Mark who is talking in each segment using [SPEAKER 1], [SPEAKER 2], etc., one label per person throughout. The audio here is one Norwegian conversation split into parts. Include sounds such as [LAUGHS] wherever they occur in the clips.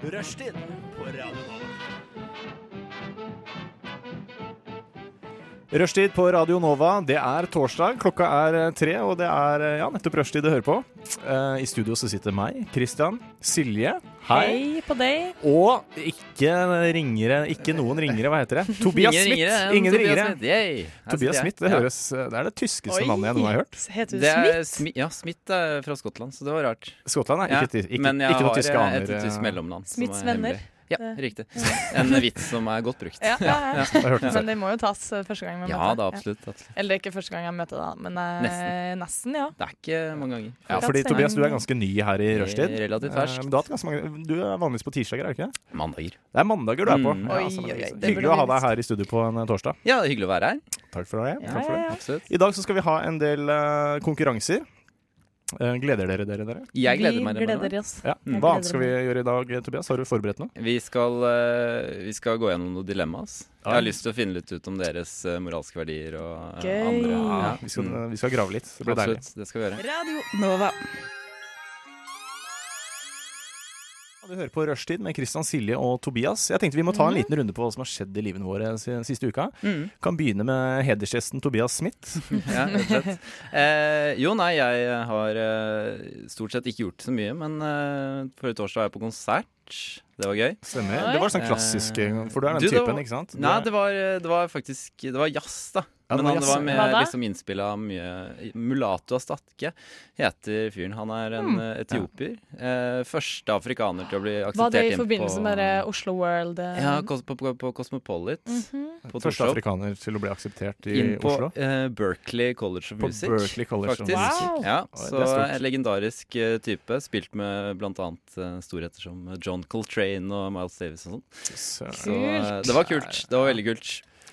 [SPEAKER 1] Rushtid på Radio Nova.
[SPEAKER 2] Rushtid på Radio Nova. Det er torsdag, klokka er eh, tre, og det er eh, ja, nettopp rushtid å høre på. Eh, I studio så sitter meg, Christian, Silje, hei,
[SPEAKER 3] Hei på deg.
[SPEAKER 2] og ikke ringere, ikke noen ringere, hva heter det? Tobias
[SPEAKER 4] [LAUGHS] Ingen
[SPEAKER 2] Smith.
[SPEAKER 4] ringere.
[SPEAKER 2] Ingen ringere.
[SPEAKER 4] ja. Tobias Smith, yay. Her
[SPEAKER 2] Tobias
[SPEAKER 4] sitter jeg.
[SPEAKER 2] Smith, det
[SPEAKER 4] Ja.
[SPEAKER 2] høres Det er det tyskeste navnet jeg noen har hørt.
[SPEAKER 3] Heter du
[SPEAKER 4] Det er
[SPEAKER 3] Smith?
[SPEAKER 4] Smi- ja, Smith er fra Skottland, så det var rart.
[SPEAKER 2] Skottland er
[SPEAKER 4] Ja,
[SPEAKER 2] ikke, ti- ikke,
[SPEAKER 4] men jeg
[SPEAKER 2] ikke noe
[SPEAKER 4] har
[SPEAKER 2] tyske aner.
[SPEAKER 4] et
[SPEAKER 2] eh,
[SPEAKER 4] tysk mellomland. som
[SPEAKER 3] Smiths
[SPEAKER 4] er
[SPEAKER 3] venner.
[SPEAKER 4] hemmelig. Ja,
[SPEAKER 3] Det-
[SPEAKER 4] riktig. En vits som er godt brukt.
[SPEAKER 3] Ja,
[SPEAKER 4] [LAUGHS]
[SPEAKER 3] ja, ja.
[SPEAKER 2] jeg har hørt den før.
[SPEAKER 3] Men det må jo tas eh, første gang vi møter.
[SPEAKER 4] Ja da, absolutt. absolutt.
[SPEAKER 3] Eller ikke første gang jeg møter deg, men eh,
[SPEAKER 4] Nesten.
[SPEAKER 3] nesten, ja.
[SPEAKER 4] Det er ikke mange ganger.
[SPEAKER 2] Ja,
[SPEAKER 3] Akkurat
[SPEAKER 2] fordi
[SPEAKER 3] same.
[SPEAKER 2] Tobias, du er ganske ny her i
[SPEAKER 4] Eh,
[SPEAKER 2] rushtid.
[SPEAKER 4] relativt
[SPEAKER 2] Eh,
[SPEAKER 4] fersk.
[SPEAKER 2] men Du, har hatt ganske mange, du er vanligvis på tirsdager, er det ikke? det?
[SPEAKER 4] Mandager.
[SPEAKER 2] Det er mandager du er på.
[SPEAKER 4] Mm.
[SPEAKER 2] Ja,
[SPEAKER 3] Oi,
[SPEAKER 2] så
[SPEAKER 3] oi, oi, det burde
[SPEAKER 2] Hyggelig å ha
[SPEAKER 3] vi
[SPEAKER 2] deg her i studio på en eh, torsdag.
[SPEAKER 4] Ja, det er hyggelig å være her.
[SPEAKER 2] Takk for det.
[SPEAKER 3] Ja,
[SPEAKER 2] Takk for
[SPEAKER 3] ja,
[SPEAKER 2] det.
[SPEAKER 3] ja.
[SPEAKER 4] Absolutt.
[SPEAKER 2] I dag så skal vi ha en del eh, konkurranser. Eh, gleder dere dere? dere?
[SPEAKER 4] Jeg gleder meg.
[SPEAKER 3] Vi
[SPEAKER 4] til morgen.
[SPEAKER 3] gleder oss.
[SPEAKER 2] Ja.
[SPEAKER 4] Mm.
[SPEAKER 2] Hva
[SPEAKER 3] Jeg gleder
[SPEAKER 2] annet skal vi gjøre i dag, Tobias? Har du forberedt noe?
[SPEAKER 4] Vi skal, eh, vi skal gå gjennom noen dilemmaer. Jeg
[SPEAKER 2] Ja.
[SPEAKER 4] har lyst til å finne litt ut om deres eh, moralske verdier og eh,
[SPEAKER 3] Gøy.
[SPEAKER 4] andre. Ja,
[SPEAKER 2] Vi, skal, eh,
[SPEAKER 4] mm,
[SPEAKER 2] vi skal grave litt. Det blir deilig.
[SPEAKER 4] Absolutt, det skal vi gjøre.
[SPEAKER 3] Radio Nova.
[SPEAKER 2] Du hører på Rushtid med Christian Silje og Tobias. Jeg tenkte Vi må ta en liten runde på hva som har skjedd i livene våre si- siste uka.
[SPEAKER 4] Mm.
[SPEAKER 2] Kan begynne med hedersgjesten Tobias Smith.
[SPEAKER 4] [LAUGHS] ja, rett og slett. Eh, jo, nei, jeg har eh, stort sett ikke gjort så mye, men eh, forrige torsdag var jeg på konsert. Det var gøy.
[SPEAKER 2] Stemmer. Det var sånn klassisk,
[SPEAKER 4] Eh,
[SPEAKER 2] for du er den
[SPEAKER 4] du, det var-
[SPEAKER 2] typen, ikke sant? Du
[SPEAKER 4] Nei,
[SPEAKER 2] er-
[SPEAKER 4] det var, eh, det var faktisk Det var jazz, da.
[SPEAKER 2] Ja, det
[SPEAKER 4] Men
[SPEAKER 2] var
[SPEAKER 4] han, det
[SPEAKER 2] jazz,
[SPEAKER 4] var med
[SPEAKER 3] Hva da?
[SPEAKER 4] liksom innspill av mye Mulato Astatke heter fyren. Han er en eh, etiopier. Eh, første afrikaner til å bli akseptert
[SPEAKER 3] Hmm. Var det i
[SPEAKER 4] inn
[SPEAKER 3] forbindelse
[SPEAKER 4] på-
[SPEAKER 3] med det Oslo World? eh, Mhm.
[SPEAKER 4] Ja, kos- på, på, på Cosmopolit. På
[SPEAKER 2] Første
[SPEAKER 4] Torshov.
[SPEAKER 2] afrikaner til å bli akseptert i
[SPEAKER 4] Inn på
[SPEAKER 2] Oslo.
[SPEAKER 4] eh, Berkeley College of
[SPEAKER 2] På
[SPEAKER 4] Music.
[SPEAKER 2] Berkeley College of
[SPEAKER 4] faktisk.
[SPEAKER 2] Music.
[SPEAKER 3] Wow.
[SPEAKER 4] Ja,
[SPEAKER 2] Oi,
[SPEAKER 4] så
[SPEAKER 2] det er stort.
[SPEAKER 4] en legendarisk eh, type. Spilt med bl.a. Uh, storheter som John Coltrane og Miles Davis og sånn. Så eh, det var kult. Det var veldig kult.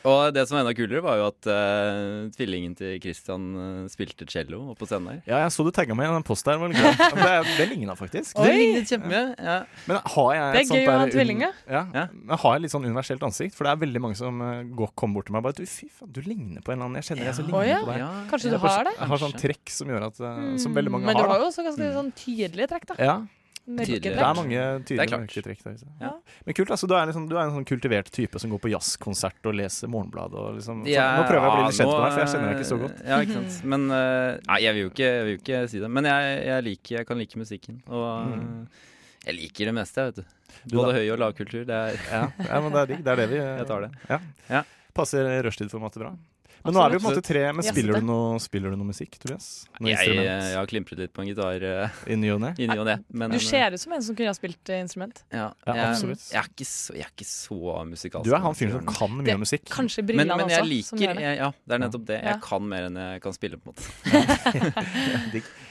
[SPEAKER 4] Og det som var enda kulere, var jo at eh, tvillingen til Christian eh, spilte cello oppe på scenen der.
[SPEAKER 2] Ja, jeg så du tagga meg i den posten her. var det
[SPEAKER 4] [LAUGHS]
[SPEAKER 2] ikke det? Ja, Det, det ligna faktisk.
[SPEAKER 4] Det lignet kjempemye. Ja.
[SPEAKER 2] Men har jeg
[SPEAKER 3] Det er
[SPEAKER 2] et sånt
[SPEAKER 3] gøy å
[SPEAKER 2] der
[SPEAKER 3] ha
[SPEAKER 2] un-
[SPEAKER 3] tvillinger.
[SPEAKER 2] Ja.
[SPEAKER 4] Ja.
[SPEAKER 2] Men har jeg litt sånn universelt ansikt? For det er veldig mange som eh, går, kommer bort til meg og bare du, Fy faen, du ligner på en eller annen. Jeg kjenner jeg så ligner
[SPEAKER 3] Å, ja.
[SPEAKER 2] på deg.
[SPEAKER 4] Ja,
[SPEAKER 3] Kanskje
[SPEAKER 4] ja.
[SPEAKER 3] du har det?
[SPEAKER 2] Jeg har sånn trekk som gjør at eh, Som veldig mange
[SPEAKER 3] Mm, Men du har
[SPEAKER 2] da.
[SPEAKER 3] jo også ganske sånn tydelige trekk, da.
[SPEAKER 2] Ja,
[SPEAKER 3] Mørke
[SPEAKER 4] Mm. Tydelige.
[SPEAKER 2] det er
[SPEAKER 3] trekk.
[SPEAKER 2] mange
[SPEAKER 4] Det er
[SPEAKER 2] tydelige
[SPEAKER 4] klart.
[SPEAKER 2] mørketrekk der. så.
[SPEAKER 4] Ja.
[SPEAKER 2] Men kult, altså, du er, liksom, du er en sånn kultivert type som går på jazzkonsert og leser Morgenbladet og liksom
[SPEAKER 4] Ja,
[SPEAKER 2] Nå prøver jeg å bli litt
[SPEAKER 4] ja,
[SPEAKER 2] kjent med
[SPEAKER 4] nå,
[SPEAKER 2] deg, for jeg kjenner deg ikke så godt.
[SPEAKER 4] Ja, ikke sant. Men eh, Nei, jeg vil jo ikke, jeg vil jo ikke si det. Men jeg, jeg liker Jeg kan like musikken. Og eh, jeg liker det meste, jeg, vet du.
[SPEAKER 2] Mm. Du
[SPEAKER 4] Både
[SPEAKER 2] da?
[SPEAKER 4] høy- og lavkultur. Det er
[SPEAKER 2] Ja, ja, men det er digg. Det er det vi eh,
[SPEAKER 4] Jeg tar det.
[SPEAKER 2] Ja.
[SPEAKER 4] Ja.
[SPEAKER 2] Passer rushtidformatet bra. Men nå er vi jo på en måte tre. Men spiller
[SPEAKER 3] Jazzete.
[SPEAKER 2] du noe, spiller du noe musikk, Tobias? Noe
[SPEAKER 4] jeg, eh,
[SPEAKER 2] instrument?
[SPEAKER 4] jeg har klimpret litt på en gitar eh,
[SPEAKER 2] I ny og ne?
[SPEAKER 4] i ny og ne. men-
[SPEAKER 3] Du ser ut som en som kunne ha spilt eh, instrument.
[SPEAKER 4] Ja,
[SPEAKER 2] Ja,
[SPEAKER 4] jeg,
[SPEAKER 2] absolutt.
[SPEAKER 4] jeg, er ikke så, jeg er ikke så musikalsk.
[SPEAKER 2] Du er han fyren som kan mye
[SPEAKER 3] Det-
[SPEAKER 2] musikk.
[SPEAKER 3] Kanskje
[SPEAKER 4] men,
[SPEAKER 3] brillene
[SPEAKER 4] men
[SPEAKER 3] også.
[SPEAKER 4] jeg
[SPEAKER 3] altså, som
[SPEAKER 4] liker
[SPEAKER 3] gjør det.
[SPEAKER 4] jeg, Ja, det er nettopp det.
[SPEAKER 3] Ja.
[SPEAKER 4] Jeg kan mer enn jeg kan spille, på en måte.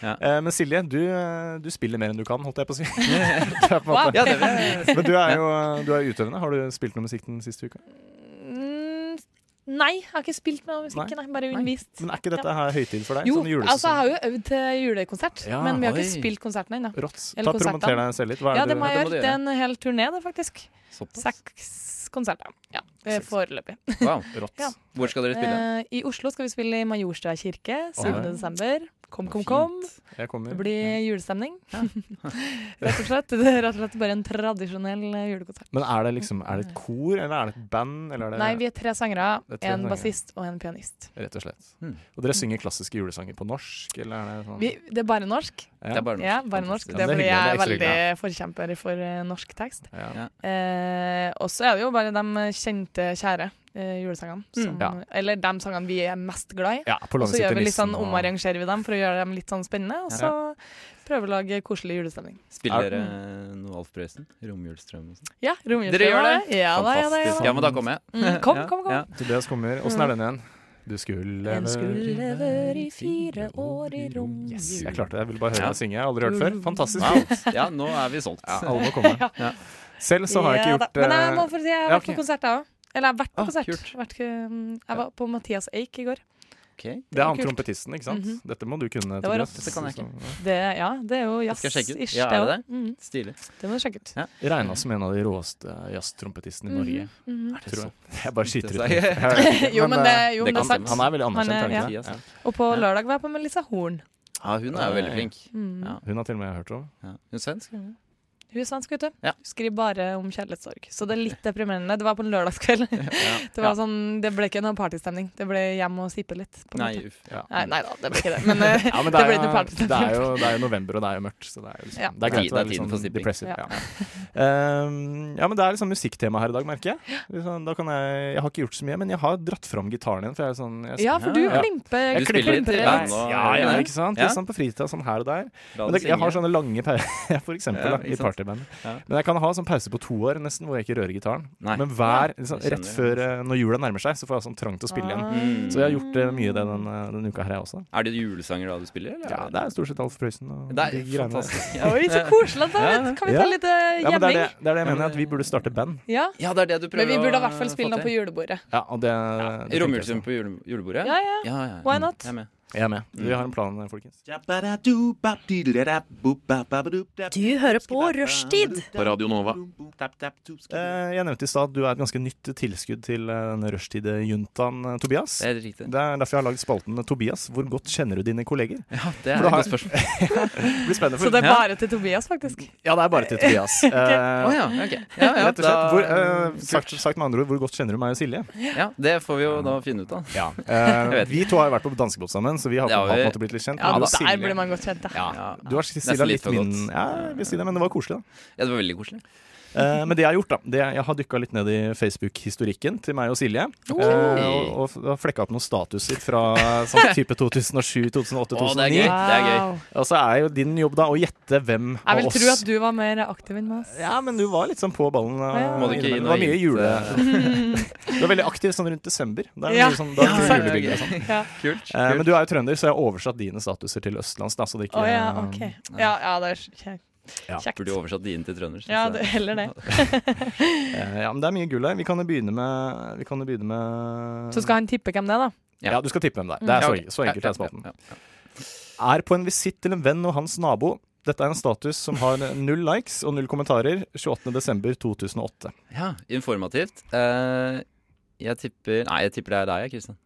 [SPEAKER 2] Eh, Men Silje, du, eh, du spiller mer enn du kan, holdt
[SPEAKER 4] [LAUGHS]
[SPEAKER 2] jeg på å si. [LAUGHS] Det er på en måte-
[SPEAKER 4] Ja, det vil jeg si.
[SPEAKER 2] Men du er jo eh, du er utøvende. Har du spilt noe musikk den siste uka?
[SPEAKER 3] Mm, Nei, jeg har ikke spilt med musikken, nei. bare undervist.
[SPEAKER 2] Men er ikke dette her høytid for deg?
[SPEAKER 3] Jo,
[SPEAKER 2] sånn julesesong?
[SPEAKER 3] altså jeg har jo øvd til julekonsert,
[SPEAKER 2] Ja,
[SPEAKER 3] men vi har ikke
[SPEAKER 4] oi.
[SPEAKER 3] spilt konserten ennå.
[SPEAKER 2] Rått. Ta
[SPEAKER 3] eller
[SPEAKER 2] Promoter
[SPEAKER 3] konsertene.
[SPEAKER 2] deg selv litt. Hva er
[SPEAKER 3] Ja, det må jeg
[SPEAKER 4] det må
[SPEAKER 3] gjøre.
[SPEAKER 4] du
[SPEAKER 3] Det er en hel turné, det, faktisk.
[SPEAKER 4] Såpass.
[SPEAKER 3] Seks konserter. Ja, eh,
[SPEAKER 2] Seks.
[SPEAKER 3] foreløpig.
[SPEAKER 4] Wow.
[SPEAKER 2] Rått.
[SPEAKER 3] Ja.
[SPEAKER 4] Hvor skal dere spille?
[SPEAKER 3] Eh, I Oslo skal vi spille i Majorstua kirke 7.
[SPEAKER 2] Oi.
[SPEAKER 3] desember. Kom, kom, kom.
[SPEAKER 4] Fint.
[SPEAKER 2] Jeg kommer.
[SPEAKER 3] Det blir julestemning. [LAUGHS] rett og slett. Det er rett og slett bare en tradisjonell eh, julekonsert.
[SPEAKER 2] Men er det liksom Er det et kor, eller er det et band, eller er det
[SPEAKER 3] Nei, vi er tre sangere.
[SPEAKER 2] Det er tre
[SPEAKER 3] En
[SPEAKER 2] sangere.
[SPEAKER 3] bassist og en pianist.
[SPEAKER 2] Rett og slett.
[SPEAKER 4] Mm.
[SPEAKER 2] Og dere synger klassiske julesanger på norsk, eller er det sånn
[SPEAKER 3] Vi, det er bare norsk.
[SPEAKER 2] ja.
[SPEAKER 4] Det er bare norsk.
[SPEAKER 3] Ja, bare norsk.
[SPEAKER 4] Fantastisk.
[SPEAKER 2] Ja,
[SPEAKER 3] Det
[SPEAKER 2] men det
[SPEAKER 3] er fordi
[SPEAKER 2] er
[SPEAKER 3] jeg er
[SPEAKER 2] hyggelig, det er
[SPEAKER 3] veldig
[SPEAKER 2] ekstra
[SPEAKER 3] forkjemper for eh, norsk tekst.
[SPEAKER 2] Ja.
[SPEAKER 4] Ja.
[SPEAKER 3] Eh, og så er det jo bare de kjente, kjære eh, julesangene. Som,
[SPEAKER 2] Mm. Ja.
[SPEAKER 3] Eller de sangene vi er mest glad i.
[SPEAKER 2] Ja, på
[SPEAKER 3] Og så gjør vi litt sånn,
[SPEAKER 2] og-
[SPEAKER 3] omarrangerer vi dem for å gjøre dem litt sånn spennende. Og så prøver vi å lage koselig julestemning.
[SPEAKER 4] Spiller
[SPEAKER 2] Er-
[SPEAKER 4] dere noe Alf Prøysen? Romjulsdrøm og sånn?
[SPEAKER 3] Ja, romjulstemning.
[SPEAKER 4] Dere gjør det?
[SPEAKER 3] Ja da, ja da. Ja,
[SPEAKER 4] Fantastisk.
[SPEAKER 3] da.
[SPEAKER 4] Ja, men da kommer jeg.
[SPEAKER 3] Mm, kom, kom, kom.
[SPEAKER 4] Ja.
[SPEAKER 2] Tobias kommer. Åssen er den igjen? Du skulle
[SPEAKER 3] En skulle lever i fire år i romjul.
[SPEAKER 2] Yes, jeg klarte det. Jeg ville bare høre
[SPEAKER 4] Ja.
[SPEAKER 2] deg synge. Jeg har aldri hørt før. Fantastisk.
[SPEAKER 4] Wow. ja, nå er vi solgt.
[SPEAKER 2] Ja, alle må komme. Selv så har jeg ikke
[SPEAKER 3] Ja da.
[SPEAKER 2] gjort
[SPEAKER 3] Men jeg
[SPEAKER 2] eh,
[SPEAKER 3] må for å si, jeg har
[SPEAKER 2] ja,
[SPEAKER 3] vært
[SPEAKER 2] ok.
[SPEAKER 3] på konsert, jeg òg. Eller jeg har vært på
[SPEAKER 4] Ah,
[SPEAKER 3] konsert.
[SPEAKER 4] kult.
[SPEAKER 3] Vært, mm, jeg var på Mathias Eik i går.
[SPEAKER 4] Ok.
[SPEAKER 2] Det er han
[SPEAKER 3] kult.
[SPEAKER 2] trompetisten, ikke sant?
[SPEAKER 3] Mhm.
[SPEAKER 2] Dette må du kunne.
[SPEAKER 3] var
[SPEAKER 2] Tobias.
[SPEAKER 3] rått.
[SPEAKER 4] Dette kan jeg ikke.
[SPEAKER 2] Så-
[SPEAKER 3] Det, ja, det er jo
[SPEAKER 4] Det skal jeg sjekke ut.
[SPEAKER 3] jazz-ish,
[SPEAKER 4] Ja, er
[SPEAKER 3] det
[SPEAKER 4] det
[SPEAKER 3] òg. Mm,
[SPEAKER 4] Stilig.
[SPEAKER 3] det må du sjekke ut.
[SPEAKER 2] Regna som en av de råeste jazztrompetistene i Norge.
[SPEAKER 3] Mhm.
[SPEAKER 2] Tror jeg. jeg bare skyter ut. [LAUGHS]
[SPEAKER 4] Det
[SPEAKER 2] Jeg
[SPEAKER 4] sier-
[SPEAKER 2] vet ikke, eh,
[SPEAKER 3] Jo, men det, jo, men
[SPEAKER 4] det
[SPEAKER 3] det
[SPEAKER 4] kan
[SPEAKER 3] er sant.
[SPEAKER 2] Han er veldig anerkjent,
[SPEAKER 3] Han
[SPEAKER 2] er
[SPEAKER 3] er-
[SPEAKER 2] han ikke?
[SPEAKER 4] Ja.
[SPEAKER 2] det?
[SPEAKER 3] Og på lørdag var jeg på Melissa Horn.
[SPEAKER 4] Ja, hun er jo veldig flink.
[SPEAKER 3] Mm.
[SPEAKER 4] Ja.
[SPEAKER 2] Hun har til og med hørt om.
[SPEAKER 4] Ja. Hun er svensk.
[SPEAKER 3] Hun er svensk, vet du.
[SPEAKER 4] Ja.
[SPEAKER 3] Hun skriver bare om kjærlighetssorg. Så det er litt deprimerende. Det var på en lørdagskveld. [LAUGHS] Det, var
[SPEAKER 4] Ja.
[SPEAKER 3] sånn, det ble ikke noe partystemning. Det ble hjem og sippe litt. På en
[SPEAKER 4] Nei,
[SPEAKER 3] måte.
[SPEAKER 4] uff. Ja.
[SPEAKER 3] Nei, nei da, det ble ikke det. Men,
[SPEAKER 4] [LAUGHS]
[SPEAKER 3] eh,
[SPEAKER 2] Ja,
[SPEAKER 3] [LAUGHS]
[SPEAKER 2] men
[SPEAKER 3] det,
[SPEAKER 2] det er,
[SPEAKER 3] ble ikke noe
[SPEAKER 2] jo,
[SPEAKER 3] partystemning.
[SPEAKER 2] det, er jo, det er jo november, og det er jo mørkt. Så det er, jo liksom,
[SPEAKER 3] Ja.
[SPEAKER 2] det er greit
[SPEAKER 4] Tid-
[SPEAKER 2] å
[SPEAKER 4] det er
[SPEAKER 2] være litt
[SPEAKER 4] tiden
[SPEAKER 2] sånn
[SPEAKER 4] for sipping.
[SPEAKER 2] depressive.
[SPEAKER 3] Ja.
[SPEAKER 2] Ja. [LAUGHS] Ehm, ja, men det er liksom musikktema her i dag, merker jeg. Liksom, da kan jeg. Jeg har ikke gjort så mye, men jeg har dratt fram gitaren igjen. For jeg er sånn jeg,
[SPEAKER 3] Ja, for du
[SPEAKER 2] Ja.
[SPEAKER 3] klimper.
[SPEAKER 4] Du spiller litt
[SPEAKER 3] klimper
[SPEAKER 4] i band
[SPEAKER 3] litt.
[SPEAKER 4] og-
[SPEAKER 2] ja, ja, ikke sant?
[SPEAKER 4] Ja.
[SPEAKER 2] Litt sånn på fritida, sånn her og der.
[SPEAKER 4] La
[SPEAKER 2] Men
[SPEAKER 4] det
[SPEAKER 2] det, jeg har
[SPEAKER 4] synge.
[SPEAKER 2] sånne lange [LAUGHS] pauser, for eksempel,
[SPEAKER 4] Ja,
[SPEAKER 2] da,
[SPEAKER 4] ikke
[SPEAKER 2] i
[SPEAKER 4] sant?
[SPEAKER 2] partybandet.
[SPEAKER 4] Ja.
[SPEAKER 2] Men jeg kan ha sånn pause på to år nesten, hvor jeg ikke rører gitaren.
[SPEAKER 4] Nei.
[SPEAKER 2] Men hver, liksom,
[SPEAKER 4] jeg
[SPEAKER 2] rett
[SPEAKER 4] skjønner.
[SPEAKER 2] før eh, når jula nærmer seg, så får jeg sånn trang til å spille
[SPEAKER 3] Ah.
[SPEAKER 2] igjen.
[SPEAKER 4] Mm.
[SPEAKER 2] Så jeg har gjort eh, mye det den, eh, denne uka her, jeg også.
[SPEAKER 4] Er det julesanger da du spiller, eller?
[SPEAKER 2] Ja, det er stort sett Alf Prøysen og
[SPEAKER 4] Det
[SPEAKER 2] de
[SPEAKER 4] er
[SPEAKER 2] greiene der.
[SPEAKER 4] fantastisk. Ja.
[SPEAKER 3] [LAUGHS] Oi, så koselig. Da.
[SPEAKER 4] Ja.
[SPEAKER 3] Kan vi ta
[SPEAKER 2] Ja.
[SPEAKER 3] litt eh,
[SPEAKER 2] Ja, men det, er
[SPEAKER 3] jamming?
[SPEAKER 2] det, det er det jeg mener, at vi burde starte band.
[SPEAKER 3] Ja,
[SPEAKER 4] Ja, det er det du prøver
[SPEAKER 3] men vi burde i
[SPEAKER 4] å
[SPEAKER 3] hvert fall spille
[SPEAKER 4] få
[SPEAKER 3] noe på
[SPEAKER 4] til.
[SPEAKER 3] julebordet.
[SPEAKER 2] Ja, og det, det tenker jeg
[SPEAKER 4] Romjulsfilm på jule, julebordet?
[SPEAKER 3] Ja, ja.
[SPEAKER 4] ja, ja.
[SPEAKER 3] Why not?
[SPEAKER 4] Jeg er med.
[SPEAKER 2] også. Jeg er med.
[SPEAKER 4] Mm.
[SPEAKER 2] Vi har en plan, eh, folkens.
[SPEAKER 1] Du hører på Rushtid
[SPEAKER 5] På Radio Nova.
[SPEAKER 2] Eh, Jeg nevnte i stad at du er et ganske nytt tilskudd til eh, denne rushtidejuntaen, eh, Tobias.
[SPEAKER 4] Det er helt riktig.
[SPEAKER 2] Det er derfor jeg har lagd spalten Tobias, hvor godt kjenner du dine kolleger?
[SPEAKER 4] Ja,
[SPEAKER 2] For
[SPEAKER 4] det er
[SPEAKER 2] da
[SPEAKER 4] et
[SPEAKER 2] har-
[SPEAKER 4] godt spørsmål.
[SPEAKER 2] Det blir
[SPEAKER 4] [LAUGHS]
[SPEAKER 2] spennende.
[SPEAKER 3] Så
[SPEAKER 2] For,
[SPEAKER 3] det er
[SPEAKER 4] Ja.
[SPEAKER 3] bare til Tobias, faktisk.
[SPEAKER 2] ja, det er bare til Tobias.
[SPEAKER 4] Å
[SPEAKER 2] Eh,
[SPEAKER 4] ja, ok. Ja,
[SPEAKER 2] Rett
[SPEAKER 4] ja,
[SPEAKER 2] og slett.
[SPEAKER 4] da-
[SPEAKER 2] Hvor, eh, sagt, sagt med andre ord, hvor godt kjenner du meg og Silje?
[SPEAKER 4] ja, det får vi jo da finne ut av. [LAUGHS]
[SPEAKER 2] Ja.
[SPEAKER 4] vet
[SPEAKER 2] vi to har jo vært på dansebåt sammen, så vi har,
[SPEAKER 4] Det har
[SPEAKER 2] har på en
[SPEAKER 4] vi.
[SPEAKER 2] måte blitt litt kjent.
[SPEAKER 3] Ja,
[SPEAKER 2] Men du og
[SPEAKER 3] der
[SPEAKER 2] Silje-
[SPEAKER 3] burde man godt kjent det.
[SPEAKER 2] ja.
[SPEAKER 4] Ja.
[SPEAKER 2] Du har Silje
[SPEAKER 4] litt
[SPEAKER 2] litt
[SPEAKER 4] for godt.
[SPEAKER 2] min Ja, jeg vil si det, men det var koselig, da.
[SPEAKER 4] Ja, det var veldig koselig.
[SPEAKER 2] Eh, men det jeg har gjort, da det, Jeg har dykka litt ned i Facebook-historikken til meg og Silje.
[SPEAKER 4] Ok.
[SPEAKER 2] eh, og, og, f- og flekka opp noen statuser fra
[SPEAKER 4] [LAUGHS]
[SPEAKER 2] sånn type 2007, 2008,
[SPEAKER 4] Å, det
[SPEAKER 2] 2009.
[SPEAKER 4] er gøy. det er gøy.
[SPEAKER 3] Wow.
[SPEAKER 2] Og så er jo din jobb da å gjette hvem
[SPEAKER 3] Jeg
[SPEAKER 2] av
[SPEAKER 3] vil
[SPEAKER 2] oss
[SPEAKER 3] tro at du var mer aktiv enn meg. ass.
[SPEAKER 2] Ja, men du var litt sånn på ballen. eh,
[SPEAKER 3] Ja. Må
[SPEAKER 4] du
[SPEAKER 2] innimellom.
[SPEAKER 4] ikke gi
[SPEAKER 2] det var
[SPEAKER 4] noe
[SPEAKER 2] mye jule...
[SPEAKER 3] [LAUGHS]
[SPEAKER 2] du var veldig aktiv sånn rundt desember. Da er det
[SPEAKER 3] Ja.
[SPEAKER 2] mye sånn, da er det
[SPEAKER 4] Ja,
[SPEAKER 2] julebilder og
[SPEAKER 4] ok.
[SPEAKER 2] sånn.
[SPEAKER 3] Ja.
[SPEAKER 4] Kult.
[SPEAKER 2] Eh, men
[SPEAKER 4] kult.
[SPEAKER 2] du er jo trønder, så jeg har oversatt dine statuser til østlands. Da, så det ikke,
[SPEAKER 3] Å ja, ok. Ja, ja, det er kjekt.
[SPEAKER 2] Ja.
[SPEAKER 4] Burde jo oversatt dine til trøndersk.
[SPEAKER 3] Ja, det, heller
[SPEAKER 4] [LAUGHS]
[SPEAKER 3] det.
[SPEAKER 2] eh, ja, men det er mye gull her. Vi kan jo begynne med, vi kan jo begynne med
[SPEAKER 3] Så skal han tippe hvem det er, da?
[SPEAKER 2] ja. du skal tippe hvem det er. Det er så, så enkelt er spalten. Er på en visitt til en venn og hans nabo. Dette er en status som har null likes og null kommentarer 28.12.2008.
[SPEAKER 4] Ja, informativt. Eh, jeg tipper Nei, jeg tipper det er deg, jeg, Kristian.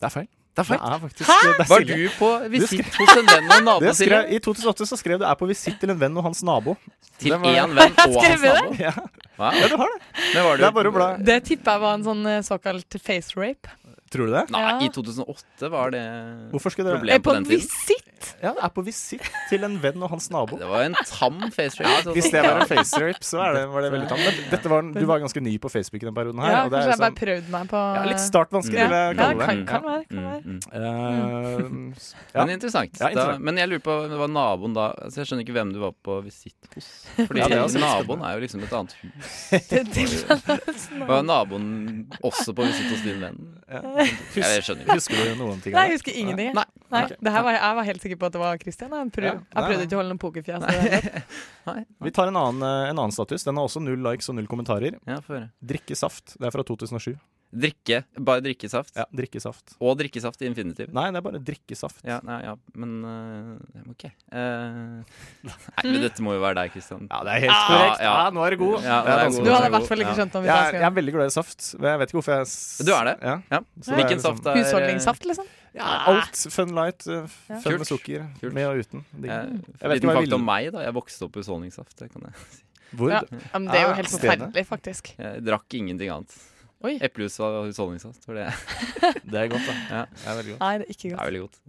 [SPEAKER 2] Det er feil.
[SPEAKER 4] Det er
[SPEAKER 2] Det
[SPEAKER 4] feil.
[SPEAKER 2] er faktisk det er
[SPEAKER 4] Var
[SPEAKER 2] Silje.
[SPEAKER 4] du på visitt hos en venn og nabo
[SPEAKER 2] [LAUGHS] det
[SPEAKER 4] til
[SPEAKER 2] skrev, I 2008 så skrev du 'er på visitt til en venn og hans nabo'.
[SPEAKER 4] Til
[SPEAKER 2] det var-
[SPEAKER 4] én venn
[SPEAKER 3] [LAUGHS]
[SPEAKER 4] og
[SPEAKER 3] Skrev
[SPEAKER 4] hans
[SPEAKER 3] vi det?
[SPEAKER 4] nabo?
[SPEAKER 2] Ja,
[SPEAKER 4] Wow.
[SPEAKER 2] ja du har det.
[SPEAKER 4] Men var du
[SPEAKER 2] Det er bare å bla.
[SPEAKER 3] Det tipper jeg var en sånn eh, såkalt face rape.
[SPEAKER 2] Tror du det?
[SPEAKER 4] Nei,
[SPEAKER 3] Ja.
[SPEAKER 4] i 2008 var det
[SPEAKER 2] Hvorfor skulle dere
[SPEAKER 4] Problem.
[SPEAKER 3] Eh,
[SPEAKER 4] på
[SPEAKER 3] På
[SPEAKER 4] den tiden.
[SPEAKER 3] visitt!
[SPEAKER 2] Ja, det er på visitt til en venn og hans nabo.
[SPEAKER 4] Det var en tam face rape. altså.
[SPEAKER 2] Hvis det var en facerape, så er det, var det veldig tamt. Men Dette var, du var ganske ny på Facebook i den perioden her.
[SPEAKER 3] Ja,
[SPEAKER 2] og det
[SPEAKER 3] kanskje
[SPEAKER 2] er
[SPEAKER 3] jeg bare
[SPEAKER 2] liksom,
[SPEAKER 3] prøvde meg på
[SPEAKER 2] ja, litt startvansker, vil jeg
[SPEAKER 3] Ja,
[SPEAKER 2] kalle
[SPEAKER 3] kan,
[SPEAKER 2] det.
[SPEAKER 3] kan være. Kan være.
[SPEAKER 4] Mm, mm.
[SPEAKER 2] Eh, Ja.
[SPEAKER 4] Men interessant.
[SPEAKER 2] Ja, interessant.
[SPEAKER 4] Da, men jeg lurer på, det var naboen da altså Jeg skjønner ikke hvem du var på visitt hos. Fordi
[SPEAKER 2] Ja, det er også litt
[SPEAKER 4] naboen
[SPEAKER 2] spennende.
[SPEAKER 4] er jo liksom et annet hus.
[SPEAKER 3] Det- sånn-
[SPEAKER 4] [LAUGHS]
[SPEAKER 3] det-
[SPEAKER 4] Var naboen også på visitt hos din venn?
[SPEAKER 2] ja.
[SPEAKER 4] Jeg
[SPEAKER 2] Husker,
[SPEAKER 4] skjønner ikke.
[SPEAKER 2] husker du noen ting?
[SPEAKER 3] Nei,
[SPEAKER 2] av
[SPEAKER 3] jeg
[SPEAKER 2] det?
[SPEAKER 3] husker ingenting. jeg.
[SPEAKER 4] Nei.
[SPEAKER 3] Nei,
[SPEAKER 2] Ok.
[SPEAKER 3] det her var, jeg var helt sikker på at det var Christian. Jeg, prøv,
[SPEAKER 2] Ja,
[SPEAKER 3] jeg
[SPEAKER 2] nei,
[SPEAKER 3] prøvde
[SPEAKER 2] nei.
[SPEAKER 3] ikke å holde noe pokerfjes. i det hele tatt.
[SPEAKER 2] Vi tar en annen, eh, en annen status. Den har også null likes og null kommentarer.
[SPEAKER 4] Ja, få høre.
[SPEAKER 2] Drikke saft. Det er fra 2007.
[SPEAKER 4] Drikke. Bare drikkesaft.
[SPEAKER 2] Ja, drikke saft.
[SPEAKER 4] Og drikkesaft i infinitiv.
[SPEAKER 2] Nei, det er bare drikke saft.
[SPEAKER 4] Ja, nei, ja, men øh, OK.
[SPEAKER 2] [LAUGHS]
[SPEAKER 4] Eh, nei, men dette må jo være deg, Kristian.
[SPEAKER 2] Ja, det er helt
[SPEAKER 4] Ah,
[SPEAKER 2] korrekt. Ja,
[SPEAKER 4] ja.
[SPEAKER 2] nå er det god. Det er
[SPEAKER 4] Ja, det er
[SPEAKER 2] vanskelig.
[SPEAKER 3] [LAUGHS]
[SPEAKER 4] god. [LAUGHS]
[SPEAKER 3] Du hadde i
[SPEAKER 4] god.
[SPEAKER 3] hvert fall ikke
[SPEAKER 4] Ja.
[SPEAKER 3] skrevet om
[SPEAKER 2] Jeg er, jeg
[SPEAKER 3] hvem
[SPEAKER 2] er veldig glad i saft. men Jeg vet ikke hvorfor jeg s-
[SPEAKER 4] Du er det?
[SPEAKER 2] Ja.
[SPEAKER 4] Ja.
[SPEAKER 2] Så det er
[SPEAKER 4] Hvilken
[SPEAKER 2] liksom-
[SPEAKER 4] saft er eh,
[SPEAKER 3] jeg skrev. Husholdningssaft, liksom.
[SPEAKER 2] Ja, alt. Fun light, eh,
[SPEAKER 3] Ja.
[SPEAKER 2] fun
[SPEAKER 4] Kult.
[SPEAKER 2] med sukker.
[SPEAKER 4] Kult.
[SPEAKER 2] Med og uten.
[SPEAKER 4] eh,
[SPEAKER 3] Mm.
[SPEAKER 2] Digg. Jeg vet ikke hva
[SPEAKER 4] Liten
[SPEAKER 2] jeg
[SPEAKER 4] fakta om
[SPEAKER 2] ville.
[SPEAKER 4] meg, da. Jeg vokste opp i husholdningssaft. Det kan jeg.
[SPEAKER 2] Hvor?
[SPEAKER 3] Ja. Ja, Men det er jo
[SPEAKER 2] Ah,
[SPEAKER 3] helt
[SPEAKER 2] stedet.
[SPEAKER 3] forferdelig, faktisk.
[SPEAKER 4] jeg drakk ingenting annet.
[SPEAKER 3] Oi.
[SPEAKER 4] Eplejus var husholdningssaft. For det
[SPEAKER 2] Det er godt, da.
[SPEAKER 4] Ja.
[SPEAKER 2] Det er veldig godt.
[SPEAKER 3] Nei, det er ikke
[SPEAKER 4] det
[SPEAKER 3] godt.
[SPEAKER 4] er veldig godt.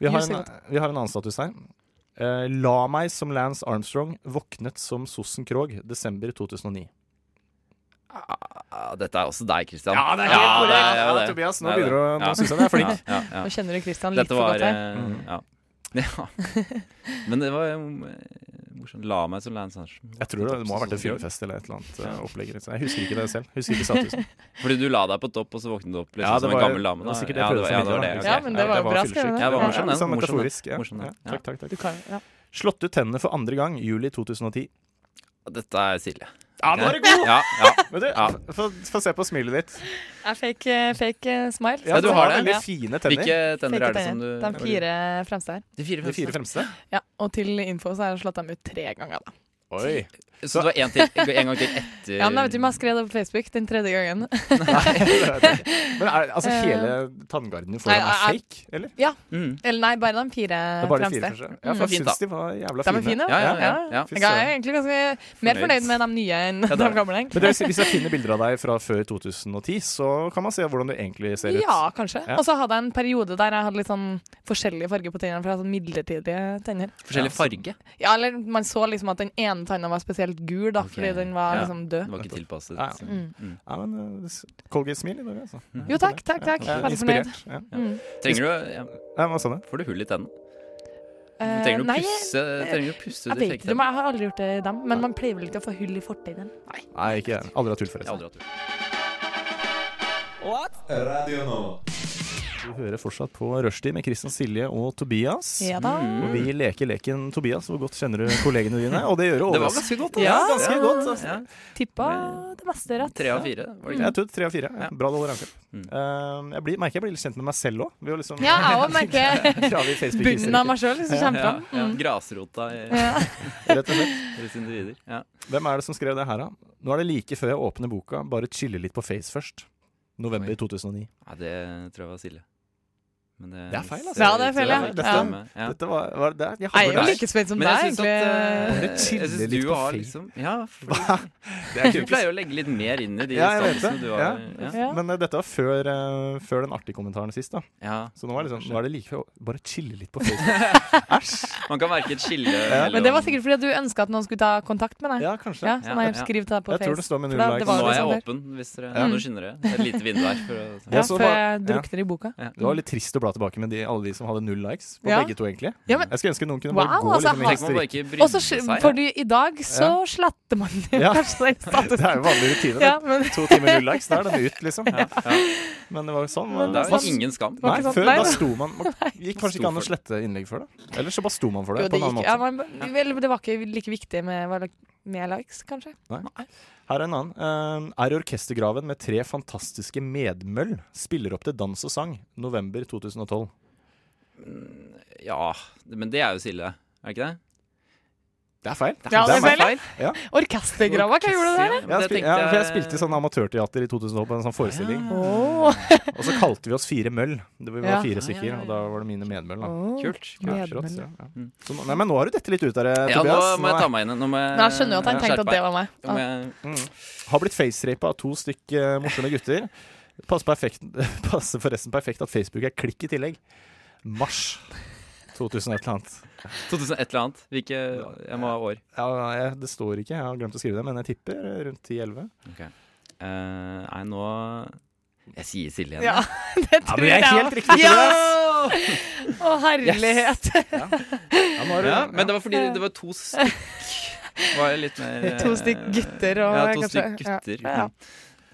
[SPEAKER 2] Vi har,
[SPEAKER 3] Jus er
[SPEAKER 2] en, vi har en annen status her. Eh, la meg som Lance Armstrong, våknet som Sossen Krog, desember 2009.
[SPEAKER 4] Ah, dette er også deg, Kristian.
[SPEAKER 2] Ja, det er helt korrekt.
[SPEAKER 4] er
[SPEAKER 2] Ja,
[SPEAKER 4] jo
[SPEAKER 2] Tobias, nå
[SPEAKER 4] Det er
[SPEAKER 2] begynner du å-
[SPEAKER 4] det.
[SPEAKER 2] nå synes jeg det er flink. Mm-hmm.
[SPEAKER 4] Ja, ja,
[SPEAKER 3] Nå
[SPEAKER 4] ja.
[SPEAKER 3] kjenner du Christian litt
[SPEAKER 4] Dette
[SPEAKER 3] for
[SPEAKER 4] var
[SPEAKER 3] godt her.
[SPEAKER 4] eh, ja. [LAUGHS] ja. Men det var jo eh, morsomt. La meg som Lance Armstrong.
[SPEAKER 2] Jeg tror det, det må ha vært en fyllefest eller et eller annet eh, opplegg. rundt. Jeg husker ikke det selv. Husker ikke
[SPEAKER 4] [LAUGHS]
[SPEAKER 2] statusen.
[SPEAKER 4] Fordi du la deg på topp, og så våknet du opp liksom,
[SPEAKER 2] Ja, det
[SPEAKER 4] som en
[SPEAKER 2] var-
[SPEAKER 4] gammel dame.
[SPEAKER 2] det var
[SPEAKER 4] da.
[SPEAKER 2] sikkert det
[SPEAKER 4] ja,
[SPEAKER 2] jeg prøvde
[SPEAKER 4] ja,
[SPEAKER 2] å
[SPEAKER 4] det var
[SPEAKER 2] formidle,
[SPEAKER 4] det. ok.
[SPEAKER 3] Ja, men det var jo bra
[SPEAKER 2] fyllesyk.
[SPEAKER 3] skrevet.
[SPEAKER 4] Ja, det var morsom, den.
[SPEAKER 2] Sånn
[SPEAKER 4] Morsom, den.
[SPEAKER 2] metaforisk. Ja.
[SPEAKER 4] Morsom, den.
[SPEAKER 2] Ja,
[SPEAKER 4] Ja.
[SPEAKER 2] takk, takk,
[SPEAKER 3] [LAUGHS] Du
[SPEAKER 2] takk.
[SPEAKER 3] kan, ja.
[SPEAKER 2] Slått ut tennene for andre gang juli 2010.
[SPEAKER 4] Dette er Silje.
[SPEAKER 2] Ja, nå er det god!
[SPEAKER 4] Ja, ja.
[SPEAKER 2] Men du,
[SPEAKER 4] Ja.
[SPEAKER 2] få, få se på smilet ditt.
[SPEAKER 3] Jeg fikk eh, fake eh, smile.
[SPEAKER 2] Ja,
[SPEAKER 4] du
[SPEAKER 2] du har
[SPEAKER 4] har det.
[SPEAKER 2] veldig fine [LAUGHS] tenner.
[SPEAKER 4] Hvilke tenner
[SPEAKER 3] Fake
[SPEAKER 4] er det som du
[SPEAKER 3] tenner. De fire fremste her.
[SPEAKER 4] De fire
[SPEAKER 2] De fire
[SPEAKER 4] fremste.
[SPEAKER 2] fremste.
[SPEAKER 3] Ja, og til info så har jeg slått dem ut tre ganger. da
[SPEAKER 2] Oi.
[SPEAKER 4] Så det var en, til, en gang til etter
[SPEAKER 3] Ja, men jeg vet ikke om jeg skrev det på Facebook den tredje gangen. [LAUGHS]
[SPEAKER 2] Men er, altså
[SPEAKER 3] Eh.
[SPEAKER 2] hele tanngardenen foran
[SPEAKER 3] Nei,
[SPEAKER 2] er
[SPEAKER 3] jeg-
[SPEAKER 2] fake, eller?
[SPEAKER 4] Mm.
[SPEAKER 3] Eller nei, bare de
[SPEAKER 2] Det
[SPEAKER 3] fire
[SPEAKER 2] er bare de fire
[SPEAKER 3] fremste.
[SPEAKER 2] første. Ja,
[SPEAKER 3] Mm.
[SPEAKER 2] for jeg
[SPEAKER 4] Fint, da.
[SPEAKER 2] syns de var jævla
[SPEAKER 3] De er
[SPEAKER 2] fine.
[SPEAKER 3] fine.
[SPEAKER 4] Ja, ja, ja, ja.
[SPEAKER 2] Fy
[SPEAKER 3] Jeg er
[SPEAKER 2] søren.
[SPEAKER 3] egentlig ganske mer
[SPEAKER 4] Fornøyd.
[SPEAKER 3] fornøyd med de nye enn
[SPEAKER 4] Ja, det
[SPEAKER 3] de
[SPEAKER 4] er-
[SPEAKER 3] gamle. egentlig.
[SPEAKER 2] Men det, vil si- hvis jeg finner bilder av deg fra før 2010, så kan man se hvordan du egentlig ser ut.
[SPEAKER 3] Ja, kanskje.
[SPEAKER 2] Ja.
[SPEAKER 3] Og så hadde jeg en periode der jeg hadde litt sånn forskjellige farger på tennene, for jeg hadde sånn midlertidige tenner.
[SPEAKER 4] Forskjellig farge.
[SPEAKER 3] Ja, eller man så liksom at den ene tanna var spesielt gul, da,
[SPEAKER 4] Ok.
[SPEAKER 3] fordi den var
[SPEAKER 4] Ja.
[SPEAKER 3] liksom
[SPEAKER 4] Det
[SPEAKER 3] død.
[SPEAKER 4] var ikke tilpasset.
[SPEAKER 2] Ja.
[SPEAKER 3] Mm.
[SPEAKER 4] Mm.
[SPEAKER 2] Ja, men uh, s- Colgate-smil i dag, altså.
[SPEAKER 3] Jo, takk, takk, takk.
[SPEAKER 2] Ja,
[SPEAKER 3] Veldig fornøyd.
[SPEAKER 2] Inspirert. Ja.
[SPEAKER 3] Mm.
[SPEAKER 4] Trenger du ja,
[SPEAKER 2] Ja, hva sa du?
[SPEAKER 4] Får du hull i tennene?
[SPEAKER 3] Eh,
[SPEAKER 4] Trenger du å
[SPEAKER 3] nei,
[SPEAKER 4] pusse Trenger du å pusse
[SPEAKER 3] jeg
[SPEAKER 4] de
[SPEAKER 3] vet
[SPEAKER 4] fake
[SPEAKER 3] ikke, men
[SPEAKER 4] tennene?
[SPEAKER 3] jeg har aldri gjort det i dem. Men man pleier vel ikke å få hull i fortennene.
[SPEAKER 2] Nei, ikke jeg. Aldri hatt hull,
[SPEAKER 4] Jeg har
[SPEAKER 2] forresten.
[SPEAKER 4] aldri hatt hull.
[SPEAKER 2] Du hører fortsatt på Rushdie med Christian Silje og Tobias.
[SPEAKER 3] Ja da.
[SPEAKER 2] Og vi leker leken Tobias. Hvor godt kjenner du kollegene dine? Og det gjør du
[SPEAKER 4] Det var
[SPEAKER 2] overraskende.
[SPEAKER 4] ganske godt.
[SPEAKER 3] Ja,
[SPEAKER 2] ganske godt, altså.
[SPEAKER 4] Ja.
[SPEAKER 3] Tippa det meste rett.
[SPEAKER 4] Tre av fire,
[SPEAKER 3] Mm.
[SPEAKER 4] var det ikke?
[SPEAKER 2] Jeg tror tre av fire.
[SPEAKER 4] Ja.
[SPEAKER 2] Bra dårlig rankup.
[SPEAKER 4] Mm.
[SPEAKER 2] Uh, jeg blir, merker jeg blir litt kjent med meg selv òg. Liksom, [LAUGHS]
[SPEAKER 3] Ja, jeg òg merker
[SPEAKER 2] Graver i Facebook-historikken.
[SPEAKER 3] bunnen av meg sjøl som kommer
[SPEAKER 4] Ja,
[SPEAKER 3] fram.
[SPEAKER 4] ja.
[SPEAKER 3] Mm.
[SPEAKER 4] Grasrota i
[SPEAKER 3] Ja.
[SPEAKER 2] Rett og slett.
[SPEAKER 4] deres individer. Ja.
[SPEAKER 2] Hvem er det som skrev det her, da? Nå er det like før jeg åpner boka, bare chille litt på Face først. November
[SPEAKER 4] Oi.
[SPEAKER 2] 2009.
[SPEAKER 4] Ja, det tror jeg var Silje. Men
[SPEAKER 2] Det er feil, altså.
[SPEAKER 3] Ja, det er feil, ja.
[SPEAKER 4] Det
[SPEAKER 3] Ja.
[SPEAKER 4] ja.
[SPEAKER 2] Dette var, var det jeg
[SPEAKER 3] Jeg er
[SPEAKER 2] håper
[SPEAKER 3] jo
[SPEAKER 2] det er-
[SPEAKER 3] like spent som
[SPEAKER 4] Men
[SPEAKER 3] deg,
[SPEAKER 4] jeg syns at
[SPEAKER 3] egentlig.
[SPEAKER 2] Det
[SPEAKER 4] eh,
[SPEAKER 2] chiller
[SPEAKER 4] Jeg
[SPEAKER 2] litt
[SPEAKER 4] syns du
[SPEAKER 2] på
[SPEAKER 4] har
[SPEAKER 2] Face.
[SPEAKER 4] liksom Ja, fordi [LAUGHS]
[SPEAKER 2] Det er
[SPEAKER 4] du
[SPEAKER 2] typisk.
[SPEAKER 4] pleier å legge litt mer inn i de
[SPEAKER 2] Ja, jeg vet
[SPEAKER 4] statusene
[SPEAKER 2] det.
[SPEAKER 4] du har. Ja.
[SPEAKER 3] Ja.
[SPEAKER 2] Men eh, dette var før, eh, før den artige kommentaren sist, da.
[SPEAKER 4] Ja.
[SPEAKER 2] Så nå er, det liksom, nå er det like før å bare chille litt på
[SPEAKER 3] [LAUGHS]
[SPEAKER 2] Facebook. Æsj!
[SPEAKER 4] Man kan merke et skille. mellom-
[SPEAKER 3] Men det var sikkert fordi at du ønska at noen skulle ta kontakt med deg.
[SPEAKER 2] Ja, kanskje.
[SPEAKER 3] Ja, sånn
[SPEAKER 4] Ja,
[SPEAKER 3] har jeg
[SPEAKER 4] ja.
[SPEAKER 3] skrevet det på
[SPEAKER 2] Jeg tror det
[SPEAKER 3] Face.
[SPEAKER 2] står med
[SPEAKER 3] For
[SPEAKER 2] null
[SPEAKER 3] da-
[SPEAKER 2] likes.
[SPEAKER 3] det var
[SPEAKER 4] Nå er
[SPEAKER 3] liksom
[SPEAKER 4] jeg
[SPEAKER 3] der.
[SPEAKER 4] åpen, hvis dere ja, Nå skinner det. Det er Et lite vindu her. For å,
[SPEAKER 3] Ja,
[SPEAKER 2] Og så
[SPEAKER 3] for
[SPEAKER 2] var-
[SPEAKER 3] jeg
[SPEAKER 2] ja.
[SPEAKER 3] drukner i boka.
[SPEAKER 4] ja.
[SPEAKER 2] Det var litt trist å bla tilbake med de, alle de som hadde null likes. På
[SPEAKER 3] Ja.
[SPEAKER 2] begge to egentlig
[SPEAKER 3] Ja, men-
[SPEAKER 2] Jeg skulle ønske noen kunne
[SPEAKER 3] Wow,
[SPEAKER 2] bare gå
[SPEAKER 3] altså,
[SPEAKER 2] liksom, i
[SPEAKER 3] har-
[SPEAKER 4] Tenk om man bare
[SPEAKER 2] historikken.
[SPEAKER 4] ikke
[SPEAKER 3] Og
[SPEAKER 4] brydde
[SPEAKER 3] så
[SPEAKER 4] seg.
[SPEAKER 3] sk- for du- i dag så sletter man jo
[SPEAKER 2] Ja.
[SPEAKER 3] kanskje den
[SPEAKER 2] Det er
[SPEAKER 3] statusen.
[SPEAKER 2] jo vanlig rutine.
[SPEAKER 3] Ja, men
[SPEAKER 2] To timer null likes, da er den ut, liksom. Men det var jo sånn.
[SPEAKER 3] Men
[SPEAKER 4] Det
[SPEAKER 2] man-
[SPEAKER 4] er
[SPEAKER 3] var
[SPEAKER 4] jo ingen skam.
[SPEAKER 3] var
[SPEAKER 2] Nei,
[SPEAKER 3] ikke sant.
[SPEAKER 2] før
[SPEAKER 3] Nei,
[SPEAKER 2] da
[SPEAKER 3] [LAUGHS] nei.
[SPEAKER 2] sto man Man gikk kanskje ikke an å slette innlegg for det. Eller så bare sto man for det.
[SPEAKER 3] jo,
[SPEAKER 2] på en
[SPEAKER 3] det
[SPEAKER 2] annen
[SPEAKER 3] gikk.
[SPEAKER 2] måte
[SPEAKER 3] Ja, man, vel, det var ikke like viktig med, var det med likes, kanskje.
[SPEAKER 2] Her er en annen. Eh, er i orkestergraven med tre fantastiske medmøll. Spiller opp til dans og sang. November 2012.
[SPEAKER 4] Ja, men det er jo Silje, er det ikke det?
[SPEAKER 2] Det er feil.
[SPEAKER 3] Ja, det er
[SPEAKER 2] meg.
[SPEAKER 3] feil. Orkestergrava, hva gjorde du der?
[SPEAKER 4] men
[SPEAKER 2] Jeg,
[SPEAKER 4] det
[SPEAKER 2] spil,
[SPEAKER 4] tenkte
[SPEAKER 2] ja, for jeg
[SPEAKER 4] jeg-
[SPEAKER 2] spilte i sånn amatørteater i 2012 på en sånn forestilling.
[SPEAKER 3] Åh.
[SPEAKER 2] Og så kalte vi oss Fire møll. Det var
[SPEAKER 3] Ja.
[SPEAKER 2] fire
[SPEAKER 4] ja,
[SPEAKER 2] stykker,
[SPEAKER 4] ja, ja.
[SPEAKER 2] og da var det mine medmøll. Da.
[SPEAKER 3] Åh.
[SPEAKER 4] Kult.
[SPEAKER 2] Ja,
[SPEAKER 3] medmøll,
[SPEAKER 2] rått, ja, ja.
[SPEAKER 4] Mm.
[SPEAKER 2] Så, nå- nei, men nå har du dette litt ut der, eh,
[SPEAKER 4] Ja, nå
[SPEAKER 2] Tobias.
[SPEAKER 4] må jeg ta
[SPEAKER 2] er-
[SPEAKER 4] meg inn. Nå må jeg,
[SPEAKER 3] Men jeg skjønner jo
[SPEAKER 4] Eh,
[SPEAKER 3] at han tenkte at det var meg.
[SPEAKER 4] Nå må jeg,
[SPEAKER 2] mm. Har blitt facerapa av to stykk eh, morsomme gutter. Passer, perfekt, [LAUGHS] passer forresten perfekt at Facebook er klikk i tillegg. Mars 2000 et eller annet.
[SPEAKER 4] 2000 et eller annet. Hvilke Jeg må ha år.
[SPEAKER 2] Ja, jeg, det står ikke, jeg har glemt å skrive det, men jeg tipper rundt 10-11.
[SPEAKER 4] Eh, nei, nå Jeg sier Silje igjen.
[SPEAKER 3] Ja, [LAUGHS] det
[SPEAKER 2] Ja,
[SPEAKER 3] tror
[SPEAKER 2] men jeg
[SPEAKER 3] jeg
[SPEAKER 2] er helt
[SPEAKER 3] også.
[SPEAKER 2] riktig, Tobias!
[SPEAKER 3] Å, herlighet.
[SPEAKER 2] Ja, nå er det-
[SPEAKER 4] Ja, men det var fordi det var to stykk Var jeg litt mer eh,
[SPEAKER 3] [LAUGHS] To stykk gutter og
[SPEAKER 4] Ja, to
[SPEAKER 3] kanskje-
[SPEAKER 4] stykk gutter. Mm.
[SPEAKER 3] Ja, ja.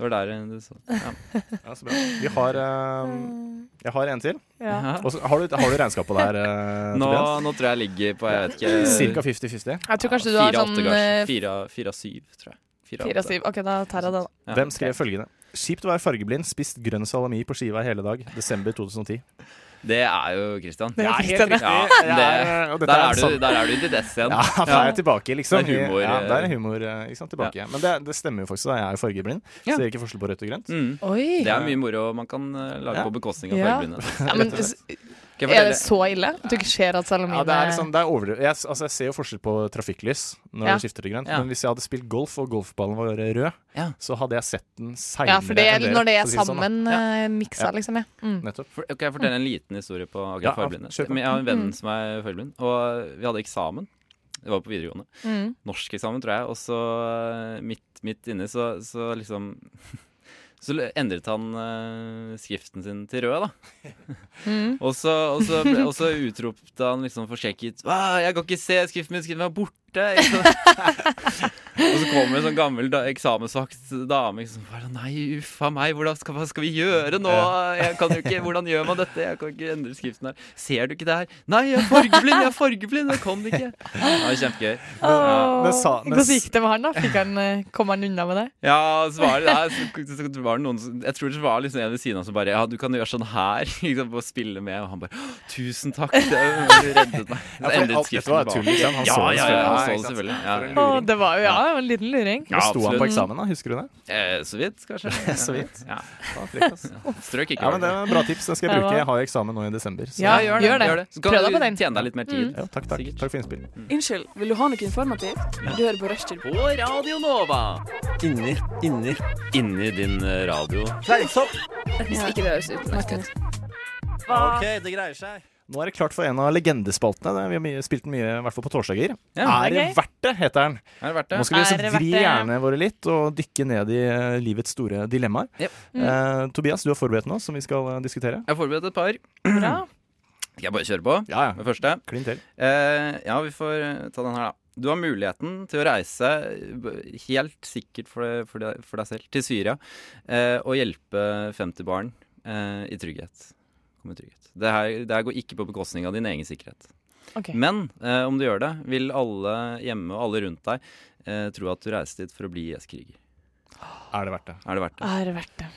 [SPEAKER 4] Det var der eh, du så ja.
[SPEAKER 2] ja, så bra. Vi har eh, Jeg har en til.
[SPEAKER 3] Mm. Ja.
[SPEAKER 2] Og så har du, har du regnskapet der, eh,
[SPEAKER 4] Nå,
[SPEAKER 2] Tobias?
[SPEAKER 4] nå tror jeg jeg ligger på jeg vet ikke
[SPEAKER 2] Cirka 50-50.
[SPEAKER 3] Jeg tror kanskje du
[SPEAKER 4] fire
[SPEAKER 3] har
[SPEAKER 4] åtte,
[SPEAKER 3] sånn
[SPEAKER 4] kanskje.
[SPEAKER 3] eh,
[SPEAKER 4] Fire- Fire av syv, tror jeg. Fire av
[SPEAKER 3] fire
[SPEAKER 4] åtte.
[SPEAKER 3] og syv. OK, da tar jeg det, da.
[SPEAKER 4] Ja.
[SPEAKER 2] Hvem skrev følgende? Kjipt å være fargeblind, spist grønn salami på skiva i hele dag. Desember 2010.
[SPEAKER 4] Det er jo Christian.
[SPEAKER 3] [LAUGHS] Det er helt
[SPEAKER 4] Christian,
[SPEAKER 3] riktig.
[SPEAKER 4] ja.
[SPEAKER 2] Det er- eh, og
[SPEAKER 4] det,
[SPEAKER 2] dette
[SPEAKER 4] der,
[SPEAKER 2] er
[SPEAKER 4] er
[SPEAKER 2] sant.
[SPEAKER 4] du, der er du i ditt ess igjen.
[SPEAKER 2] Ja,
[SPEAKER 4] [LAUGHS]
[SPEAKER 2] da er jeg tilbake, liksom.
[SPEAKER 4] Det er humor,
[SPEAKER 2] ja,
[SPEAKER 4] eh.
[SPEAKER 2] det er humor eh, ikke sant, tilbake. Men det, det stemmer jo faktisk, da. Jeg er jo fargeblind.
[SPEAKER 4] Ja.
[SPEAKER 2] Ser ikke forskjell på rødt og grønt.
[SPEAKER 4] Mm.
[SPEAKER 3] Oi.
[SPEAKER 4] Det er mye moro man kan eh, lage
[SPEAKER 2] Ja.
[SPEAKER 4] på bekostning av
[SPEAKER 3] Ja.
[SPEAKER 2] [LAUGHS]
[SPEAKER 4] fargeblinde.
[SPEAKER 3] Ja, men,
[SPEAKER 4] Rett og slett.
[SPEAKER 3] s-
[SPEAKER 4] Skal jeg
[SPEAKER 3] er det
[SPEAKER 4] fortelle-
[SPEAKER 3] så ille at du ikke ser at salamine
[SPEAKER 2] Ja, det er liksom, det er overdrevet. jeg, s- altså, jeg ser jo forskjell på trafikklys når
[SPEAKER 3] Ja.
[SPEAKER 2] det skifter til grønt,
[SPEAKER 4] Ja.
[SPEAKER 2] men hvis jeg hadde spilt golf og golfballen var rød,
[SPEAKER 4] Ja.
[SPEAKER 2] så hadde jeg sett den seinere.
[SPEAKER 3] Ja, for det er når det er
[SPEAKER 2] Sånn,
[SPEAKER 3] sammen eh, miksa,
[SPEAKER 2] Ja.
[SPEAKER 3] liksom. Ja. Mm.
[SPEAKER 2] da. Nettopp.
[SPEAKER 4] For, kan jeg fortelle en liten historie på
[SPEAKER 2] Ja,
[SPEAKER 4] akkurat
[SPEAKER 2] kjør på.
[SPEAKER 4] fargeblinde? Men Jeg har en venn som er fargeblind, og vi hadde eksamen. Det var på videregående.
[SPEAKER 3] Mm.
[SPEAKER 4] Norskeksamen, tror jeg. Og så eh, midt, midt inni så, så liksom [LAUGHS] Så endret han eh, skriften sin til rød, da.
[SPEAKER 3] Mm.
[SPEAKER 4] Og så, og så, ble, og så utropte han liksom forskrekket «Hva? 'Jeg kan ikke se skriften min, skriften min er borte!' Ikke sant? og så kommer en sånn gammel da, eksamensvakt dame liksom bare 'Nei, uff a meg, hvordan skal, hva skal vi gjøre nå?' Jeg kan jo ikke, 'Hvordan gjør man dette? Jeg kan ikke endre skriften her.' 'Ser du ikke det her?' 'Nei, jeg er fargeblind, jeg er fargeblind, jeg kan det ikke.' Det var kjempegøy.
[SPEAKER 3] Åh.
[SPEAKER 2] men sa- men
[SPEAKER 3] Hvordan
[SPEAKER 2] s-
[SPEAKER 3] gikk det med han, da? Fikk han, eh, kom han unna med det?
[SPEAKER 4] Ja, så var det, ja, så, så var det noen som, Jeg tror det var liksom en ved siden av som bare Ja, du kan gjøre sånn her [LAUGHS] liksom, og spille med. Og han bare «Å, Tusen takk, det var- du reddet
[SPEAKER 2] Ja,
[SPEAKER 4] meg. Så
[SPEAKER 2] for alt-
[SPEAKER 4] endret
[SPEAKER 2] dette var
[SPEAKER 4] skriften
[SPEAKER 2] et tull,
[SPEAKER 4] bare.
[SPEAKER 2] ikke sant? Han
[SPEAKER 4] Ja,
[SPEAKER 2] så det
[SPEAKER 4] ja, ja,
[SPEAKER 2] selvfølgelig.
[SPEAKER 4] han
[SPEAKER 2] Ja,
[SPEAKER 4] så
[SPEAKER 2] ikke
[SPEAKER 4] det
[SPEAKER 2] sant?
[SPEAKER 4] selvfølgelig. Ja,
[SPEAKER 2] For en
[SPEAKER 4] ja.
[SPEAKER 2] luring.
[SPEAKER 3] Å, det var jo Ja, var jo en liten luring.
[SPEAKER 2] Sto
[SPEAKER 4] Ja,
[SPEAKER 2] han på
[SPEAKER 4] absolutt.
[SPEAKER 2] eksamen, da? Husker du det?
[SPEAKER 4] Eh, så vidt, kanskje.
[SPEAKER 2] [LAUGHS] Så vidt.
[SPEAKER 4] Ja.
[SPEAKER 2] Faen, frekk, ass.
[SPEAKER 4] Ja. Strøk ikke.
[SPEAKER 2] Ja, men Det er bra tips. Den skal jeg
[SPEAKER 3] Ja,
[SPEAKER 2] bruke.
[SPEAKER 3] hva?
[SPEAKER 2] Jeg har jo eksamen nå i desember. Så.
[SPEAKER 3] Ja, gjør det.
[SPEAKER 4] Så kan
[SPEAKER 3] Prøv deg
[SPEAKER 4] du
[SPEAKER 3] på den. Mm.
[SPEAKER 4] Tjene deg litt mer tid.
[SPEAKER 2] Ja, takk, takk.
[SPEAKER 4] Sikkert.
[SPEAKER 2] takk for innspill.
[SPEAKER 5] Unnskyld, vil du ha noe informativt? Du hører på Rushtid.
[SPEAKER 4] På Radio Nova.
[SPEAKER 6] Inni, inni.
[SPEAKER 4] Inni din eh, radio.
[SPEAKER 6] Fleinsopp!
[SPEAKER 5] Hvis ikke det høres utmerket ut.
[SPEAKER 6] OK, det greier seg.
[SPEAKER 2] Nå er det klart for en av legendespaltene. Det- Vi har mye, spilt den mye, i hvert fall på torsdager.
[SPEAKER 4] Ja.
[SPEAKER 2] Er det
[SPEAKER 3] ok.
[SPEAKER 2] verdt det, heter den.
[SPEAKER 4] Er det verdt det?
[SPEAKER 2] Nå skal vi
[SPEAKER 3] Er
[SPEAKER 2] også
[SPEAKER 3] det
[SPEAKER 2] vri
[SPEAKER 3] verdt det?
[SPEAKER 2] hjernene våre litt og dykke ned i eh, livets store dilemmaer.
[SPEAKER 4] Jep.
[SPEAKER 2] Eh, Tobias, du har forberedt noe som vi skal eh, diskutere.
[SPEAKER 4] Jeg har forberedt et par.
[SPEAKER 3] Bra.
[SPEAKER 4] Skal jeg bare kjøre på?
[SPEAKER 2] Ja, ja.
[SPEAKER 4] Med første.
[SPEAKER 2] Klin til.
[SPEAKER 4] Eh, ja, vi får eh, ta den her, da. Du har muligheten til å reise, b- helt sikkert for, deg- for, deg, for deg selv, til Syria eh, og hjelpe 50 barn eh, i trygghet. Komme i trygghet. Det her, det her går ikke på bekostning av din egen sikkerhet.
[SPEAKER 3] Ok.
[SPEAKER 4] Men eh, om du gjør det, vil alle hjemme og alle rundt deg eh, tro at du reiser dit for å bli IS-kriger.
[SPEAKER 2] Er det verdt det?
[SPEAKER 4] Er det verdt det?
[SPEAKER 3] Er Ah, det verdt det?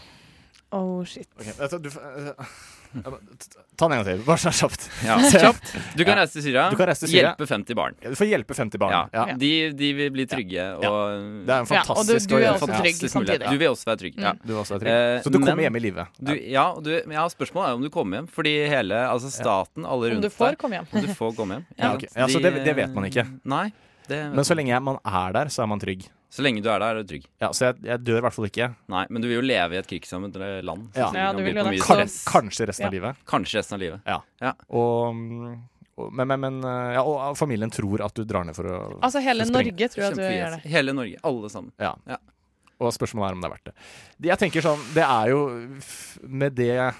[SPEAKER 3] Oh shit.
[SPEAKER 2] Ok, vet du, du f- eh, ja, men t- Ta den en gang til. Bare så kjapt. [LAUGHS]
[SPEAKER 4] Ja, kjapt. Du kan reise til Syria,
[SPEAKER 2] Du kan reise til Syria.
[SPEAKER 4] hjelpe 50 barn.
[SPEAKER 2] Ja, Du får hjelpe 50 barn.
[SPEAKER 4] Ja.
[SPEAKER 2] Ja.
[SPEAKER 4] De, de vil bli trygge.
[SPEAKER 2] Ja.
[SPEAKER 4] Og,
[SPEAKER 2] Det er en
[SPEAKER 3] Ja, og du-
[SPEAKER 2] fantastisk
[SPEAKER 3] du er
[SPEAKER 2] å gjøre.
[SPEAKER 3] også
[SPEAKER 2] Ja.
[SPEAKER 3] trygg
[SPEAKER 4] fantastisk mulighet.
[SPEAKER 3] samtidig.
[SPEAKER 4] Du vil også være trygg. Ja.
[SPEAKER 2] Du er også trygg.
[SPEAKER 4] Eh,
[SPEAKER 2] Så du kommer
[SPEAKER 4] men-
[SPEAKER 2] hjem i live.
[SPEAKER 4] Du, ja, og du, ja, spørsmålet er om du kommer hjem. Fordi hele altså staten, alle
[SPEAKER 3] Om
[SPEAKER 4] rundt
[SPEAKER 3] du får komme hjem.
[SPEAKER 4] deg Om du får komme hjem. mm,
[SPEAKER 2] Ja, ok. Ja, så det- det vet man ikke.
[SPEAKER 4] Nei. Det,
[SPEAKER 2] Men så lenge man er der, så er man trygg.
[SPEAKER 4] så lenge du er der, er du trygg.
[SPEAKER 2] Ja, Så jeg, jeg dør i hvert fall ikke.
[SPEAKER 4] Nei, men du vil jo leve i et krigsrammet land.
[SPEAKER 2] Ja.
[SPEAKER 4] så
[SPEAKER 3] Ja,
[SPEAKER 4] kan
[SPEAKER 3] du
[SPEAKER 4] by
[SPEAKER 3] vil jo
[SPEAKER 4] på
[SPEAKER 3] det.
[SPEAKER 4] mye
[SPEAKER 2] Kan,
[SPEAKER 4] stress.
[SPEAKER 2] kanskje resten av
[SPEAKER 3] Ja.
[SPEAKER 2] livet.
[SPEAKER 4] Kanskje resten av livet.
[SPEAKER 2] Og, og, men, men, men eh, ja, og familien tror at du drar ned for å
[SPEAKER 3] Altså hele
[SPEAKER 2] Spreng.
[SPEAKER 3] Norge tror jeg at du
[SPEAKER 4] Kjempefri,
[SPEAKER 3] gjør
[SPEAKER 4] altså.
[SPEAKER 3] det.
[SPEAKER 4] Hele Norge. Alle sammen.
[SPEAKER 2] Ja.
[SPEAKER 4] Ja.
[SPEAKER 2] Og spørsmålet er om det er verdt det. Det- Jeg tenker sånn, Det er jo f- Med det,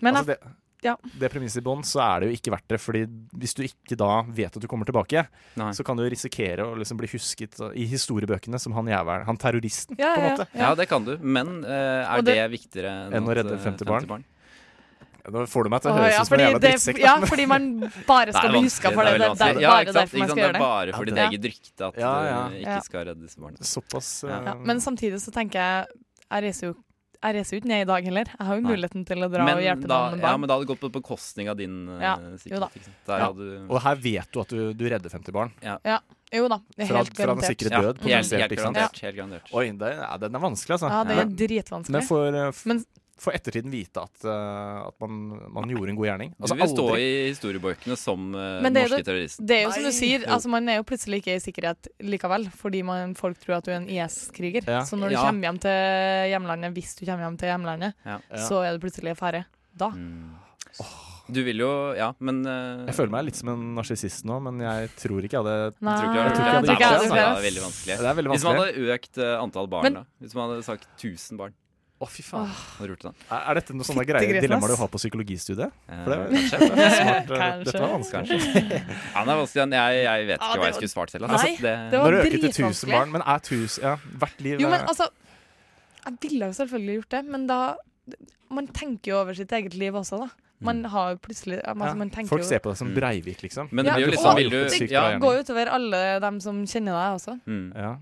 [SPEAKER 3] Men
[SPEAKER 2] altså det,
[SPEAKER 3] ja.
[SPEAKER 2] det premisset i bånn, så er det jo ikke verdt det. Fordi hvis du ikke da vet at du kommer tilbake,
[SPEAKER 4] Nei.
[SPEAKER 2] så kan du risikere å liksom bli husket i historiebøkene som han jævelen, han terroristen,
[SPEAKER 3] ja,
[SPEAKER 2] på en
[SPEAKER 3] ja,
[SPEAKER 2] måte.
[SPEAKER 4] Ja, det kan du. Men eh, er
[SPEAKER 3] Og
[SPEAKER 4] det,
[SPEAKER 3] det-
[SPEAKER 4] viktigere
[SPEAKER 2] Enn å
[SPEAKER 4] at,
[SPEAKER 2] redde
[SPEAKER 4] eh,
[SPEAKER 2] 50 barn? Nå får du meg til å
[SPEAKER 3] Åh,
[SPEAKER 2] høres ut
[SPEAKER 3] ja,
[SPEAKER 2] som en
[SPEAKER 3] fordi
[SPEAKER 2] jævla
[SPEAKER 3] det,
[SPEAKER 2] drittsekk. da.
[SPEAKER 3] ja, fordi man bare skal bli huska for det. Det er, der-
[SPEAKER 4] ja,
[SPEAKER 3] bare
[SPEAKER 4] ikke sant,
[SPEAKER 3] derfor man skal gjøre
[SPEAKER 4] ikke sant? Det
[SPEAKER 3] det.
[SPEAKER 4] er bare for ditt
[SPEAKER 3] Ja.
[SPEAKER 4] eget rykte at
[SPEAKER 2] Ja, ja.
[SPEAKER 4] du
[SPEAKER 3] Ja.
[SPEAKER 4] ikke skal redde disse barna.
[SPEAKER 2] [LAUGHS] Såpass eh,
[SPEAKER 3] Ja, men samtidig så tenker jeg Jeg reiser jo jeg reiser jo ikke ned i dag heller. Jeg har jo
[SPEAKER 4] Nei.
[SPEAKER 3] muligheten til å dra og hjelpe
[SPEAKER 4] da,
[SPEAKER 3] noen
[SPEAKER 4] ja,
[SPEAKER 3] barn.
[SPEAKER 4] men da hadde det gått på bekostning av din eh,
[SPEAKER 3] Ja, jo da.
[SPEAKER 4] sikkerhet. Ikke sant? Der
[SPEAKER 2] Ja.
[SPEAKER 4] hadde du
[SPEAKER 2] Og her vet du at du, du redder 50 barn.
[SPEAKER 3] Jo da, det er
[SPEAKER 2] Fra,
[SPEAKER 3] helt
[SPEAKER 2] fra den
[SPEAKER 3] garantert.
[SPEAKER 2] sikre
[SPEAKER 4] Ja,
[SPEAKER 2] død.
[SPEAKER 4] helt,
[SPEAKER 2] potensielt,
[SPEAKER 4] helt
[SPEAKER 2] ikke sant?
[SPEAKER 4] garantert. Helt garantert.
[SPEAKER 2] Oi, det, ja, den er vanskelig, altså.
[SPEAKER 3] Ja, det
[SPEAKER 4] Ja.
[SPEAKER 3] er dritvanskelig.
[SPEAKER 2] Men for, eh, f-
[SPEAKER 3] Men-
[SPEAKER 2] for ettertiden vite at, eh, at man, man gjorde en god gjerning. Altså,
[SPEAKER 4] du vil stå
[SPEAKER 2] aldri-
[SPEAKER 4] i historiebøkene som eh,
[SPEAKER 3] Men det er
[SPEAKER 4] norske
[SPEAKER 3] det-
[SPEAKER 4] terroristen.
[SPEAKER 3] Det er jo som du
[SPEAKER 2] Nei.
[SPEAKER 3] sier, altså man er jo plutselig ikke i sikkerhet likevel, fordi man, folk tror at du er en IS-kriger.
[SPEAKER 2] Ja.
[SPEAKER 3] Så når du
[SPEAKER 4] Ja.
[SPEAKER 3] kommer hjem til hjemlandet, hvis du kommer hjem til hjemlandet,
[SPEAKER 4] Ja.
[SPEAKER 2] Ja.
[SPEAKER 3] så er du plutselig i fare. Da.
[SPEAKER 4] Mm. Du vil jo Ja, men eh,
[SPEAKER 2] Jeg føler meg litt som en narsissist nå, men jeg tror ikke jeg hadde
[SPEAKER 3] Nei,
[SPEAKER 4] tror ikke
[SPEAKER 2] jeg hadde gjort
[SPEAKER 3] jeg tror ikke jeg
[SPEAKER 2] det,
[SPEAKER 3] hadde gjort
[SPEAKER 4] altså. Det er veldig vanskelig.
[SPEAKER 2] Det er veldig
[SPEAKER 4] Hvis man
[SPEAKER 2] vanskelig.
[SPEAKER 4] hadde økt eh, antall barn,
[SPEAKER 3] Men-
[SPEAKER 4] da. Hvis man hadde sagt 1000 barn.
[SPEAKER 2] Å, fy faen.
[SPEAKER 4] Hadde du gjort det?
[SPEAKER 2] Er er dette noe sånne greier,
[SPEAKER 3] Fittegrisen,
[SPEAKER 2] dilemmaer du
[SPEAKER 3] ass.
[SPEAKER 2] har på psykologistudiet?
[SPEAKER 4] Eh,
[SPEAKER 2] For det er-
[SPEAKER 4] kanskje.
[SPEAKER 2] Det er smart, eh,
[SPEAKER 3] Kanskje.
[SPEAKER 2] Dette var vanskelig.
[SPEAKER 4] Kanskje. Ja, men det er vanskelig. Jeg, jeg vet
[SPEAKER 3] Ja,
[SPEAKER 4] ikke
[SPEAKER 3] det
[SPEAKER 4] hva jeg
[SPEAKER 3] var-
[SPEAKER 4] skulle svart selv. altså.
[SPEAKER 3] Nei, det
[SPEAKER 2] Når
[SPEAKER 3] var
[SPEAKER 2] du øker til 1000
[SPEAKER 3] dritvanskelig.
[SPEAKER 2] barn, men er 1000 Ja, hvert liv
[SPEAKER 3] Jo, men
[SPEAKER 2] er-
[SPEAKER 3] altså Jeg ville jo selvfølgelig gjort det, men da Man tenker jo over sitt eget liv også, da. Man har jo plutselig altså,
[SPEAKER 2] Mm. Ja,
[SPEAKER 3] Man tenker
[SPEAKER 2] Folk
[SPEAKER 3] jo
[SPEAKER 2] ser på deg som
[SPEAKER 4] Mm.
[SPEAKER 2] Breivik, liksom.
[SPEAKER 4] Men det
[SPEAKER 3] Ja,
[SPEAKER 4] blir
[SPEAKER 3] du
[SPEAKER 4] jo litt
[SPEAKER 3] får
[SPEAKER 4] sånn
[SPEAKER 2] jo
[SPEAKER 4] Vil du
[SPEAKER 2] sykt
[SPEAKER 4] Ja.
[SPEAKER 2] bra igjen.
[SPEAKER 3] Går jo utover alle dem som kjenner deg også.
[SPEAKER 4] Mm.
[SPEAKER 2] Ja,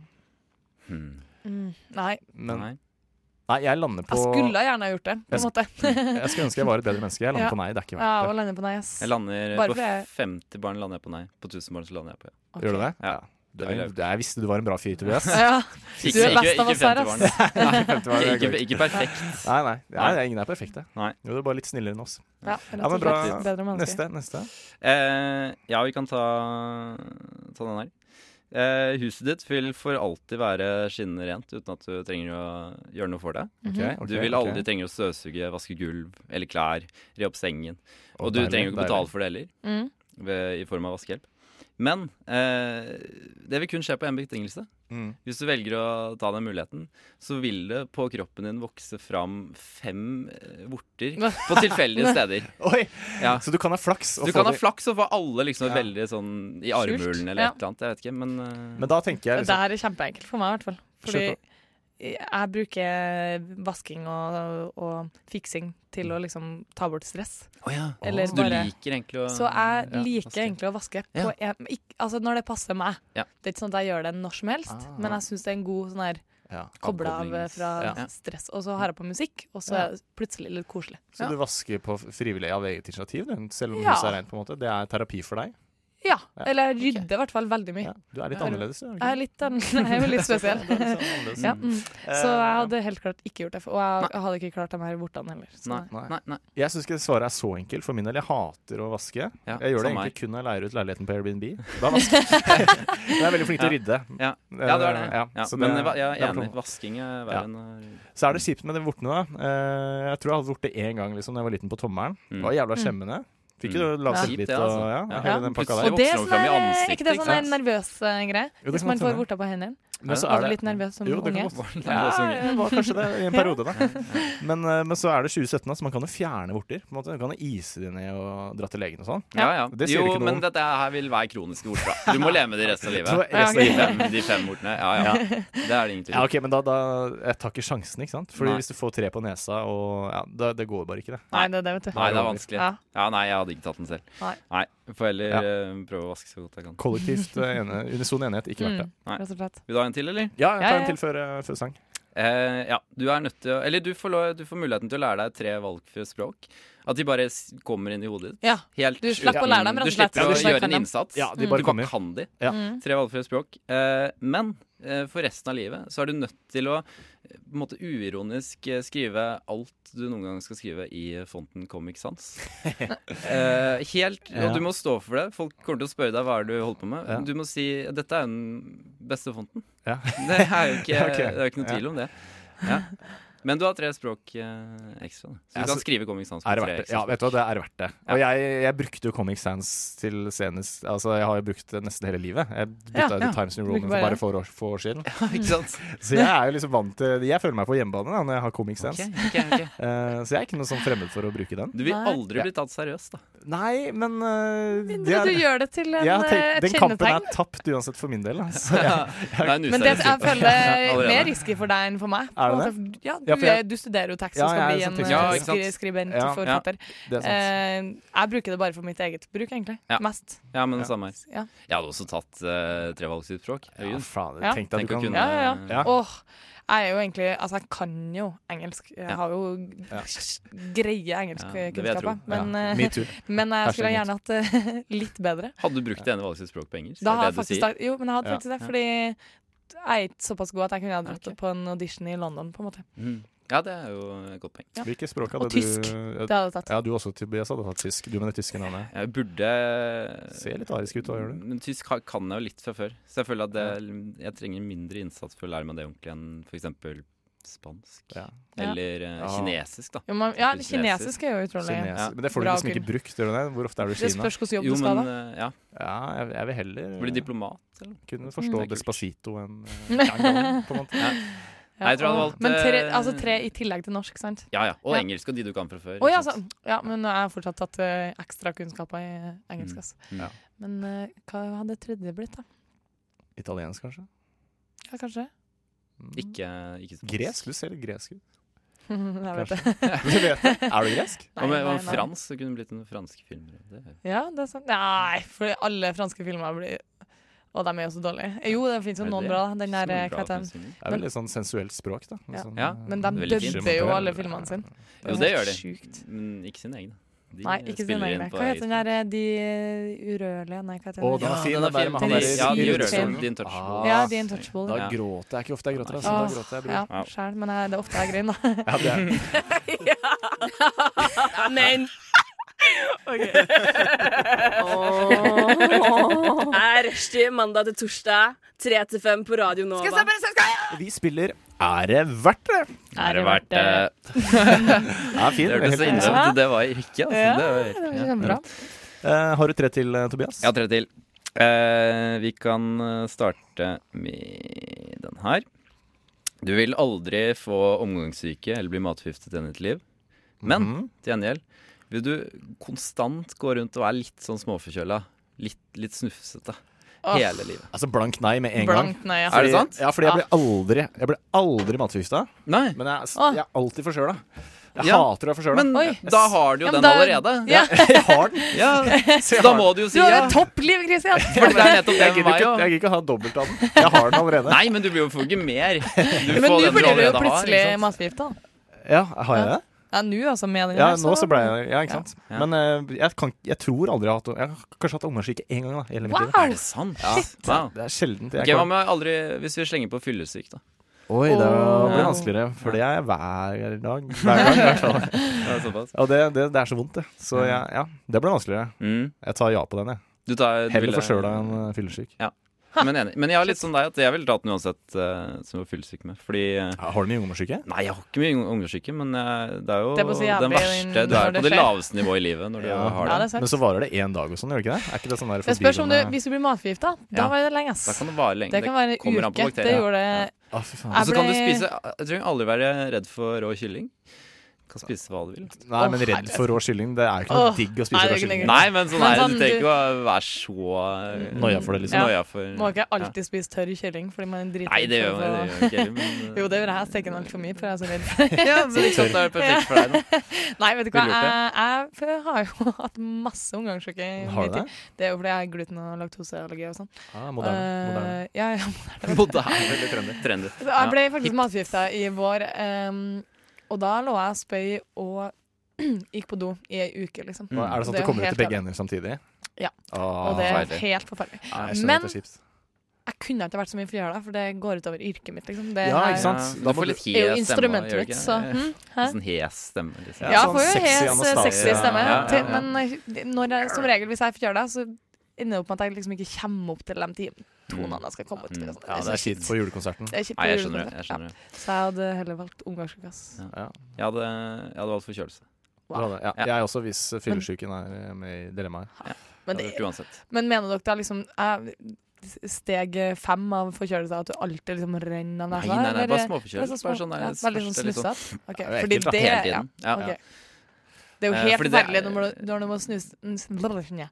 [SPEAKER 4] Mm.
[SPEAKER 3] Mm. Nei.
[SPEAKER 2] men
[SPEAKER 4] Nei.
[SPEAKER 2] Nei, jeg lander på
[SPEAKER 3] Jeg skulle gjerne ha gjort det, på
[SPEAKER 2] Jeg [LAUGHS]
[SPEAKER 3] en måte.
[SPEAKER 2] Jeg skulle ønske jeg var et bedre menneske. Jeg lander
[SPEAKER 3] Ja.
[SPEAKER 2] på nei, det er ikke
[SPEAKER 3] Ja,
[SPEAKER 2] verdt
[SPEAKER 3] og
[SPEAKER 2] det.
[SPEAKER 3] lande på nei, ass.
[SPEAKER 4] Jeg lander
[SPEAKER 3] Bare
[SPEAKER 4] på
[SPEAKER 3] fordi jeg-
[SPEAKER 4] 50 barn lander jeg på nei. På 1000 barn så lander jeg på ja.
[SPEAKER 3] Ok.
[SPEAKER 2] Gjør du det?
[SPEAKER 4] Ja,
[SPEAKER 2] Du
[SPEAKER 4] det
[SPEAKER 2] er,
[SPEAKER 4] vil jeg
[SPEAKER 2] en- jeg visste du var en bra fyr,
[SPEAKER 4] [LAUGHS]
[SPEAKER 2] Tobias.
[SPEAKER 3] [LAUGHS] Ja,
[SPEAKER 4] Ikke,
[SPEAKER 3] du er
[SPEAKER 4] ikke,
[SPEAKER 3] best av
[SPEAKER 4] ikke
[SPEAKER 3] oss her,
[SPEAKER 4] 50 barn.
[SPEAKER 2] [LAUGHS]
[SPEAKER 3] ass.
[SPEAKER 2] Nei,
[SPEAKER 4] Ikke, ikke perfekt.
[SPEAKER 2] nei, nei, nei, ingen er perfekte.
[SPEAKER 4] Nei.
[SPEAKER 2] Jo, du er bare litt snillere enn oss.
[SPEAKER 3] Ja, rett
[SPEAKER 2] Ja, men
[SPEAKER 3] og
[SPEAKER 2] bra.
[SPEAKER 3] slett bedre menneske.
[SPEAKER 2] Neste, neste.
[SPEAKER 4] Eh, ja, vi kan ta, ta den her. Eh, huset ditt vil for alltid være skinnende rent uten at du trenger å gjøre noe for det.
[SPEAKER 2] Ok, ok,
[SPEAKER 4] du vil
[SPEAKER 2] ok.
[SPEAKER 4] aldri trenge å støvsuge, vaske gulv eller klær, re opp sengen.
[SPEAKER 2] Å,
[SPEAKER 4] Og du
[SPEAKER 2] deilig,
[SPEAKER 4] trenger jo ikke
[SPEAKER 2] deilig.
[SPEAKER 4] betale for det heller,
[SPEAKER 3] Mm.
[SPEAKER 4] ved, i form av vaskehjelp. Men eh, det vil kun skje på én betingelse.
[SPEAKER 2] Mm.
[SPEAKER 4] Hvis du velger å ta den muligheten, så vil det på kroppen din vokse fram fem eh,
[SPEAKER 2] [LAUGHS]
[SPEAKER 4] vorter på tilfeldige steder.
[SPEAKER 2] Oi!
[SPEAKER 4] Ja.
[SPEAKER 2] Så du kan ha flaks. og
[SPEAKER 4] Du
[SPEAKER 2] få
[SPEAKER 4] kan ha
[SPEAKER 2] det-
[SPEAKER 4] flaks og få alle liksom
[SPEAKER 2] Ja.
[SPEAKER 4] veldig sånn i
[SPEAKER 3] Skjult,
[SPEAKER 4] armhulen eller
[SPEAKER 3] ja.
[SPEAKER 4] et eller annet. Jeg vet ikke, men, eh,
[SPEAKER 2] Men da tenker jeg
[SPEAKER 3] Det
[SPEAKER 2] liksom,
[SPEAKER 3] her er kjempeenkelt for meg, i hvert fall. Fordi
[SPEAKER 2] Slutt
[SPEAKER 3] jeg bruker vasking og, og fiksing til å liksom ta bort stress.
[SPEAKER 4] Å ja.
[SPEAKER 3] Eller
[SPEAKER 4] Så du
[SPEAKER 3] bare-
[SPEAKER 4] liker egentlig å
[SPEAKER 3] Så jeg
[SPEAKER 4] ja,
[SPEAKER 3] liker
[SPEAKER 4] vaske.
[SPEAKER 3] egentlig å vaske
[SPEAKER 4] Ja.
[SPEAKER 3] på en, ikk- altså når det passer meg.
[SPEAKER 4] Ja.
[SPEAKER 3] Det er ikke sånn at jeg gjør det når som helst,
[SPEAKER 2] Ah.
[SPEAKER 3] men jeg syns det er en god sånn her
[SPEAKER 2] ja.
[SPEAKER 3] koble av
[SPEAKER 4] Avkoblings-
[SPEAKER 3] fra
[SPEAKER 4] Ja.
[SPEAKER 3] stress. Og så har jeg på musikk, og så er det plutselig litt koselig.
[SPEAKER 2] Så du vasker på frivillig av eget initiativ, du, selv om
[SPEAKER 3] Ja.
[SPEAKER 2] huset er rent, på en måte. Det er terapi for deg.
[SPEAKER 3] ja.
[SPEAKER 2] Ja.
[SPEAKER 3] Eller jeg rydder i hvert fall veldig mye.
[SPEAKER 2] Ja, du er litt
[SPEAKER 3] Er du-
[SPEAKER 2] annerledes, du. er du
[SPEAKER 3] Jeg
[SPEAKER 2] ikke
[SPEAKER 3] er litt, an- [LAUGHS] jeg er jo
[SPEAKER 2] [LAUGHS]
[SPEAKER 3] litt spesiell.
[SPEAKER 2] det? Du er litt sånn annerledes. Eh,
[SPEAKER 3] Ja, mm. Så jeg hadde helt klart ikke gjort det. Og jeg hadde ikke klart de her vortene heller. Så
[SPEAKER 4] Nei,
[SPEAKER 3] nei.
[SPEAKER 2] Nei.
[SPEAKER 4] nei, nei.
[SPEAKER 2] Jeg syns ikke svaret er så enkelt for min del. Jeg hater å vaske.
[SPEAKER 4] Ja,
[SPEAKER 2] jeg gjør det
[SPEAKER 4] samme
[SPEAKER 2] egentlig kun når jeg leier ut leiligheten på Airbnb.
[SPEAKER 3] [LAUGHS]
[SPEAKER 2] Da vasker jeg. [LAUGHS] jeg er veldig flink til å rydde.
[SPEAKER 4] her. Ja. ja, det er det.
[SPEAKER 2] Eh,
[SPEAKER 4] Ja,
[SPEAKER 2] ja, så
[SPEAKER 4] men
[SPEAKER 2] det-
[SPEAKER 4] jeg, jeg
[SPEAKER 2] det er
[SPEAKER 4] er enig.
[SPEAKER 2] problem.
[SPEAKER 4] Vasking er
[SPEAKER 2] Ja.
[SPEAKER 4] verre enn eh, å-
[SPEAKER 2] Så er det kjipt med de vortene, da. Eh, Jeg tror jeg hadde vorte én gang liksom, da jeg var liten, på tommeren. Det
[SPEAKER 4] Mm.
[SPEAKER 2] var jævla skjemmende. Fikk jo lav
[SPEAKER 3] Ja.
[SPEAKER 2] selvtillit
[SPEAKER 4] Kjipt, det,
[SPEAKER 2] og
[SPEAKER 4] altså.
[SPEAKER 2] ja,
[SPEAKER 4] Ja.
[SPEAKER 2] hele den pakka
[SPEAKER 4] Plutselig-
[SPEAKER 2] der.
[SPEAKER 3] Og det er
[SPEAKER 4] vokser
[SPEAKER 3] sånn
[SPEAKER 4] jo frem i
[SPEAKER 3] her,
[SPEAKER 4] ansiktet,
[SPEAKER 3] er ikke det
[SPEAKER 4] ikke
[SPEAKER 3] sånn en
[SPEAKER 4] sant?
[SPEAKER 3] nervøs eh, greie?
[SPEAKER 2] Jo, det
[SPEAKER 3] Hvis
[SPEAKER 2] kan
[SPEAKER 3] man
[SPEAKER 2] godt
[SPEAKER 3] får
[SPEAKER 2] hende.
[SPEAKER 3] vorter på hendene?
[SPEAKER 2] Men så
[SPEAKER 4] Er
[SPEAKER 3] Er
[SPEAKER 2] er
[SPEAKER 3] du
[SPEAKER 2] det
[SPEAKER 3] litt nervøs som
[SPEAKER 2] Jo, det kan
[SPEAKER 3] unge?
[SPEAKER 2] godt
[SPEAKER 4] Hvordan
[SPEAKER 2] Ja,
[SPEAKER 4] er det å synge?
[SPEAKER 2] jeg var kanskje det i en periode, da. Men, eh, men så er det 2017, da, så man kan jo fjerne vorter. På en måte. Du kan jo ise de ned og dra til legen og sånn.
[SPEAKER 4] Ja, ja.
[SPEAKER 2] Det sier
[SPEAKER 4] jo,
[SPEAKER 2] ikke noe
[SPEAKER 4] men
[SPEAKER 2] om.
[SPEAKER 4] dette her vil være kroniske bort fra. Du må leve med det resten av
[SPEAKER 2] [LAUGHS] Så
[SPEAKER 4] livet.
[SPEAKER 2] resten av
[SPEAKER 4] De
[SPEAKER 2] livet-
[SPEAKER 4] fem, de fem ordene. Ja, ja. Det er det ingen tvil
[SPEAKER 2] Ja,
[SPEAKER 4] om.
[SPEAKER 2] ok, men da, da Jeg tar ikke sjansen, ikke sant? Fordi
[SPEAKER 4] Nei.
[SPEAKER 2] hvis du får tre på nesa og ja, da, Det går bare ikke, det.
[SPEAKER 3] Nei, det er det, vet du.
[SPEAKER 4] Nei, det er vanskelig.
[SPEAKER 3] Ja.
[SPEAKER 4] Ja, nei, jeg hadde ikke tatt den selv.
[SPEAKER 3] Nei.
[SPEAKER 4] Nei, Får heller
[SPEAKER 2] Ja.
[SPEAKER 4] eh, prøve å vaske så godt jeg kan.
[SPEAKER 2] Kollektivt eh, ene, unison enighet, ikke verdt det.
[SPEAKER 3] Mm,
[SPEAKER 4] Nei.
[SPEAKER 3] rett og slett.
[SPEAKER 4] Vil du ha en til, eller?
[SPEAKER 2] Ja, jeg
[SPEAKER 3] Ja,
[SPEAKER 2] tar
[SPEAKER 3] ja.
[SPEAKER 2] en til før, eh, før sang.
[SPEAKER 4] Eh, ja, du er nødt til å Eller du får, lov, du får muligheten til å lære deg tre valgfrie språk. At de bare s- kommer inn i hodet ditt.
[SPEAKER 3] Ja.
[SPEAKER 4] Helt
[SPEAKER 3] Du slipper å lære dem, rett og
[SPEAKER 4] Du
[SPEAKER 3] slett.
[SPEAKER 4] slipper
[SPEAKER 2] Ja,
[SPEAKER 4] å
[SPEAKER 2] du
[SPEAKER 3] slipper
[SPEAKER 4] gjøre en
[SPEAKER 3] dem.
[SPEAKER 4] innsats.
[SPEAKER 2] Ja, de
[SPEAKER 4] du
[SPEAKER 2] bare
[SPEAKER 4] bare
[SPEAKER 2] kommer.
[SPEAKER 4] kan de.
[SPEAKER 2] Ja.
[SPEAKER 3] Mm.
[SPEAKER 4] Tre valgfrie språk. Eh, men eh, for resten av livet så er du nødt til å eh, på en måte uironisk eh, skrive alt du noen gang skal skrive i eh, fonten Comic
[SPEAKER 2] [LAUGHS]
[SPEAKER 4] Sans. eh, helt,
[SPEAKER 2] Ja.
[SPEAKER 4] Og du må stå for det. Folk kommer til å spørre deg hva er det du holder på med.
[SPEAKER 2] Ja.
[SPEAKER 4] Du må si dette er den beste fonten.
[SPEAKER 2] Ja.
[SPEAKER 4] [LAUGHS] Det er jo ikke,
[SPEAKER 2] Ja, [LAUGHS] ok.
[SPEAKER 4] det er jo ikke noe
[SPEAKER 2] Ja.
[SPEAKER 4] tvil om det. Ja. Men du har tre språk eh, ekstra. da. Så du
[SPEAKER 2] Ja, så-
[SPEAKER 4] kan skrive Comic Sans på
[SPEAKER 2] Er det
[SPEAKER 4] tre
[SPEAKER 2] verdt det?
[SPEAKER 4] ekstra.
[SPEAKER 2] Ja, vet du hva, det er verdt det. Og jeg, jeg brukte jo Comic Sans til senest Altså, jeg har jo brukt det nesten hele livet. Jeg bytta
[SPEAKER 3] Ja,
[SPEAKER 2] ut
[SPEAKER 3] ja.
[SPEAKER 2] Times New
[SPEAKER 3] Bruker
[SPEAKER 2] Roman
[SPEAKER 3] bare
[SPEAKER 2] for bare få år,
[SPEAKER 3] det.
[SPEAKER 2] få år siden. [LAUGHS]
[SPEAKER 4] ikke sant?
[SPEAKER 2] Så jeg er jo liksom vant til Jeg føler meg på hjemmebane da, når jeg har Comic Sans.
[SPEAKER 4] Ok, ok, ok.
[SPEAKER 2] Eh, så jeg er ikke noe sånn fremmed for å bruke den.
[SPEAKER 4] Du vil
[SPEAKER 3] Nei.
[SPEAKER 4] aldri bli tatt
[SPEAKER 2] [LAUGHS]
[SPEAKER 4] seriøst, da.
[SPEAKER 2] Nei, men eh, det
[SPEAKER 3] Mindre
[SPEAKER 2] er,
[SPEAKER 3] du gjør det til en,
[SPEAKER 2] jeg har
[SPEAKER 3] eh,
[SPEAKER 2] tenkt,
[SPEAKER 3] et
[SPEAKER 2] Den kampen er
[SPEAKER 3] kjennetegn.
[SPEAKER 2] tapt uansett for min del. da. Så jeg,
[SPEAKER 4] [LAUGHS] Det er en
[SPEAKER 3] Men det
[SPEAKER 4] useriøs
[SPEAKER 3] jeg
[SPEAKER 4] type.
[SPEAKER 3] føler
[SPEAKER 4] Ja,
[SPEAKER 3] er
[SPEAKER 4] allerede.
[SPEAKER 3] mer risky for deg enn for meg.
[SPEAKER 2] Er det
[SPEAKER 3] Ja, du,
[SPEAKER 2] Ja, for jeg-
[SPEAKER 3] er- du studerer jo tekst
[SPEAKER 2] Ja,
[SPEAKER 3] og skal
[SPEAKER 2] jeg er
[SPEAKER 3] bli en
[SPEAKER 2] sånn tekst-
[SPEAKER 4] Ja,
[SPEAKER 3] eh,
[SPEAKER 4] ikke sant?
[SPEAKER 3] skri- skribent
[SPEAKER 2] Ja.
[SPEAKER 3] og
[SPEAKER 4] Ja.
[SPEAKER 3] forfatter.
[SPEAKER 2] [LAUGHS] det er sant.
[SPEAKER 3] Eh, jeg bruker det bare for mitt eget bruk, egentlig.
[SPEAKER 4] Ja.
[SPEAKER 3] Mest.
[SPEAKER 4] Ja, men det samme her.
[SPEAKER 3] Ja.
[SPEAKER 4] Jeg hadde også tatt uh, trevalgsutspråk.
[SPEAKER 2] Ja,
[SPEAKER 4] Øyunn.
[SPEAKER 2] faen,
[SPEAKER 3] Ja.
[SPEAKER 2] tenk deg at
[SPEAKER 4] Tenk
[SPEAKER 2] du
[SPEAKER 4] å
[SPEAKER 2] kan
[SPEAKER 4] kunne
[SPEAKER 3] Ja, ja, ja.
[SPEAKER 2] Ja.
[SPEAKER 3] Åh, jeg er jo egentlig Altså, jeg kan jo engelsk. Jeg
[SPEAKER 4] Ja.
[SPEAKER 3] har jo
[SPEAKER 2] Ja.
[SPEAKER 3] greie engelskkunnskaper.
[SPEAKER 4] Ja, det vil jeg tro.
[SPEAKER 3] men,
[SPEAKER 2] ja.
[SPEAKER 3] eh,
[SPEAKER 2] Metoo.
[SPEAKER 3] men jeg skulle
[SPEAKER 2] Hashtag
[SPEAKER 3] gjerne hatt det [LAUGHS] litt bedre.
[SPEAKER 4] Hadde du brukt det ene valgfrispråket på engelsk?
[SPEAKER 3] Da har jeg
[SPEAKER 4] er det det
[SPEAKER 3] faktisk
[SPEAKER 4] du sier?
[SPEAKER 3] sagt Jo, men jeg hadde
[SPEAKER 2] Ja.
[SPEAKER 3] faktisk det, fordi jeg er ikke såpass god at jeg kunne ha dratt
[SPEAKER 4] Ok.
[SPEAKER 3] på en audition i London, på en måte.
[SPEAKER 4] Mm. Ja, det er jo et godt poeng.
[SPEAKER 3] Ja.
[SPEAKER 2] Hvilke språk hadde
[SPEAKER 3] Og tysk.
[SPEAKER 2] du
[SPEAKER 3] Det hadde jeg tatt.
[SPEAKER 2] Ja, du også, Tobias, hadde tatt tysk. Du med det tyske navnet.
[SPEAKER 4] Jeg burde Mm,
[SPEAKER 2] Ser litt arisk ut, hva gjør du?
[SPEAKER 4] Men tysk ha- kan jeg jo litt fra før, så jeg føler at det, jeg trenger mindre innsats for å lære meg det ordentlig enn f.eks. spansk.
[SPEAKER 2] Ja. Ah.
[SPEAKER 4] Eller eh,
[SPEAKER 2] Ja.
[SPEAKER 4] kinesisk, da.
[SPEAKER 3] Jo, men, ja,
[SPEAKER 4] Typisk
[SPEAKER 3] kinesisk er jo utrolig.
[SPEAKER 2] Kines.
[SPEAKER 4] Ja.
[SPEAKER 2] Men det får du
[SPEAKER 3] Bra
[SPEAKER 2] liksom ikke
[SPEAKER 3] gull.
[SPEAKER 2] brukt, gjør du det? Hvor ofte er du i
[SPEAKER 3] Det
[SPEAKER 2] Kina?
[SPEAKER 3] spørs hvordan jobb
[SPEAKER 4] Jo,
[SPEAKER 3] du skal,
[SPEAKER 4] men
[SPEAKER 3] da.
[SPEAKER 4] eh, ja.
[SPEAKER 2] Ja, jeg, jeg vil heller
[SPEAKER 4] Bli diplomat, eller?
[SPEAKER 2] kunne
[SPEAKER 4] Mm. Det
[SPEAKER 2] forstå
[SPEAKER 4] er kult.
[SPEAKER 2] Despacito enn
[SPEAKER 3] [LAUGHS]
[SPEAKER 2] eh, Yangon, på en måte.
[SPEAKER 3] Ja,
[SPEAKER 4] Nei, jeg tror jeg hadde
[SPEAKER 3] og-
[SPEAKER 4] valgt,
[SPEAKER 3] men tre,
[SPEAKER 4] eh,
[SPEAKER 3] altså tre i tillegg til norsk, sant?
[SPEAKER 4] Ja ja. Og
[SPEAKER 3] Ja.
[SPEAKER 4] engelsk og de du kan fra før.
[SPEAKER 3] Å ja,
[SPEAKER 4] ikke
[SPEAKER 3] så,
[SPEAKER 4] sant?
[SPEAKER 3] ja, men jeg har fortsatt tatt eh, ekstra kunnskaper i engelsk.
[SPEAKER 4] Mm.
[SPEAKER 3] Altså.
[SPEAKER 4] Ja.
[SPEAKER 3] Men eh, hva hadde tredje blitt, da?
[SPEAKER 2] Italiensk, kanskje?
[SPEAKER 3] Ja,
[SPEAKER 4] [LAUGHS]
[SPEAKER 3] kanskje?
[SPEAKER 2] Mm.
[SPEAKER 4] Ikke, ikke spansk.
[SPEAKER 2] Gresk? Du ser litt gresk ut. [LAUGHS]
[SPEAKER 3] jeg vet det.
[SPEAKER 4] [LAUGHS]
[SPEAKER 2] Du vet det. Er du gresk?
[SPEAKER 3] Nei,
[SPEAKER 4] Hva med
[SPEAKER 3] nei,
[SPEAKER 4] hva med
[SPEAKER 3] nei.
[SPEAKER 4] fransk? Det kunne blitt en franske filmer. Det er-
[SPEAKER 3] Ja, det er sant. Nei, for alle franske filmer blir Og de er jo så dårlige. Eh, Jo, det finnes jo
[SPEAKER 4] Er
[SPEAKER 3] noen
[SPEAKER 4] det
[SPEAKER 3] bra. da. Den der,
[SPEAKER 4] så
[SPEAKER 3] eh,
[SPEAKER 4] bra
[SPEAKER 3] hva heter den?
[SPEAKER 4] filmstilling.
[SPEAKER 2] Det er veldig sånn sensuelt språk, da.
[SPEAKER 3] Ja.
[SPEAKER 2] Sånn,
[SPEAKER 4] Ja,
[SPEAKER 2] eh,
[SPEAKER 3] Men de
[SPEAKER 4] Veldig fint.
[SPEAKER 3] dubber jo alle filmene sine.
[SPEAKER 4] Jo, det gjør de.
[SPEAKER 3] Sjukt.
[SPEAKER 4] Men ikke sine egne. De
[SPEAKER 3] Nei, ikke sin
[SPEAKER 4] spiller
[SPEAKER 3] egen.
[SPEAKER 4] inn på
[SPEAKER 3] Hva heter den
[SPEAKER 4] eget-
[SPEAKER 3] der eh, De eh, urørlige? Nei, hva heter
[SPEAKER 2] Å,
[SPEAKER 3] den?
[SPEAKER 2] den
[SPEAKER 3] der?
[SPEAKER 2] var fin,
[SPEAKER 4] den
[SPEAKER 2] den
[SPEAKER 4] er
[SPEAKER 2] der med
[SPEAKER 4] fin.
[SPEAKER 3] Den
[SPEAKER 2] han
[SPEAKER 3] er
[SPEAKER 2] der i-
[SPEAKER 3] Ja,
[SPEAKER 2] i
[SPEAKER 3] de gjør det
[SPEAKER 2] rullestol.
[SPEAKER 3] sånn.
[SPEAKER 4] Din touch.
[SPEAKER 2] Ah,
[SPEAKER 3] Ja, The Intouchable.
[SPEAKER 2] Da
[SPEAKER 4] Ja.
[SPEAKER 2] gråter jeg. Ikke ofte jeg gråter, altså.
[SPEAKER 3] Åh,
[SPEAKER 2] Da gråter jeg.
[SPEAKER 3] Ja,
[SPEAKER 2] bror.
[SPEAKER 4] Ja.
[SPEAKER 3] sjæl. Men jeg, det er ofte jeg griner, da.
[SPEAKER 2] Ja, det er
[SPEAKER 5] Men
[SPEAKER 7] [LAUGHS] Det er rushtid mandag til torsdag, 3 til 5 på Radio Nova.
[SPEAKER 2] Vi spiller Er det verdt det?
[SPEAKER 4] Er det verdt det?
[SPEAKER 2] Ja, fin.
[SPEAKER 4] Det hørtes så
[SPEAKER 2] Helt-
[SPEAKER 4] innsomt ut. Det var ikke, altså.
[SPEAKER 3] Ja,
[SPEAKER 4] det var ikke,
[SPEAKER 3] Det
[SPEAKER 4] ja.
[SPEAKER 3] var kjempebra.
[SPEAKER 2] Eh, har du tre til, eh, Tobias?
[SPEAKER 4] Jeg har tre til. Eh, vi kan eh, starte med den her. Du vil aldri få omgangssyke eller bli matforgiftet igjen i ditt liv. Men
[SPEAKER 2] Mhm.
[SPEAKER 4] til gjengjeld vil du konstant gå rundt og være litt sånn småforkjøla. Litt, litt snufsete
[SPEAKER 3] Åh,
[SPEAKER 4] hele livet.
[SPEAKER 2] Altså blank nei med en gang.
[SPEAKER 3] Blankt nei, ja.
[SPEAKER 4] Er det sant?
[SPEAKER 2] Ja, fordi jeg blir aldri, jeg blir aldri matforgifta.
[SPEAKER 4] Nei,
[SPEAKER 2] Men jeg,
[SPEAKER 3] Åh.
[SPEAKER 2] jeg er alltid forkjøla. Jeg
[SPEAKER 4] Ja.
[SPEAKER 2] hater å være forkjøla.
[SPEAKER 4] men
[SPEAKER 3] Oi.
[SPEAKER 4] da har du
[SPEAKER 3] Ja,
[SPEAKER 4] jo
[SPEAKER 3] men
[SPEAKER 4] den
[SPEAKER 3] da- [LAUGHS]
[SPEAKER 4] allerede.
[SPEAKER 2] [LAUGHS]
[SPEAKER 3] Ja.
[SPEAKER 2] Jeg har den.
[SPEAKER 4] Ja,
[SPEAKER 2] Så jeg
[SPEAKER 4] Da
[SPEAKER 2] har
[SPEAKER 4] må du jo si
[SPEAKER 3] Du har
[SPEAKER 4] ja.
[SPEAKER 3] et toppliv,
[SPEAKER 4] [LAUGHS]
[SPEAKER 3] Christian!
[SPEAKER 4] For det er nettopp det
[SPEAKER 2] Jeg gidder
[SPEAKER 4] med meg
[SPEAKER 2] ikke,
[SPEAKER 4] òg.
[SPEAKER 2] jeg gidder ikke ha dobbelt av den. Jeg har den allerede.
[SPEAKER 4] Nei, men du blir jo får ikke mer. Du
[SPEAKER 3] Men
[SPEAKER 4] får
[SPEAKER 3] du
[SPEAKER 4] den du
[SPEAKER 3] blir jo
[SPEAKER 4] allerede har,
[SPEAKER 3] plutselig
[SPEAKER 4] ikke sant?
[SPEAKER 3] matforgifta.
[SPEAKER 2] [LAUGHS] Ja, har jeg det?
[SPEAKER 3] Ja, nå altså, med den
[SPEAKER 2] Ja,
[SPEAKER 3] her,
[SPEAKER 2] nå så ble jeg Ja, ikke
[SPEAKER 4] Ja.
[SPEAKER 2] sant.
[SPEAKER 4] Ja.
[SPEAKER 2] Men eh, jeg, kan, jeg tror aldri jeg har hatt Jeg har kanskje hatt ungdomssyke én gang da, i hele mitt liv.
[SPEAKER 3] Wow!
[SPEAKER 4] Er det sant? Wow.
[SPEAKER 2] Det er sjeldent. Jeg
[SPEAKER 4] Ok, Hva
[SPEAKER 2] kan-
[SPEAKER 4] med aldri hvis vi slenger på fyllesyk, da?
[SPEAKER 2] Oi, da blir det
[SPEAKER 4] Åh.
[SPEAKER 2] vanskeligere, for det er jeg hver dag. [LAUGHS] Hver gang, i hvert [LAUGHS] fall.
[SPEAKER 4] Det er såpass.
[SPEAKER 2] Og det, det, det er så vondt, det. Så jeg, ja, det ble vanskeligere.
[SPEAKER 4] Mm.
[SPEAKER 2] Jeg tar ja på den, jeg.
[SPEAKER 4] Du tar, du
[SPEAKER 2] Heller
[SPEAKER 4] ville-
[SPEAKER 2] forsøla enn eh, fyllesyk.
[SPEAKER 4] [LAUGHS] Men enig. Men jeg er litt sånn deg at jeg ville tatt den uansett eh, som jeg var fyllesyk med. Fordi eh,
[SPEAKER 2] Har du mye ungdomssyke?
[SPEAKER 4] Nei, jeg har ikke mye ung- ungdomssyke, men eh, det er jo
[SPEAKER 3] Det er bare så jævlig
[SPEAKER 4] den verste
[SPEAKER 3] når
[SPEAKER 4] Du er
[SPEAKER 3] det
[SPEAKER 4] på det
[SPEAKER 3] skjer.
[SPEAKER 4] laveste nivået i livet når du
[SPEAKER 2] [LAUGHS] Ja.
[SPEAKER 4] har
[SPEAKER 3] Ja,
[SPEAKER 4] det.
[SPEAKER 3] det er sant.
[SPEAKER 2] Men så varer det én dag og sånn, gjør det ikke det? Er ikke det sånn der
[SPEAKER 3] Det spørs om du,
[SPEAKER 2] fordyrende-
[SPEAKER 3] hvis du blir matforgifta. Da
[SPEAKER 4] Ja.
[SPEAKER 3] var det lenge, ass.
[SPEAKER 4] Da kan det vare lenge.
[SPEAKER 3] det kan være en
[SPEAKER 4] kommer an på
[SPEAKER 3] uke. eh,
[SPEAKER 4] bakterien.
[SPEAKER 3] Det gjorde det.
[SPEAKER 4] Ja.
[SPEAKER 2] Å, fy faen.
[SPEAKER 3] Jeg
[SPEAKER 4] Og så kan du
[SPEAKER 3] ble-
[SPEAKER 4] spise Jeg trenger aldri være redd for rå kylling. Kan spise hva du vil.
[SPEAKER 2] Nei, men redd for rå kylling. Det er jo ikke
[SPEAKER 3] Åh,
[SPEAKER 2] noe digg å
[SPEAKER 3] nei,
[SPEAKER 2] spise
[SPEAKER 3] det er
[SPEAKER 2] rå
[SPEAKER 3] ikke
[SPEAKER 2] kylling.
[SPEAKER 3] lenger.
[SPEAKER 4] Nei, men sånn
[SPEAKER 3] Men
[SPEAKER 4] er det.
[SPEAKER 3] sånn,
[SPEAKER 4] Du trenger
[SPEAKER 3] du-
[SPEAKER 4] ikke å være så eh,
[SPEAKER 2] Noia for det, liksom.
[SPEAKER 3] Ja.
[SPEAKER 4] Noia for-
[SPEAKER 3] Må ikke alltid
[SPEAKER 4] Ja.
[SPEAKER 3] spise tørr kylling fordi man er
[SPEAKER 4] Nei, det gjør man det gjør man
[SPEAKER 3] [LAUGHS]
[SPEAKER 4] ikke heller. men-
[SPEAKER 3] Jo, det gjør jeg. Jeg steker den altfor mye, for jeg er så redd.
[SPEAKER 4] Ja, men ikke sant, det er perfekt for
[SPEAKER 3] [LAUGHS]
[SPEAKER 4] deg nå.
[SPEAKER 3] Nei, vet du hva.
[SPEAKER 4] Ville du
[SPEAKER 3] Jeg, jeg for jeg har jo [LAUGHS] hatt masse omgangssjuke. i
[SPEAKER 2] Har
[SPEAKER 3] min
[SPEAKER 2] du det?
[SPEAKER 3] tid. Det er jo fordi jeg har gluten- og laktoseallergi og sånn.
[SPEAKER 2] Ah, moderne. moderne.
[SPEAKER 3] Eh, ja, [LAUGHS] ja.
[SPEAKER 4] Moderne trendy. trendy.
[SPEAKER 3] Så Jeg ble faktisk matforgifta i vår, em, og da lå jeg og spøy og [CLEARS THROAT] gikk på do i ei uke, liksom.
[SPEAKER 2] Og Er det sånn at
[SPEAKER 3] Det
[SPEAKER 2] du
[SPEAKER 3] er
[SPEAKER 2] kommer
[SPEAKER 3] helt
[SPEAKER 2] ut i begge Ah, ender samtidig?
[SPEAKER 3] Ja.
[SPEAKER 2] Åh,
[SPEAKER 3] Og det
[SPEAKER 4] forferdelig.
[SPEAKER 3] er helt forferdelig.
[SPEAKER 2] jeg skjønner
[SPEAKER 3] men-
[SPEAKER 2] at det er kjipt.
[SPEAKER 3] Jeg kunne ikke vært så mye friere, da, for det går utover yrket mitt, liksom. Det
[SPEAKER 2] Ja,
[SPEAKER 3] her
[SPEAKER 2] ikke sant?
[SPEAKER 4] Ja,
[SPEAKER 2] Da
[SPEAKER 4] Du
[SPEAKER 2] må
[SPEAKER 4] får
[SPEAKER 2] du-
[SPEAKER 4] litt hes
[SPEAKER 3] er
[SPEAKER 4] stemme.
[SPEAKER 3] jo instrumentet
[SPEAKER 4] gjør du
[SPEAKER 3] mitt,
[SPEAKER 4] ikke?
[SPEAKER 3] så hm, hæ?
[SPEAKER 4] Sånn hes stemme. Liksom.
[SPEAKER 2] Ja,
[SPEAKER 3] Ja,
[SPEAKER 2] sånn
[SPEAKER 3] får jo
[SPEAKER 2] sexy
[SPEAKER 3] helt eh,
[SPEAKER 2] Anastasia.
[SPEAKER 3] sexy stemme.
[SPEAKER 4] Ja, ja,
[SPEAKER 3] til-
[SPEAKER 4] ja.
[SPEAKER 3] Men eh, når jeg, som regel hvis jeg er forkjøla, så ender det opp med at jeg liksom ikke kommer opp til de tim- tonene jeg skal komme opp til.
[SPEAKER 4] Mm.
[SPEAKER 3] og sånn.
[SPEAKER 2] Ja, det er kjipt på julekonserten.
[SPEAKER 3] Det er kjipt.
[SPEAKER 4] Nei,
[SPEAKER 3] å
[SPEAKER 4] jeg
[SPEAKER 3] gjøre
[SPEAKER 4] skjønner det.
[SPEAKER 3] sånn.
[SPEAKER 4] Jeg, skjønner det.
[SPEAKER 3] Ja. Så jeg hadde heller valgt ungarsk gass.
[SPEAKER 4] Ja.
[SPEAKER 2] Ja.
[SPEAKER 4] Jeg, hadde, jeg hadde valgt forkjølelse.
[SPEAKER 2] Du hadde- Ja,
[SPEAKER 4] Ja.
[SPEAKER 2] jeg er også, hvis fyllesyken er eh, med i dilemmaet.
[SPEAKER 4] Jeg
[SPEAKER 3] Men,
[SPEAKER 4] hadde
[SPEAKER 3] det,
[SPEAKER 4] gjort det uansett.
[SPEAKER 3] men mener dere da liksom er steg fem av forkjølelse at du alltid liksom renner av
[SPEAKER 4] Nei,
[SPEAKER 3] nesa?
[SPEAKER 4] nei, nei,
[SPEAKER 3] eller-
[SPEAKER 4] bare
[SPEAKER 3] Bare
[SPEAKER 4] småforkjølelse.
[SPEAKER 3] sånn
[SPEAKER 4] Bare
[SPEAKER 3] små-
[SPEAKER 4] sånn der,
[SPEAKER 3] ja, Veldig sånn
[SPEAKER 4] første litt
[SPEAKER 3] snufsete? Ok,
[SPEAKER 2] er jo
[SPEAKER 3] Fordi
[SPEAKER 2] ekkelt, da.
[SPEAKER 3] det
[SPEAKER 4] Hele
[SPEAKER 3] ja,
[SPEAKER 4] tiden. Ja.
[SPEAKER 3] ok. Det er jo
[SPEAKER 4] Eh,
[SPEAKER 3] helt
[SPEAKER 4] fordi det er-
[SPEAKER 3] forferdelig når du, når du må snus, sn-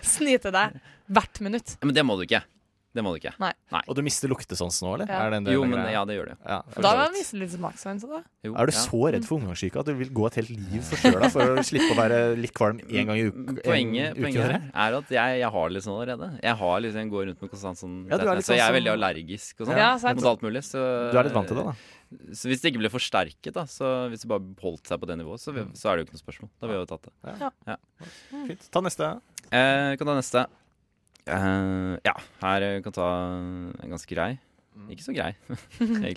[SPEAKER 4] [LAUGHS]
[SPEAKER 3] snyte deg hvert minutt.
[SPEAKER 4] Men det må du ikke. Det må du ikke.
[SPEAKER 2] Og du mister luktesansen nå, eller?
[SPEAKER 3] Ja.
[SPEAKER 2] Er det en del
[SPEAKER 4] Jo,
[SPEAKER 2] av
[SPEAKER 4] men
[SPEAKER 2] greia?
[SPEAKER 4] ja, det gjør det.
[SPEAKER 2] Ja, for
[SPEAKER 3] Da
[SPEAKER 2] så
[SPEAKER 3] vil
[SPEAKER 2] vidt.
[SPEAKER 3] man miste litt smaksvenn. så da.
[SPEAKER 4] Jo,
[SPEAKER 2] Er du
[SPEAKER 4] ja.
[SPEAKER 2] så redd for omgangssyke at du vil gå et helt liv forkjøla for å slippe å være litt kvalm én gang i uka?
[SPEAKER 4] Mm, Poenget, poenget her er at jeg, jeg har det litt sånn allerede. Jeg har liksom, jeg går rundt med konstant sånn
[SPEAKER 2] Ja, du er litt
[SPEAKER 4] Så jeg er
[SPEAKER 2] sånn
[SPEAKER 4] veldig
[SPEAKER 2] som-
[SPEAKER 4] allergisk og sånn.
[SPEAKER 3] Ja, sant.
[SPEAKER 4] mot alt mulig. Så,
[SPEAKER 2] Du er litt vant til det, da.
[SPEAKER 3] eh,
[SPEAKER 4] Så hvis det ikke ble forsterket, da, så hvis det bare holdt seg på det nivået, så, vi, så er det jo ikke noe spørsmål. Da ville vi jo tatt det.
[SPEAKER 2] Fint. Ta neste.
[SPEAKER 4] Eh, vi kan ta neste. Eh, ja, her eh, kan ta en ganske grei. Ikke så grei, [LAUGHS] egentlig.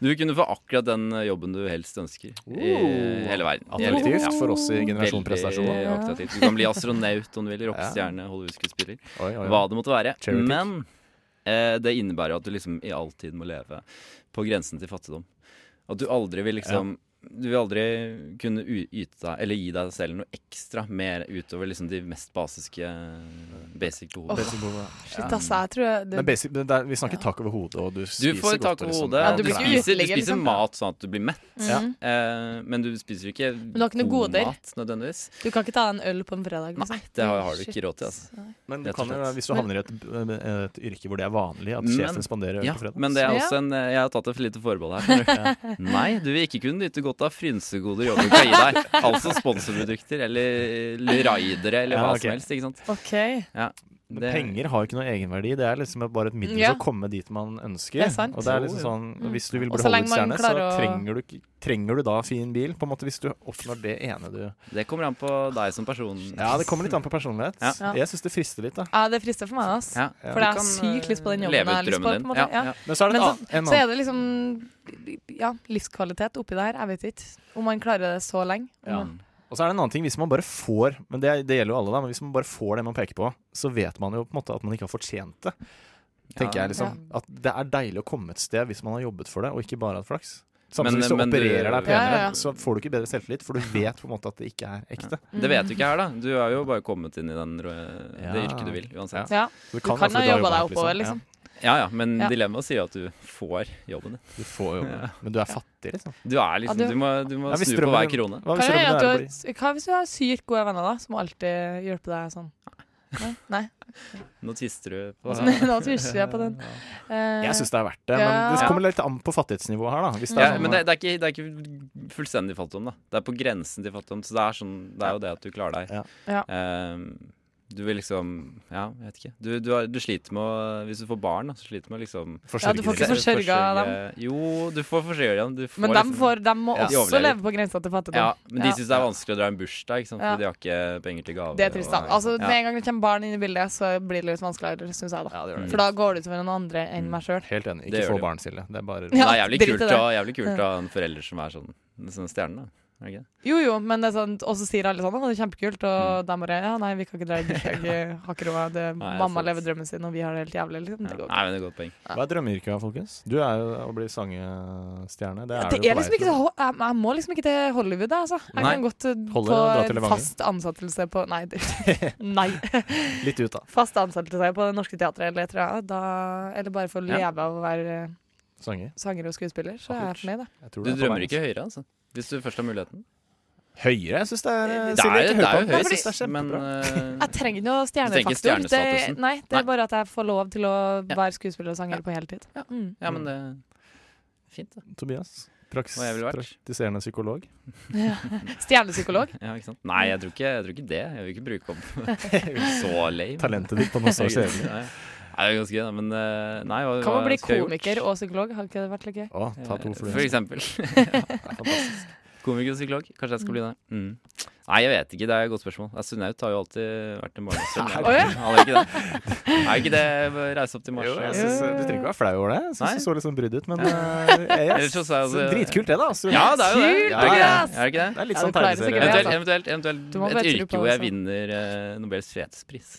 [SPEAKER 4] Du kunne få akkurat den eh, jobben du helst ønsker i
[SPEAKER 2] Oh.
[SPEAKER 4] hele verden. I hele livet.
[SPEAKER 2] Attraktivt for oss i generasjon prestasjon.
[SPEAKER 4] Veldig attraktivt. Du kan bli astronaut om du vil, rockestjerne, Hollywood-skuespiller.
[SPEAKER 2] Oi, oi,
[SPEAKER 4] Hva det måtte være.
[SPEAKER 2] Cherry pick.
[SPEAKER 4] Men eh, det innebærer jo at du liksom i all tid må leve på grensen til fattigdom. At du aldri vil liksom Du vil aldri kunne u- yte deg eller gi deg selv noe ekstra mer utover liksom de mest basiske basic behovene.
[SPEAKER 2] Basic behov, ja.
[SPEAKER 3] Shit, altså, jeg tror jeg-
[SPEAKER 2] Men
[SPEAKER 3] det,
[SPEAKER 2] basic, men det er, vi snakker tak over hodet, og du
[SPEAKER 4] Du
[SPEAKER 2] spiser
[SPEAKER 4] får
[SPEAKER 2] godt.
[SPEAKER 4] tak over
[SPEAKER 2] og liksom-
[SPEAKER 4] hodet.
[SPEAKER 3] Ja,
[SPEAKER 4] du,
[SPEAKER 3] du blir ikke
[SPEAKER 4] spiser, du
[SPEAKER 3] uteligger,
[SPEAKER 4] spiser
[SPEAKER 3] liksom.
[SPEAKER 4] mat sånn at du blir mett,
[SPEAKER 2] Ja.
[SPEAKER 3] Mm.
[SPEAKER 4] eh, men du spiser jo ikke
[SPEAKER 3] du har ikke noe
[SPEAKER 4] god
[SPEAKER 3] goder.
[SPEAKER 4] mat nødvendigvis.
[SPEAKER 3] du kan ikke ta en øl på en fredag. liksom.
[SPEAKER 4] Nei, det har, har du ikke råd til. Altså.
[SPEAKER 2] Men du
[SPEAKER 4] Rett og
[SPEAKER 2] kan jo,
[SPEAKER 4] slett.
[SPEAKER 2] hvis du havner i et, et yrke hvor det er vanlig at
[SPEAKER 4] Men-
[SPEAKER 2] sjefen spanderer øl
[SPEAKER 4] Ja,
[SPEAKER 2] på fredag
[SPEAKER 4] men det er
[SPEAKER 3] Ja.
[SPEAKER 4] også en eh, Jeg har tatt et lite forbehold her. skjønner du. [LAUGHS] Nei, du vil ikke kunne nyte godt av frynsegoder jobben kan gi deg. Altså sponsorprodukter eller, eller raidere eller
[SPEAKER 2] Ja,
[SPEAKER 4] hva
[SPEAKER 2] ok.
[SPEAKER 4] som helst. Ikke sant?
[SPEAKER 3] OK.
[SPEAKER 2] Men
[SPEAKER 4] Det-
[SPEAKER 2] Penger har jo ikke noe egenverdi. Det er liksom bare et middel
[SPEAKER 3] Ja.
[SPEAKER 2] til å komme dit man ønsker.
[SPEAKER 3] Det er sant. Mm.
[SPEAKER 2] Og det er
[SPEAKER 4] Jo,
[SPEAKER 2] liksom
[SPEAKER 4] jo.
[SPEAKER 2] sånn, Hvis du vil
[SPEAKER 3] Og
[SPEAKER 2] bli
[SPEAKER 3] så lenge man
[SPEAKER 2] Hollywood-stjerne, så
[SPEAKER 3] klarer å-
[SPEAKER 2] trenger du, ikke- trenger du da fin bil, på en måte, hvis du oppnår det ene du
[SPEAKER 4] Det kommer an på deg som person.
[SPEAKER 2] Ja, det kommer litt an på personlighet.
[SPEAKER 4] Ja.
[SPEAKER 2] Jeg syns det frister litt, da.
[SPEAKER 3] Ja, det frister for meg, ass.
[SPEAKER 4] Ja,
[SPEAKER 3] For jeg
[SPEAKER 4] du
[SPEAKER 3] har
[SPEAKER 4] kan,
[SPEAKER 3] sykt lyst på den
[SPEAKER 4] eh,
[SPEAKER 3] jobben jeg
[SPEAKER 4] leve
[SPEAKER 3] har
[SPEAKER 4] ut
[SPEAKER 3] lyst på, på
[SPEAKER 4] drømmen
[SPEAKER 3] en
[SPEAKER 4] din.
[SPEAKER 3] måte, ja.
[SPEAKER 2] Men så er det
[SPEAKER 3] Men
[SPEAKER 2] et annet- en
[SPEAKER 3] Så er
[SPEAKER 2] annen
[SPEAKER 3] det liksom ja, livskvalitet oppi der. Jeg vet ikke om man klarer det så lenge.
[SPEAKER 2] Ja.
[SPEAKER 3] Om-
[SPEAKER 2] Og så er det en annen ting, hvis man bare får Men det, det gjelder jo alle, da. Men hvis man bare får det man peker på, så vet man jo på en måte at man ikke har fortjent det. Tenker jeg liksom At det er deilig å komme et sted hvis man har jobbet for det, og ikke bare hatt flaks. Samme
[SPEAKER 4] Men-
[SPEAKER 2] som hvis du
[SPEAKER 4] men du-
[SPEAKER 2] opererer deg penere,
[SPEAKER 3] Ja, ja, ja.
[SPEAKER 2] så får du ikke bedre selvtillit, for du vet på en måte at det ikke er ekte.
[SPEAKER 4] Det vet du ikke her, da. Du har jo bare kommet inn i den, ro- det
[SPEAKER 2] Ja.
[SPEAKER 4] yrket du vil, uansett.
[SPEAKER 3] Ja.
[SPEAKER 2] Du
[SPEAKER 3] Du kan
[SPEAKER 2] altså,
[SPEAKER 3] ha
[SPEAKER 2] har
[SPEAKER 3] jobba
[SPEAKER 2] jobbet
[SPEAKER 3] deg oppover,
[SPEAKER 2] her,
[SPEAKER 3] liksom.
[SPEAKER 4] Ja ja, men
[SPEAKER 3] Ja.
[SPEAKER 4] dilemmaet sier at du får jobben din.
[SPEAKER 2] Ja, du får jobbe, men du er fattig, liksom.
[SPEAKER 4] Du er liksom
[SPEAKER 3] Ja, du-
[SPEAKER 4] Du må, du må
[SPEAKER 2] Ja, hvis
[SPEAKER 4] snu på
[SPEAKER 2] drømmen-
[SPEAKER 4] hver
[SPEAKER 2] Hva
[SPEAKER 4] krone.
[SPEAKER 3] Hva,
[SPEAKER 2] hvis drømmen
[SPEAKER 3] er
[SPEAKER 2] er å bli
[SPEAKER 3] det at du, hva hvis du har sykt gode venner, da? Som alltid hjelper deg sånn. Nei,
[SPEAKER 4] [LAUGHS]
[SPEAKER 3] Nei.
[SPEAKER 4] Nå tister du på
[SPEAKER 2] Altså,
[SPEAKER 3] [LAUGHS] da tvister jeg på den. Eh,
[SPEAKER 2] Jeg syns det er verdt det, men det
[SPEAKER 3] Ja.
[SPEAKER 2] kommer litt an på fattighetsnivået her, da. Hvis det
[SPEAKER 4] Ja,
[SPEAKER 2] er sånn,
[SPEAKER 4] men det, det, er ikke, det er ikke fullstendig fattigdom, da. Det er på grensen til fattigdom. Så det er, sånn, det er jo det at du klarer deg.
[SPEAKER 2] Ja.
[SPEAKER 3] Ja.
[SPEAKER 4] Ehm, Du vil liksom Ja, jeg vet ikke. Du, du, har, du sliter med å Hvis du får barn, da, så sliter du med å liksom
[SPEAKER 3] Ja, du får ikke
[SPEAKER 4] se-
[SPEAKER 3] forsørget
[SPEAKER 4] forsørge- Jo, du får forsørga dem. Du får
[SPEAKER 3] Men de,
[SPEAKER 4] liksom-
[SPEAKER 3] får, de må
[SPEAKER 4] Ja. De
[SPEAKER 3] også
[SPEAKER 4] overlever.
[SPEAKER 3] leve på grensa til fattigdom.
[SPEAKER 4] Ja, men de
[SPEAKER 3] Ja.
[SPEAKER 4] syns det er vanskelig å dra en bursdag, ikke sant?
[SPEAKER 3] Ja.
[SPEAKER 4] Fordi de har ikke penger til gaver.
[SPEAKER 3] Det er trist, da.
[SPEAKER 4] og-
[SPEAKER 3] Altså,
[SPEAKER 4] ja.
[SPEAKER 3] Med en gang det kommer barn inn i bildet, så blir det litt vanskeligere, syns jeg. da
[SPEAKER 2] Ja, det gjør det.
[SPEAKER 3] For da går det utover noen andre
[SPEAKER 4] Mm.
[SPEAKER 3] enn meg sjøl.
[SPEAKER 2] Helt enig.
[SPEAKER 4] Det
[SPEAKER 2] Ikke
[SPEAKER 4] gjør
[SPEAKER 2] få
[SPEAKER 4] det jo.
[SPEAKER 2] barn, Silje. Det er
[SPEAKER 4] [LAUGHS]
[SPEAKER 2] bare
[SPEAKER 4] Men
[SPEAKER 3] [LAUGHS] Ja,
[SPEAKER 4] det er jævlig
[SPEAKER 3] drit i
[SPEAKER 4] kult,
[SPEAKER 3] det.
[SPEAKER 4] å, jævlig kult å ha en forelder som er sånn, sånn stjerne, da. Er det ikke det?
[SPEAKER 3] Jo, jo, men det er sånn, og så sier alle sånn 'Å, det er kjempekult', og de bare 'Ja, nei, vi kan ikke dra i
[SPEAKER 4] [LAUGHS]
[SPEAKER 3] bursdag, eh, har ikke råd', det-
[SPEAKER 4] Mm. Nei,
[SPEAKER 3] mamma
[SPEAKER 4] sant.
[SPEAKER 3] lever drømmen sin, og vi har det helt jævlig, liksom. Det
[SPEAKER 4] Ja.
[SPEAKER 3] går
[SPEAKER 4] Nei, men det er et godt poeng.
[SPEAKER 2] Hva er drømmeyrket, folkens? Du er jo å bli sangestjerne. Det er,
[SPEAKER 3] Det
[SPEAKER 2] du
[SPEAKER 3] er
[SPEAKER 2] på
[SPEAKER 3] liksom
[SPEAKER 2] vei
[SPEAKER 3] ikke
[SPEAKER 2] til.
[SPEAKER 3] så, jeg, jeg må liksom ikke til Hollywood, jeg, altså. Jeg
[SPEAKER 4] Nei.
[SPEAKER 3] kan godt eh,
[SPEAKER 2] Holder å dra til
[SPEAKER 3] på
[SPEAKER 2] Levanger.
[SPEAKER 3] fast ansettelse på Nei. det- nei. sånn-
[SPEAKER 2] Litt ut, da.
[SPEAKER 3] Fast ansettelse på Det Norske Teatret eller et eller annet. Da, eller bare for å
[SPEAKER 4] Ja.
[SPEAKER 3] leve av å være eh,
[SPEAKER 2] Sanger.
[SPEAKER 3] sanger og skuespiller, så er jeg fornøyd, da.
[SPEAKER 2] Jeg tror
[SPEAKER 4] Du
[SPEAKER 2] det er på
[SPEAKER 4] drømmer
[SPEAKER 2] vei.
[SPEAKER 4] ikke høyere, altså. Hvis du først har muligheten.
[SPEAKER 2] Høyere? Jeg syns det er
[SPEAKER 4] Det
[SPEAKER 2] Silje,
[SPEAKER 4] er,
[SPEAKER 2] ikke hør
[SPEAKER 4] det er jo
[SPEAKER 2] på meg. Jeg synes det er
[SPEAKER 4] høyest, men
[SPEAKER 2] kjempebra.
[SPEAKER 4] eh,
[SPEAKER 3] Jeg trenger ikke noe
[SPEAKER 4] tenker ikke
[SPEAKER 3] stjernefaktor. Det,
[SPEAKER 4] stjernestatusen?
[SPEAKER 3] nei, det
[SPEAKER 4] Nei.
[SPEAKER 3] er bare at jeg får lov til å
[SPEAKER 4] Ja.
[SPEAKER 3] være skuespiller og sanger
[SPEAKER 4] Ja.
[SPEAKER 3] på heltid.
[SPEAKER 4] Ja.
[SPEAKER 3] Mm.
[SPEAKER 4] Ja, men det er fint, da.
[SPEAKER 2] Tobias, praks,
[SPEAKER 4] Hva jeg ville vært.
[SPEAKER 2] praktiserende psykolog.
[SPEAKER 4] [LAUGHS]
[SPEAKER 3] Stjernepsykolog.
[SPEAKER 4] Ja, ikke sant? Nei, jeg tror ikke, jeg tror ikke det. Jeg vil ikke bruke [LAUGHS] opp så lame.
[SPEAKER 2] Talentet ditt på
[SPEAKER 4] [LAUGHS]
[SPEAKER 2] masse
[SPEAKER 4] Nei,
[SPEAKER 2] skjebner.
[SPEAKER 4] det er ganske gøy, da, men eh, nei, hva,
[SPEAKER 3] Kan man
[SPEAKER 4] hva
[SPEAKER 3] bli
[SPEAKER 4] skulle jeg gjort?
[SPEAKER 3] komiker og psykolog? Har ikke det vært litt gøy?
[SPEAKER 2] Å, ta to
[SPEAKER 4] Eh, For
[SPEAKER 2] fluer.
[SPEAKER 4] eksempel. [LAUGHS]
[SPEAKER 2] Fantastisk.
[SPEAKER 4] Komiker og psykolog. Kanskje jeg skal bli det. Mm. Nei, jeg vet ikke. Det er et godt spørsmål. Jeg, Sunnaut har jo alltid vært en barnesønn.
[SPEAKER 3] Å, ja.
[SPEAKER 4] Han er ikke det. Er ikke det reise opp til Mars?
[SPEAKER 2] Jo, jeg
[SPEAKER 4] og-
[SPEAKER 2] synes, eh, du trenger ikke være flau over det. Jeg
[SPEAKER 4] Nei.
[SPEAKER 2] syns du så litt sånn brydd
[SPEAKER 4] [LAUGHS]
[SPEAKER 2] ut, men eh,
[SPEAKER 4] Ellers
[SPEAKER 2] yes.
[SPEAKER 4] så sa jeg
[SPEAKER 2] Så
[SPEAKER 4] altså-
[SPEAKER 2] Dritkult, det, da. altså.
[SPEAKER 4] Ja, det er jo det.
[SPEAKER 3] Kult,
[SPEAKER 4] Er det ikke
[SPEAKER 3] ass!
[SPEAKER 4] det? Er det ikke det?
[SPEAKER 2] Det er litt
[SPEAKER 3] Ja, du
[SPEAKER 2] sånn
[SPEAKER 3] klarer sikkert
[SPEAKER 2] tegneserie.
[SPEAKER 3] det,
[SPEAKER 4] Eventuelt,
[SPEAKER 3] altså.
[SPEAKER 4] eventuelt,
[SPEAKER 3] Du må
[SPEAKER 4] eventuelt
[SPEAKER 3] bare
[SPEAKER 4] et
[SPEAKER 3] tro
[SPEAKER 4] yrke
[SPEAKER 3] på
[SPEAKER 4] hvor
[SPEAKER 3] det,
[SPEAKER 4] jeg
[SPEAKER 3] altså.
[SPEAKER 4] vinner eh, Nobels fredspris.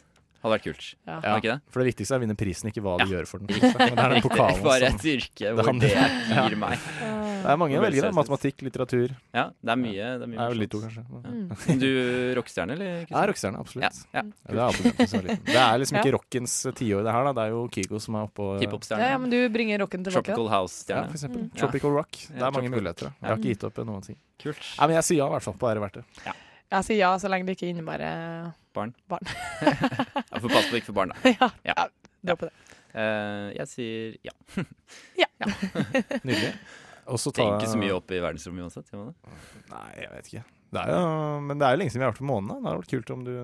[SPEAKER 4] Hadde vært kult.
[SPEAKER 3] Ja.
[SPEAKER 4] Er det ikke det?
[SPEAKER 2] For det viktigste er å vinne prisen, ikke hva du
[SPEAKER 4] Ja.
[SPEAKER 2] gjør for den. Men det er den
[SPEAKER 4] [LAUGHS]
[SPEAKER 2] pokalen
[SPEAKER 4] Bare
[SPEAKER 2] som
[SPEAKER 4] et yrke
[SPEAKER 2] Det
[SPEAKER 4] hvor
[SPEAKER 2] handler-
[SPEAKER 4] det gir meg.
[SPEAKER 2] Det
[SPEAKER 3] Ah.
[SPEAKER 2] er mange
[SPEAKER 4] Nobels
[SPEAKER 2] velgere.
[SPEAKER 4] fredspris.
[SPEAKER 2] Matematikk, litteratur.
[SPEAKER 4] Ja, det er mye. Det er
[SPEAKER 2] Det
[SPEAKER 4] mye
[SPEAKER 2] er jo
[SPEAKER 4] morsomt.
[SPEAKER 2] litt to, kanskje.
[SPEAKER 3] Mm.
[SPEAKER 4] Men Du rockestjerne, eller?
[SPEAKER 2] Jeg er
[SPEAKER 4] Kristian?
[SPEAKER 2] rockestjerne,
[SPEAKER 4] Ja,
[SPEAKER 2] absolutt. Ja,
[SPEAKER 4] ja.
[SPEAKER 2] Det, er alltid den som er liten. det er liksom
[SPEAKER 3] Ja.
[SPEAKER 2] ikke rockens eh, tiår, det her. da Det er jo Kygo som er oppå eh,
[SPEAKER 4] Hiphop-stjerne.
[SPEAKER 3] Ja, ja, men du bringer rocken tilbake. da.
[SPEAKER 4] Tropical
[SPEAKER 2] ja,
[SPEAKER 4] House-stjerne.
[SPEAKER 2] for eksempel.
[SPEAKER 3] Mm.
[SPEAKER 2] Tropical Rock. Det er
[SPEAKER 4] Ja,
[SPEAKER 2] mange
[SPEAKER 4] Tropical
[SPEAKER 2] muligheter. da. Jeg har
[SPEAKER 3] Ja.
[SPEAKER 2] ikke gitt opp eh, noen ting.
[SPEAKER 4] Kult.
[SPEAKER 2] Nei, men jeg sier ja, i hvert fall. På ære verdt det.
[SPEAKER 3] Jeg sier ja så lenge det ikke innebærer [LAUGHS]
[SPEAKER 4] Barn.
[SPEAKER 3] barn.
[SPEAKER 4] Jeg får passe på ikke for barn, da.
[SPEAKER 3] ja.
[SPEAKER 4] Ja.
[SPEAKER 3] ja. Dra på det.
[SPEAKER 4] Eh, jeg sier ja.
[SPEAKER 2] Nydelig. Og så
[SPEAKER 4] Tenker ikke så mye opp i verdensrommet uansett. gjør man det?
[SPEAKER 2] Nei, jeg vet ikke. Det er jo, men det er jo lenge siden vi har vært på månen. da. Det hadde vært kult om du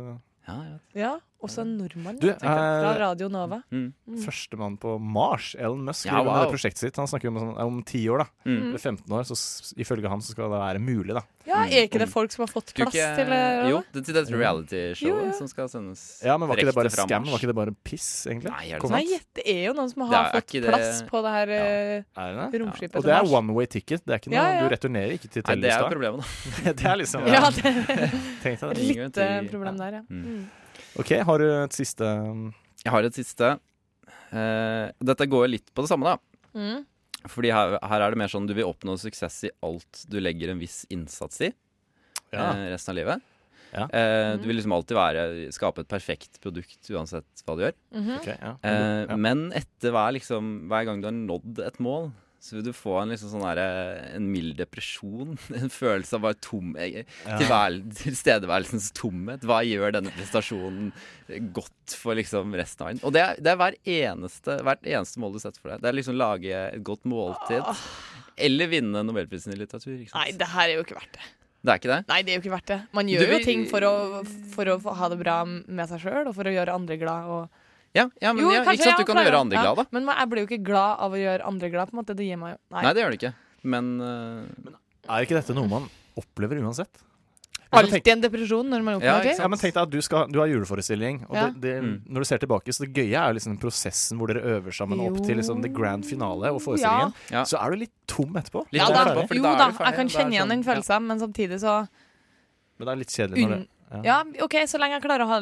[SPEAKER 4] Ja, ja.
[SPEAKER 3] Ja, også en nordmann
[SPEAKER 2] Du,
[SPEAKER 3] fra
[SPEAKER 2] eh,
[SPEAKER 3] Radio Nova.
[SPEAKER 4] Mm.
[SPEAKER 2] førstemann på Mars, Elon Musk,
[SPEAKER 4] Ja,
[SPEAKER 2] driver med
[SPEAKER 4] wow.
[SPEAKER 2] det prosjektet sitt. Han snakker jo om sånn, om ti år, da.
[SPEAKER 4] Mm.
[SPEAKER 2] Eller 15 år. Så s- ifølge han så skal det være mulig, da.
[SPEAKER 3] Ja,
[SPEAKER 4] Mm.
[SPEAKER 3] er ikke det folk som har fått plass
[SPEAKER 4] Skulle
[SPEAKER 3] til eh,
[SPEAKER 4] Jo,
[SPEAKER 3] Rana?
[SPEAKER 4] det, til dette
[SPEAKER 3] Jo,
[SPEAKER 4] reality-showet
[SPEAKER 3] ja.
[SPEAKER 4] som skal sendes
[SPEAKER 2] Ja, men var ikke det bare
[SPEAKER 4] direkte fra
[SPEAKER 2] scam?
[SPEAKER 4] Mars.
[SPEAKER 2] Var ikke det bare piss, egentlig?
[SPEAKER 4] Nei, er det
[SPEAKER 2] Kom
[SPEAKER 4] sant?
[SPEAKER 3] Nei, det er jo noen som
[SPEAKER 4] Det
[SPEAKER 3] har
[SPEAKER 4] er- er
[SPEAKER 3] fått
[SPEAKER 4] ikke det-
[SPEAKER 3] plass på det her eh,
[SPEAKER 2] Er det det?
[SPEAKER 3] romskipet.
[SPEAKER 2] Og
[SPEAKER 3] til
[SPEAKER 2] det er
[SPEAKER 3] Mars.
[SPEAKER 2] one way ticket. Det er ikke noe,
[SPEAKER 3] Ja, ja.
[SPEAKER 2] Du returnerer ikke til
[SPEAKER 4] Nei, det er jo
[SPEAKER 2] Tellestad.
[SPEAKER 4] problemet, da.
[SPEAKER 2] [LAUGHS] det er liksom
[SPEAKER 3] Ja, det er
[SPEAKER 2] Tenk deg det.
[SPEAKER 4] Ingen
[SPEAKER 3] litt eh,
[SPEAKER 4] teori.
[SPEAKER 3] problem der, ja.
[SPEAKER 4] Mm.
[SPEAKER 3] Mm.
[SPEAKER 2] Ok, har du et siste um,
[SPEAKER 4] Jeg har et siste. Eh, dette går litt på det samme, da.
[SPEAKER 3] Mm.
[SPEAKER 4] Fordi her, her er det mer sånn du vil oppnå suksess i alt du legger en viss innsats i eh, resten av livet.
[SPEAKER 2] Ja.
[SPEAKER 4] Eh,
[SPEAKER 3] Mm.
[SPEAKER 4] du vil liksom alltid være, skape et perfekt produkt uansett hva du gjør.
[SPEAKER 3] Mhm.
[SPEAKER 2] ok, ja.
[SPEAKER 4] Eh,
[SPEAKER 2] ja.
[SPEAKER 4] Men etter hver, liksom, hver gang du har nådd et mål, så vil du få en, liksom sånn derre- en mild depresjon. [LAUGHS] En følelse av bare tom eh, tilværel- tilstedeværelsens tomhet. Hva gjør denne prestasjonen godt for liksom resten av verden? Og det er, det er hver eneste, hvert eneste mål du setter for deg. Det er liksom lage et godt måltid. Eller vinne Nobelprisen i litteratur. Ikke
[SPEAKER 3] Ah. Nei,
[SPEAKER 4] sant?
[SPEAKER 3] det her er jo ikke verdt det.
[SPEAKER 4] Det er ikke det?
[SPEAKER 3] Nei, det er jo ikke verdt det. Man
[SPEAKER 4] Du
[SPEAKER 3] gjør
[SPEAKER 4] vil-
[SPEAKER 3] jo ting for å, for å få- ha det bra med seg sjøl, og for å gjøre andre glad. Og...
[SPEAKER 4] Ja, ja men
[SPEAKER 3] Jo, kanskje
[SPEAKER 4] ja, ikke sant?
[SPEAKER 3] jeg
[SPEAKER 4] Du kan
[SPEAKER 3] klarer-
[SPEAKER 4] gjøre andre
[SPEAKER 3] ja,
[SPEAKER 4] glad, da.
[SPEAKER 3] Men jeg blir jo ikke glad av å gjøre andre glad, på en måte. Det gir meg jo Nei.
[SPEAKER 4] Nei, det gjør du ikke. Men eh,
[SPEAKER 2] Er ikke dette noe man opplever uansett?
[SPEAKER 3] Alltid en depresjon når man
[SPEAKER 4] Ja,
[SPEAKER 3] oppnår
[SPEAKER 4] ikke
[SPEAKER 2] Ja,
[SPEAKER 3] ting.
[SPEAKER 2] men tenk deg at Du, skal, du har juleforestilling, og
[SPEAKER 3] Ja.
[SPEAKER 2] det, det,
[SPEAKER 4] Mm.
[SPEAKER 2] når du ser tilbake, så det gøye er jo liksom prosessen hvor dere øver sammen opp til liksom the grand finale og forestillingen.
[SPEAKER 4] Ja.
[SPEAKER 2] Så er du litt sånn tom etterpå.
[SPEAKER 4] Litt
[SPEAKER 3] ja
[SPEAKER 4] tom
[SPEAKER 3] da,
[SPEAKER 4] etterpå, fordi
[SPEAKER 3] jo
[SPEAKER 4] da er
[SPEAKER 3] da,
[SPEAKER 4] du ferdig.
[SPEAKER 3] jeg kan
[SPEAKER 4] Da er
[SPEAKER 3] kjenne
[SPEAKER 4] det
[SPEAKER 3] igjen den
[SPEAKER 4] sånn,
[SPEAKER 3] følelsen, men samtidig så
[SPEAKER 2] Men det er litt kjedelig når
[SPEAKER 3] unn...
[SPEAKER 2] det ja.
[SPEAKER 3] Ja, OK, så lenge jeg klarer å ha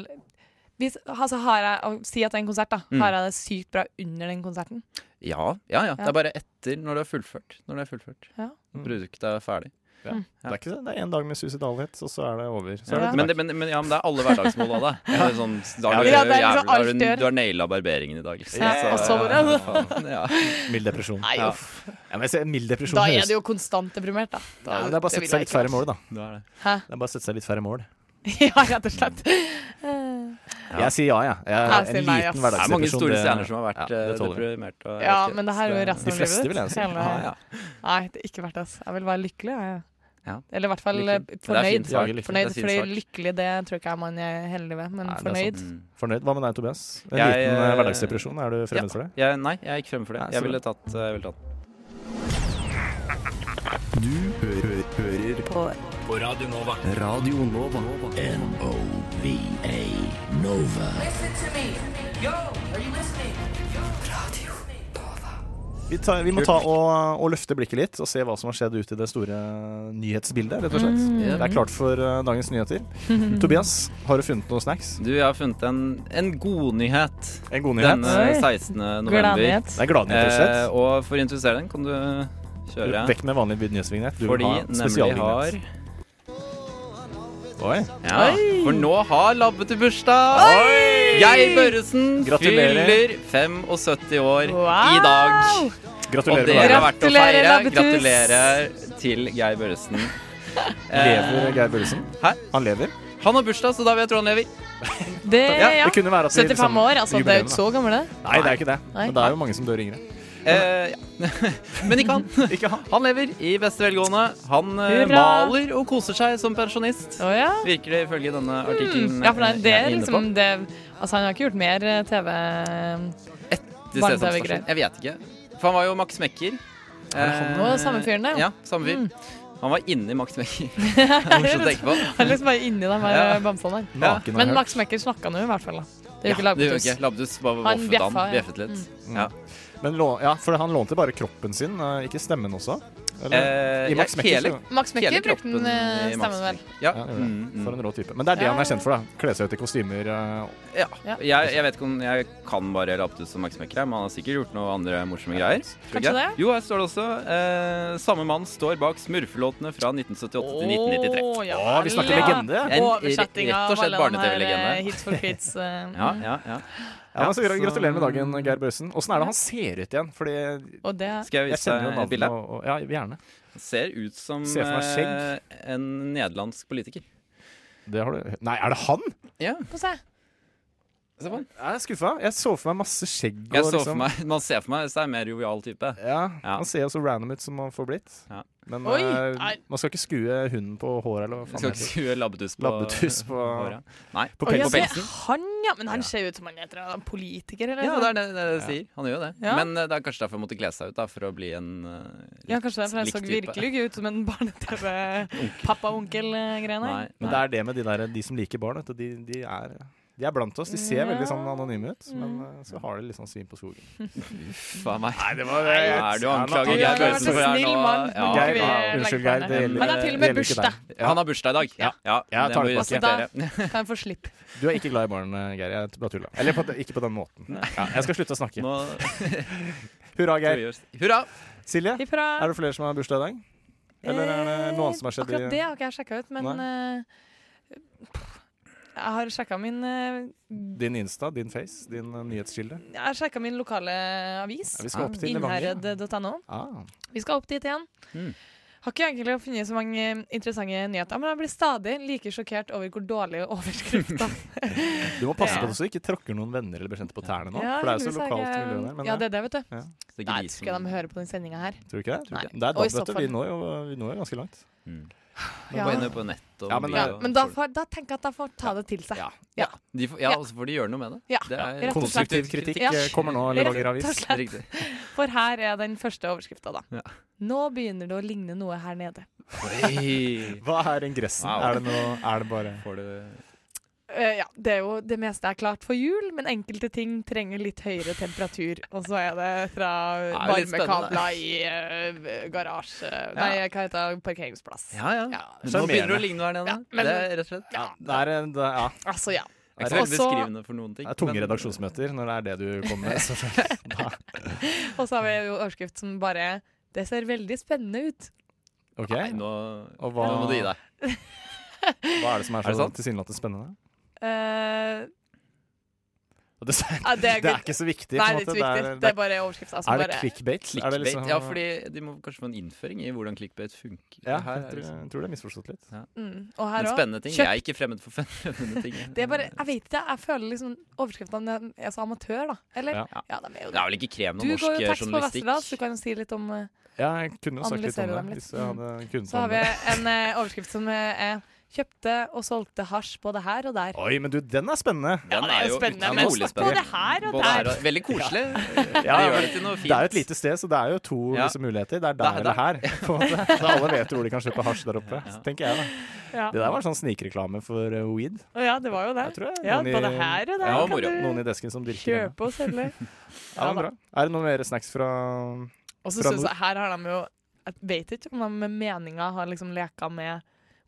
[SPEAKER 3] hvis, altså har jeg, å Si at det er en konsert, da.
[SPEAKER 4] Mm.
[SPEAKER 3] Har jeg det sykt bra under den konserten?
[SPEAKER 4] Ja, ja, ja. Det
[SPEAKER 3] Ja.
[SPEAKER 4] er bare etter, når du har fullført. Når du har fullført.
[SPEAKER 3] Ja.
[SPEAKER 4] Når Produktet er ferdig.
[SPEAKER 2] Det er ikke det. Det er én dag med suicidalitet, og så er det over. Så er
[SPEAKER 3] Ja.
[SPEAKER 2] det
[SPEAKER 4] Men det, men, men, ja, men det er alle hverdagsmål av det. Det er Sånn, da har du,
[SPEAKER 3] Ja, det er liksom
[SPEAKER 4] jævlig- da har
[SPEAKER 3] alt
[SPEAKER 4] du,
[SPEAKER 3] du gjør.
[SPEAKER 4] du har naila barberingen i dag, liksom.
[SPEAKER 3] Ja, altså. og så
[SPEAKER 4] Så-
[SPEAKER 3] bare-
[SPEAKER 4] faen, ja.
[SPEAKER 2] mild depresjon.
[SPEAKER 3] Nei,
[SPEAKER 4] Ja.
[SPEAKER 3] uff.
[SPEAKER 2] Ja, men jeg ser, mild depresjon
[SPEAKER 3] Da
[SPEAKER 2] høres-
[SPEAKER 3] er det jo konstant deprimert, da. da
[SPEAKER 2] Nei, men Det er bare å
[SPEAKER 3] vil
[SPEAKER 2] sette
[SPEAKER 3] jeg
[SPEAKER 2] seg litt
[SPEAKER 3] ikke
[SPEAKER 2] færre mål, da.
[SPEAKER 4] Det er det.
[SPEAKER 2] Det er bare å sette seg litt færre mål.
[SPEAKER 3] være. [LAUGHS] ja, rett og slett.
[SPEAKER 2] Jeg sier ja, jeg. jeg
[SPEAKER 3] Jeg
[SPEAKER 2] en liten
[SPEAKER 3] sier nei, ass.
[SPEAKER 4] Det er
[SPEAKER 2] hverdagsdepresjon.
[SPEAKER 4] mange store
[SPEAKER 2] det-
[SPEAKER 4] stjerner som har vært
[SPEAKER 2] Ja,
[SPEAKER 4] eh,
[SPEAKER 2] det tåler vi.
[SPEAKER 4] deprimert. Og,
[SPEAKER 3] Ja, men det her er jo resten
[SPEAKER 2] De
[SPEAKER 3] av
[SPEAKER 2] fleste,
[SPEAKER 3] livet.
[SPEAKER 2] vil jeg si.
[SPEAKER 3] Hele-
[SPEAKER 2] Ja, ja.
[SPEAKER 3] Nei, det er ikke verdt det. ass. Jeg vil være lykkelig. Jeg.
[SPEAKER 4] Ja.
[SPEAKER 3] Eller i hvert fall
[SPEAKER 4] Lykkelig.
[SPEAKER 3] eh,
[SPEAKER 4] fint
[SPEAKER 3] fornøyd.
[SPEAKER 4] svar.
[SPEAKER 2] Jager lykke.
[SPEAKER 4] Det er
[SPEAKER 3] Fornøyd,
[SPEAKER 4] fint
[SPEAKER 3] fordi
[SPEAKER 4] svar.
[SPEAKER 3] lykkelig det tror ikke jeg man er heldig ved, men
[SPEAKER 2] Nei, det er
[SPEAKER 3] fornøyd.
[SPEAKER 4] Mm.
[SPEAKER 2] Fornøyd? Hva med deg, Tobias? En
[SPEAKER 4] Jeg,
[SPEAKER 2] liten eh,
[SPEAKER 4] eh,
[SPEAKER 2] hverdagsdepresjon, er du fremmed for det?
[SPEAKER 4] Jeg, nei, jeg er ikke fremme for det.
[SPEAKER 2] Nei, så
[SPEAKER 4] Jeg
[SPEAKER 2] bra.
[SPEAKER 4] ville tatt, eh, jeg ville tatt.
[SPEAKER 8] Du hører, hører på. Radio Nova. N-O-V-A Nova.
[SPEAKER 2] Vi, tar, vi må ta og, og løfte blikket litt og se hva som har skjedd ute i det store nyhetsbildet, rett og slett.
[SPEAKER 3] Mm.
[SPEAKER 2] Det er klart for eh, dagens nyheter.
[SPEAKER 3] [LAUGHS]
[SPEAKER 2] Tobias, har du funnet noen snacks?
[SPEAKER 4] Du, jeg har funnet en, en godnyhet
[SPEAKER 2] En god nyhet.
[SPEAKER 4] denne
[SPEAKER 3] Oi.
[SPEAKER 4] 16. Mm. november.
[SPEAKER 3] Gladnyhet.
[SPEAKER 2] Det er gladnyhet, rett og
[SPEAKER 4] Eh,
[SPEAKER 2] slett.
[SPEAKER 4] og for å introdusere den, kan du kjøre.
[SPEAKER 2] Vekk med vanlig nyhetsvignett. Du vil
[SPEAKER 4] Fordi
[SPEAKER 2] ha
[SPEAKER 4] nemlig har
[SPEAKER 2] spesialvignett. Oi.
[SPEAKER 4] Ja, for nå har Labbete bursdag! Geir Børresen
[SPEAKER 2] Gratulerer.
[SPEAKER 4] fyller 75 år
[SPEAKER 3] Wow!
[SPEAKER 4] i dag. Og
[SPEAKER 2] Gratulerer
[SPEAKER 4] det
[SPEAKER 2] med
[SPEAKER 4] er
[SPEAKER 2] dagen.
[SPEAKER 4] verdt å
[SPEAKER 3] Gratulerer,
[SPEAKER 4] feire.
[SPEAKER 3] Labbetuss.
[SPEAKER 4] Gratulerer til Geir
[SPEAKER 2] [LAUGHS]
[SPEAKER 4] Børresen.
[SPEAKER 2] Lever Geir Børresen?
[SPEAKER 4] eh, Hæ?
[SPEAKER 2] Han lever?
[SPEAKER 4] Han har bursdag, så da vil jeg tro han lever.
[SPEAKER 3] Det,
[SPEAKER 4] Ja,
[SPEAKER 3] Eh, ja.
[SPEAKER 2] Det kunne være at vi
[SPEAKER 3] 75
[SPEAKER 2] liksom-
[SPEAKER 3] år, altså. Det er jo
[SPEAKER 2] jubileum,
[SPEAKER 3] ikke
[SPEAKER 2] da.
[SPEAKER 3] så gammel, det.
[SPEAKER 2] Nei, det er ikke det.
[SPEAKER 3] Nei.
[SPEAKER 2] Men det er jo mange som dør yngre.
[SPEAKER 4] Eh, ja. [LAUGHS] Men [LAUGHS] ikke han.
[SPEAKER 2] Ikke han.
[SPEAKER 4] Han lever i beste velgående. Han eh,
[SPEAKER 3] Hurra!
[SPEAKER 4] maler og koser seg som pensjonist.
[SPEAKER 3] Å ja.
[SPEAKER 4] Virker det ifølge denne artikkelen.
[SPEAKER 3] Mm. Ja, for nei,
[SPEAKER 4] eh,
[SPEAKER 3] det
[SPEAKER 4] jeg
[SPEAKER 3] er
[SPEAKER 4] inne
[SPEAKER 3] liksom
[SPEAKER 4] på.
[SPEAKER 3] det Altså, han har ikke gjort mer eh, TV
[SPEAKER 4] De ser
[SPEAKER 3] barne-tv-greier.
[SPEAKER 4] som stasjon. Jeg vet ikke. For han var jo Max Mekker.
[SPEAKER 2] han?
[SPEAKER 4] Eh,
[SPEAKER 3] Å, samme fyren, Mm. det.
[SPEAKER 4] Ja, samme fyr. Han var inni Max
[SPEAKER 3] [LAUGHS]
[SPEAKER 4] Mekker. Det er Morsomt å
[SPEAKER 3] Han
[SPEAKER 4] tenke på.
[SPEAKER 3] er liksom bare inni de her
[SPEAKER 4] Ja.
[SPEAKER 3] bamsene der.
[SPEAKER 2] Naken og
[SPEAKER 3] Men
[SPEAKER 2] hørt.
[SPEAKER 3] Max Mekker snakka nå i hvert fall, da. Det er
[SPEAKER 4] Ja,
[SPEAKER 3] jo ikke
[SPEAKER 4] det gjør
[SPEAKER 3] Labbetuss.
[SPEAKER 4] ikke. Labdus bare
[SPEAKER 3] Han
[SPEAKER 4] voffet han.
[SPEAKER 3] bjeffa, ja.
[SPEAKER 4] Bjeffet litt.
[SPEAKER 2] Mm.
[SPEAKER 4] Ja.
[SPEAKER 2] Men lå- ja, for han lånte bare kroppen sin, eh, ikke stemmen også? Eller?
[SPEAKER 4] Eh,
[SPEAKER 2] I Max
[SPEAKER 4] ja,
[SPEAKER 2] Mekker,
[SPEAKER 4] hele,
[SPEAKER 2] så-
[SPEAKER 3] Max
[SPEAKER 4] hele
[SPEAKER 3] Mekker brukte
[SPEAKER 4] kroppen
[SPEAKER 3] den Mm. eh,
[SPEAKER 4] i Max
[SPEAKER 3] stemmen, vel.
[SPEAKER 4] Mekker. Ja.
[SPEAKER 2] Ja, det gjorde
[SPEAKER 4] mm,
[SPEAKER 2] For
[SPEAKER 4] mm.
[SPEAKER 2] en rå type. Men det er det
[SPEAKER 3] Ja,
[SPEAKER 2] han er
[SPEAKER 3] ja,
[SPEAKER 2] kjent for. da Kle seg ut i kostymer. eh,
[SPEAKER 4] ja.
[SPEAKER 3] Ja.
[SPEAKER 4] Jeg, jeg vet ikke om jeg kan bare Labdus og Max Mekker, her, men han har sikkert gjort noe andre morsomme greier. Tror ikke
[SPEAKER 3] Kanskje
[SPEAKER 4] jeg. Jo, her står det også eh, Samme mann står bak smurfelåtene fra 1978 til 1993.
[SPEAKER 3] Å, ja
[SPEAKER 2] Å, vi snakker
[SPEAKER 3] vel, ja.
[SPEAKER 2] legende!
[SPEAKER 4] En
[SPEAKER 3] Oversetting
[SPEAKER 4] rett
[SPEAKER 3] av
[SPEAKER 4] og slett
[SPEAKER 3] alle de her eh,
[SPEAKER 4] barne-tv-legende.
[SPEAKER 3] Hits for kids. eh,
[SPEAKER 4] Ja, ja, ja.
[SPEAKER 2] Ja, men så gra-
[SPEAKER 4] så-
[SPEAKER 2] Gratulerer med dagen, Geir Børresen. Åssen er det han ser ut igjen? Fordi
[SPEAKER 3] Og det
[SPEAKER 4] Skal jeg
[SPEAKER 2] jeg
[SPEAKER 4] vise
[SPEAKER 2] kjenner jo
[SPEAKER 4] deg et
[SPEAKER 2] navnet.
[SPEAKER 4] bilde?
[SPEAKER 2] Og, og, ja, gjerne.
[SPEAKER 4] Ser ut som
[SPEAKER 2] Ser for meg skjegg.
[SPEAKER 4] eh, en nederlandsk politiker.
[SPEAKER 2] Det har du. Nei, er det han?
[SPEAKER 4] Ja,
[SPEAKER 3] Få se.
[SPEAKER 4] se på han.
[SPEAKER 2] Jeg er skuffa. Jeg så for meg masse skjegg. og
[SPEAKER 4] Jeg så for
[SPEAKER 2] liksom-
[SPEAKER 4] meg, man ser for meg seg en mer jovial type.
[SPEAKER 2] Ja,
[SPEAKER 4] Ja.
[SPEAKER 2] Han ser jo så random ut som han får blitt.
[SPEAKER 4] Ja.
[SPEAKER 2] Men
[SPEAKER 3] Oi,
[SPEAKER 2] eh,
[SPEAKER 3] nei.
[SPEAKER 2] man skal ikke skue hunden på håret eller hva
[SPEAKER 4] Jeg skal
[SPEAKER 2] faen
[SPEAKER 4] ikke
[SPEAKER 2] heter det
[SPEAKER 4] skue labbetuss på
[SPEAKER 2] Labbetuss på-
[SPEAKER 4] håret. Nei,
[SPEAKER 2] På
[SPEAKER 3] Å, ja,
[SPEAKER 2] pelsen.
[SPEAKER 3] se, han, ja. Men han ser ut som han er et eller annet politiker, eller?
[SPEAKER 4] Ja, det er det det jeg sier. Han gjør jo det.
[SPEAKER 3] Ja.
[SPEAKER 4] Men eh, det er kanskje derfor han måtte kle seg ut, da, for å bli en eh,
[SPEAKER 3] Ja, kanskje det, for jeg
[SPEAKER 4] Lik
[SPEAKER 3] så
[SPEAKER 4] type.
[SPEAKER 3] virkelig ikke ut som en barne-TV-pappa-onkel-greiene.
[SPEAKER 4] Nei.
[SPEAKER 2] Men det er det med de, der, de som liker barn, vet du, de, de, er, de er blant oss. De ser
[SPEAKER 3] Ja. Mm.
[SPEAKER 2] veldig sånn anonyme ut, men eh, så har de litt sånn svin på skogen.
[SPEAKER 4] Faen meg.
[SPEAKER 2] Nei, det var
[SPEAKER 4] Hva er det du anklager
[SPEAKER 3] Ja,
[SPEAKER 4] Geir
[SPEAKER 3] det var så
[SPEAKER 4] Børresen for her
[SPEAKER 3] snill
[SPEAKER 4] nå?
[SPEAKER 3] mann.
[SPEAKER 4] Ja,
[SPEAKER 3] Geir-
[SPEAKER 4] ja.
[SPEAKER 3] vi legge
[SPEAKER 2] unnskyld,
[SPEAKER 3] på
[SPEAKER 2] Geir.
[SPEAKER 3] henne?
[SPEAKER 2] Det gjelder,
[SPEAKER 3] Han har til og med
[SPEAKER 2] det gjelder ikke
[SPEAKER 3] bursdag.
[SPEAKER 2] deg.
[SPEAKER 4] Han har bursdag i dag.
[SPEAKER 2] Ja.
[SPEAKER 4] ja
[SPEAKER 2] Jeg tar
[SPEAKER 4] det
[SPEAKER 2] det
[SPEAKER 4] må vi
[SPEAKER 3] tilbake. Altså,
[SPEAKER 4] respektere.
[SPEAKER 3] Kan jeg få slipp?
[SPEAKER 2] Du er ikke glad i barn, eh, Geir. Jeg bare tulla. Eller på, ikke på den måten. Ja, jeg skal slutte å snakke.
[SPEAKER 4] [LAUGHS] Nå
[SPEAKER 2] Hurra, Geir.
[SPEAKER 4] Hurra!
[SPEAKER 2] Silje,
[SPEAKER 3] Ifra
[SPEAKER 2] er det flere som har bursdag i dag? Eller er det noe annet som har skjedd?
[SPEAKER 3] Eh,
[SPEAKER 2] i
[SPEAKER 3] Akkurat det har ikke jeg sjekka ut, men eh, pff, jeg har sjekka min eh,
[SPEAKER 2] Din Insta, din Face, din eh, nyhetskilde?
[SPEAKER 3] Jeg har sjekka min lokale avis.
[SPEAKER 2] Ja, vi skal opp til Levanger.
[SPEAKER 3] Innherred.no.
[SPEAKER 2] Ah.
[SPEAKER 3] Vi skal opp dit igjen.
[SPEAKER 4] Mm.
[SPEAKER 3] Har ikke egentlig funnet så mange interessante nyheter, men jeg blir stadig like sjokkert over hvor dårlige overskrifter
[SPEAKER 2] Du må passe
[SPEAKER 3] Ja.
[SPEAKER 2] på at du ikke tråkker noen venner eller bekjente på tærne nå.
[SPEAKER 3] Ja,
[SPEAKER 2] for det er jo så
[SPEAKER 3] heldigvis
[SPEAKER 2] lokalt
[SPEAKER 3] jeg-
[SPEAKER 2] miljø der. Men eh,
[SPEAKER 3] Ja, det er det, vet du.
[SPEAKER 4] Det er ikke
[SPEAKER 3] Nei,
[SPEAKER 4] vi
[SPEAKER 3] jeg tror ikke
[SPEAKER 4] som-
[SPEAKER 3] de hører på den sendinga her.
[SPEAKER 2] tror du ikke det?
[SPEAKER 3] Nei.
[SPEAKER 2] Det er
[SPEAKER 3] Og i
[SPEAKER 2] DAB, vet du.
[SPEAKER 3] så fall-
[SPEAKER 2] Vi når jo, vi når jo ganske langt.
[SPEAKER 4] Mm. Gå inn
[SPEAKER 3] Ja.
[SPEAKER 4] på nett og
[SPEAKER 2] Ja, men,
[SPEAKER 4] bli-
[SPEAKER 3] Ja, men da, får, da tenker jeg at jeg får ta det til seg.
[SPEAKER 2] Ja.
[SPEAKER 4] de får, Ja,
[SPEAKER 3] Ja.
[SPEAKER 4] og så får de gjøre noe med det.
[SPEAKER 3] Ja,
[SPEAKER 4] det er,
[SPEAKER 3] rett og slett.
[SPEAKER 2] Konstruktiv kritikk
[SPEAKER 3] Ja.
[SPEAKER 2] eh, kommer nå, Levanger Avis.
[SPEAKER 3] slett. [LAUGHS]
[SPEAKER 4] Riktig.
[SPEAKER 3] For her er den første overskrifta, da.
[SPEAKER 4] Ja.
[SPEAKER 3] Nå begynner det å ligne noe her nede.
[SPEAKER 4] Oi.
[SPEAKER 2] Hva er ingressen?
[SPEAKER 4] Wow.
[SPEAKER 2] Er det noe Er det bare
[SPEAKER 4] Får du
[SPEAKER 3] Eh, ja, det er jo det meste er klart for jul, men enkelte ting trenger litt høyere temperatur. Og så er det fra
[SPEAKER 4] Ja, det er litt
[SPEAKER 3] varmekabler i eh, garasje Nei, hva heter det? Parkeringsplass.
[SPEAKER 4] Ja, ja.
[SPEAKER 3] Ja,
[SPEAKER 4] Nå begynner det å
[SPEAKER 2] Sjarmerende.
[SPEAKER 4] ligne noe her nede.
[SPEAKER 3] Ja, men-
[SPEAKER 4] det er rett og slett
[SPEAKER 2] ja, det er, en- det, er- ja.
[SPEAKER 3] altså, ja.
[SPEAKER 4] Det er ikke så veldig
[SPEAKER 3] Også-
[SPEAKER 4] beskrivende for noen ting.
[SPEAKER 2] det er tunge
[SPEAKER 4] men-
[SPEAKER 2] redaksjonsmøter når det er det du
[SPEAKER 4] [LAUGHS]
[SPEAKER 2] kommer med. Så, da,
[SPEAKER 3] Og så har vi jo overskrift som bare Det ser veldig spennende ut.
[SPEAKER 2] ok,
[SPEAKER 4] Nei, nå,
[SPEAKER 2] Og
[SPEAKER 4] nå
[SPEAKER 2] hva,
[SPEAKER 4] må du gi deg.
[SPEAKER 2] hva er det som er
[SPEAKER 4] Er det
[SPEAKER 2] så
[SPEAKER 4] sant?
[SPEAKER 2] tilsynelatende spennende?
[SPEAKER 3] Eh,
[SPEAKER 2] Og Det,
[SPEAKER 3] [LAUGHS]
[SPEAKER 2] det
[SPEAKER 3] Ja, Eh, det er
[SPEAKER 2] er
[SPEAKER 3] good.
[SPEAKER 2] ikke så viktig.
[SPEAKER 3] Nei,
[SPEAKER 2] på en
[SPEAKER 3] det er ikke
[SPEAKER 2] måte.
[SPEAKER 3] viktig. Det er bare overskrifta.
[SPEAKER 2] er det clickbait? Er det
[SPEAKER 4] Clickbait?
[SPEAKER 2] liksom-
[SPEAKER 4] Ja, fordi de må kanskje få en innføring i hvordan clickbait funker.
[SPEAKER 2] ja,
[SPEAKER 4] Her
[SPEAKER 2] jeg,
[SPEAKER 4] er
[SPEAKER 2] tror,
[SPEAKER 4] det sånn.
[SPEAKER 2] jeg tror det er misforstått litt.
[SPEAKER 3] Mm. Og
[SPEAKER 4] Men
[SPEAKER 3] her òg.
[SPEAKER 4] spennende ting.
[SPEAKER 3] Kjøpt.
[SPEAKER 4] Jeg er ikke fremmed for [LAUGHS] fremmede ting.
[SPEAKER 3] Det er bare, jeg vet ikke, jeg føler liksom overskriftene er så altså, amatør, da. Eller?
[SPEAKER 2] Ja.
[SPEAKER 3] Ja, de er jo
[SPEAKER 4] Det er vel ikke krevende
[SPEAKER 3] Du går
[SPEAKER 4] norsk eh,
[SPEAKER 3] jo tekst på Vesterdal, så du
[SPEAKER 4] journalistikk.
[SPEAKER 3] kan jo si litt om eh,
[SPEAKER 2] Ja, jeg kunne jo sagt litt
[SPEAKER 3] Analysere
[SPEAKER 2] om det
[SPEAKER 3] dem litt.
[SPEAKER 2] hvis jeg hadde kunnet
[SPEAKER 3] Så har
[SPEAKER 2] om
[SPEAKER 3] vi
[SPEAKER 2] det.
[SPEAKER 3] en eh, overskrift som eh, er 'Kjøpte og solgte hasj både her og der'.
[SPEAKER 2] Oi, men du, den er spennende!
[SPEAKER 4] Den
[SPEAKER 3] det er jo spennende, men både
[SPEAKER 4] utrolig spennende.
[SPEAKER 3] her og
[SPEAKER 4] Både her
[SPEAKER 3] der.
[SPEAKER 4] og- Veldig koselig.
[SPEAKER 2] Ja,
[SPEAKER 4] [LAUGHS] det gjør
[SPEAKER 2] men
[SPEAKER 4] det til noe fint.
[SPEAKER 2] Det er jo et lite sted, så det er jo to
[SPEAKER 4] Ja.
[SPEAKER 2] liksom, muligheter. Det er
[SPEAKER 4] Der,
[SPEAKER 2] der eller
[SPEAKER 4] [LAUGHS]
[SPEAKER 2] her. På en måte. Så alle vet jo hvor de kan kjøpe hasj der oppe.
[SPEAKER 4] Ja.
[SPEAKER 2] tenker jeg da
[SPEAKER 3] Ja.
[SPEAKER 2] Det der var sånn snikreklame for eh, weed.
[SPEAKER 3] Å ja, det var jo det.
[SPEAKER 2] Jeg tror jeg,
[SPEAKER 3] Ja,
[SPEAKER 2] noen i-
[SPEAKER 3] både her og der
[SPEAKER 4] Ja, moro.
[SPEAKER 3] kan
[SPEAKER 2] Noen i desken som
[SPEAKER 3] du
[SPEAKER 2] dyrker den.
[SPEAKER 3] kjøpe og selge.
[SPEAKER 2] Ja, det
[SPEAKER 3] Ja,
[SPEAKER 2] er, bra. er det noen mer snacks fra
[SPEAKER 3] Og så
[SPEAKER 2] Fra
[SPEAKER 3] syns
[SPEAKER 2] nord.
[SPEAKER 3] jeg her har de jo Jeg vet ikke om de med meninga har liksom leka med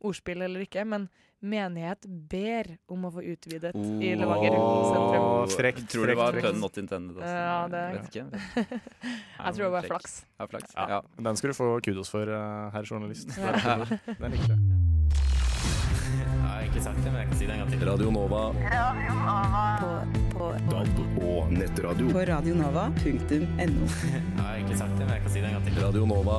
[SPEAKER 3] ordspill eller ikke, men menighet ber om å få utvidet i Levanger sentrum.
[SPEAKER 2] Åh, frekt,
[SPEAKER 4] Tror det var
[SPEAKER 2] frekt,
[SPEAKER 4] pun
[SPEAKER 2] frekt.
[SPEAKER 4] not intended. Altså.
[SPEAKER 3] Ja, det er-
[SPEAKER 4] Vet ikke.
[SPEAKER 3] [LAUGHS] Jeg tror det var flaks.
[SPEAKER 4] Ja, flaks. Ja.
[SPEAKER 2] Den skal du få kudos for, eh, herr journalist.
[SPEAKER 3] Ja. [LAUGHS]
[SPEAKER 2] Den likte jeg.
[SPEAKER 8] Radio Nova. DAB og nettradio.
[SPEAKER 9] På radionova.no.
[SPEAKER 8] Radio Nova.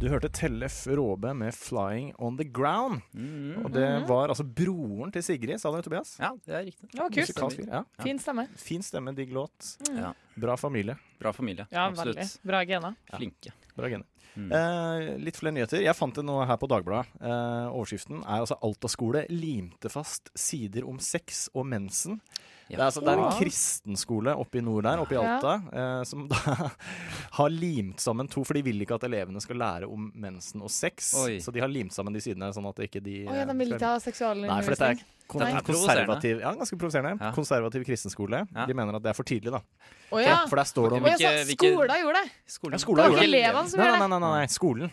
[SPEAKER 2] Du hørte Tellef Råbe med 'Flying On The Ground'.
[SPEAKER 4] Mm.
[SPEAKER 2] Og det var altså broren til Sigrid, sa dere, Tobias?
[SPEAKER 4] ja, det er riktig.
[SPEAKER 3] Det var kult.
[SPEAKER 2] Musikalsk fyr, Ja.
[SPEAKER 3] Fin stemme.
[SPEAKER 2] Fin stemme, digg låt.
[SPEAKER 4] Mm. Ja.
[SPEAKER 2] Bra familie.
[SPEAKER 4] Bra familie.
[SPEAKER 3] Ja,
[SPEAKER 4] Absolutt.
[SPEAKER 3] veldig. Bra gena.
[SPEAKER 4] Flinke.
[SPEAKER 2] Bra gener.
[SPEAKER 4] Mm.
[SPEAKER 2] Eh, litt flere nyheter. Jeg fant det nå her på Dagbladet. Eh, overskriften er altså 'Alta-skole limte fast sider om sex og mensen'. Det, er, altså, det er en
[SPEAKER 3] Ja.
[SPEAKER 2] kristenskole oppe i nord der, oppe i
[SPEAKER 3] Ja.
[SPEAKER 2] Alta, eh, som da [LAUGHS] har limt sammen to, for de vil ikke at elevene skal lære om mensen og sex.
[SPEAKER 4] Oi.
[SPEAKER 2] Så de har limt sammen de sidene her, sånn at ikke de
[SPEAKER 3] Å ja, de vil
[SPEAKER 2] eh,
[SPEAKER 3] ikke ha
[SPEAKER 2] Nei, for dette er
[SPEAKER 3] seksualundervisning?
[SPEAKER 2] kon
[SPEAKER 4] Dette er
[SPEAKER 2] konservativ, ja, ganske provoserende.
[SPEAKER 4] Ja.
[SPEAKER 2] Konservativ kristenskole.
[SPEAKER 4] Ja.
[SPEAKER 2] De mener at det er for tidlig, da.
[SPEAKER 3] Å ja.
[SPEAKER 2] For der står det om
[SPEAKER 3] Å ja, så
[SPEAKER 4] Hvilke- hvilke-
[SPEAKER 3] skolen gjorde det!
[SPEAKER 4] Skolen.
[SPEAKER 2] Ja, skolen
[SPEAKER 3] Det var
[SPEAKER 2] gjorde
[SPEAKER 3] ikke elevene som
[SPEAKER 2] Nei, nei,
[SPEAKER 3] gjorde det.
[SPEAKER 2] nei, nei, nei. skolen.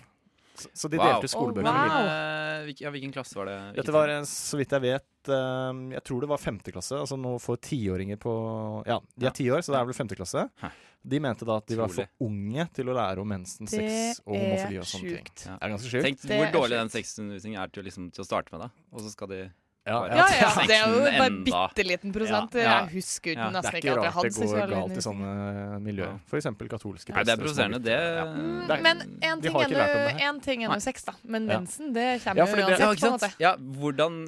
[SPEAKER 2] Så, så de
[SPEAKER 4] Wow.
[SPEAKER 2] delte ut
[SPEAKER 3] Oh,
[SPEAKER 2] skolebøker.
[SPEAKER 3] wow.
[SPEAKER 4] Men, eh, hvilken- ja, hvilken klasse var det? Hvilken
[SPEAKER 2] Dette var, eh, så vidt jeg vet, eh, jeg tror det var femte klasse. Altså nå får tiåringer på Ja, de
[SPEAKER 4] Ja.
[SPEAKER 2] er ti år, så det er vel femte klasse.
[SPEAKER 4] Hæ.
[SPEAKER 2] De mente da at de var for
[SPEAKER 4] Utrolig.
[SPEAKER 2] unge til å lære om mensen, sex og homofili og sånne ting.
[SPEAKER 4] Ja.
[SPEAKER 2] Det er ganske
[SPEAKER 4] trinn?
[SPEAKER 2] sjukt.
[SPEAKER 4] Tenk
[SPEAKER 3] Det
[SPEAKER 4] hvor
[SPEAKER 3] er
[SPEAKER 4] dårlig
[SPEAKER 3] sjukt.
[SPEAKER 4] den sexundervisningen er til, å liksom, til å starte med, da. Og så skal de
[SPEAKER 2] Ja,
[SPEAKER 3] Ja,
[SPEAKER 4] bare-
[SPEAKER 3] ja,
[SPEAKER 4] Seksten
[SPEAKER 3] det er jo bare
[SPEAKER 4] enda.
[SPEAKER 3] bitte liten prosent.
[SPEAKER 4] Ja, ja.
[SPEAKER 3] Jeg husker jo
[SPEAKER 4] Ja.
[SPEAKER 2] Det er
[SPEAKER 3] nesten
[SPEAKER 2] ikke
[SPEAKER 3] ikke at jeg
[SPEAKER 2] rart
[SPEAKER 3] hadde
[SPEAKER 2] det går galt i
[SPEAKER 3] seksualundervisning.
[SPEAKER 2] sånne miljøer.
[SPEAKER 4] Ja.
[SPEAKER 2] F.eks. katolske
[SPEAKER 4] Nei, det
[SPEAKER 2] prester
[SPEAKER 4] er
[SPEAKER 2] og
[SPEAKER 4] provoserende.
[SPEAKER 2] smågutter.
[SPEAKER 4] Det,
[SPEAKER 2] Ja.
[SPEAKER 3] Mm,
[SPEAKER 4] det er-
[SPEAKER 3] Men én
[SPEAKER 2] de
[SPEAKER 3] ting,
[SPEAKER 2] har
[SPEAKER 3] er
[SPEAKER 2] ikke
[SPEAKER 3] nå-
[SPEAKER 2] lært om det her.
[SPEAKER 3] en ting er nå sex, da. Men
[SPEAKER 2] Ja.
[SPEAKER 3] mensen, det
[SPEAKER 2] Ja,
[SPEAKER 3] kommer
[SPEAKER 2] fordi
[SPEAKER 3] jo
[SPEAKER 2] det-
[SPEAKER 3] uansett.
[SPEAKER 4] ja,
[SPEAKER 3] på
[SPEAKER 4] ikke
[SPEAKER 3] en måte.
[SPEAKER 4] sant? Ja,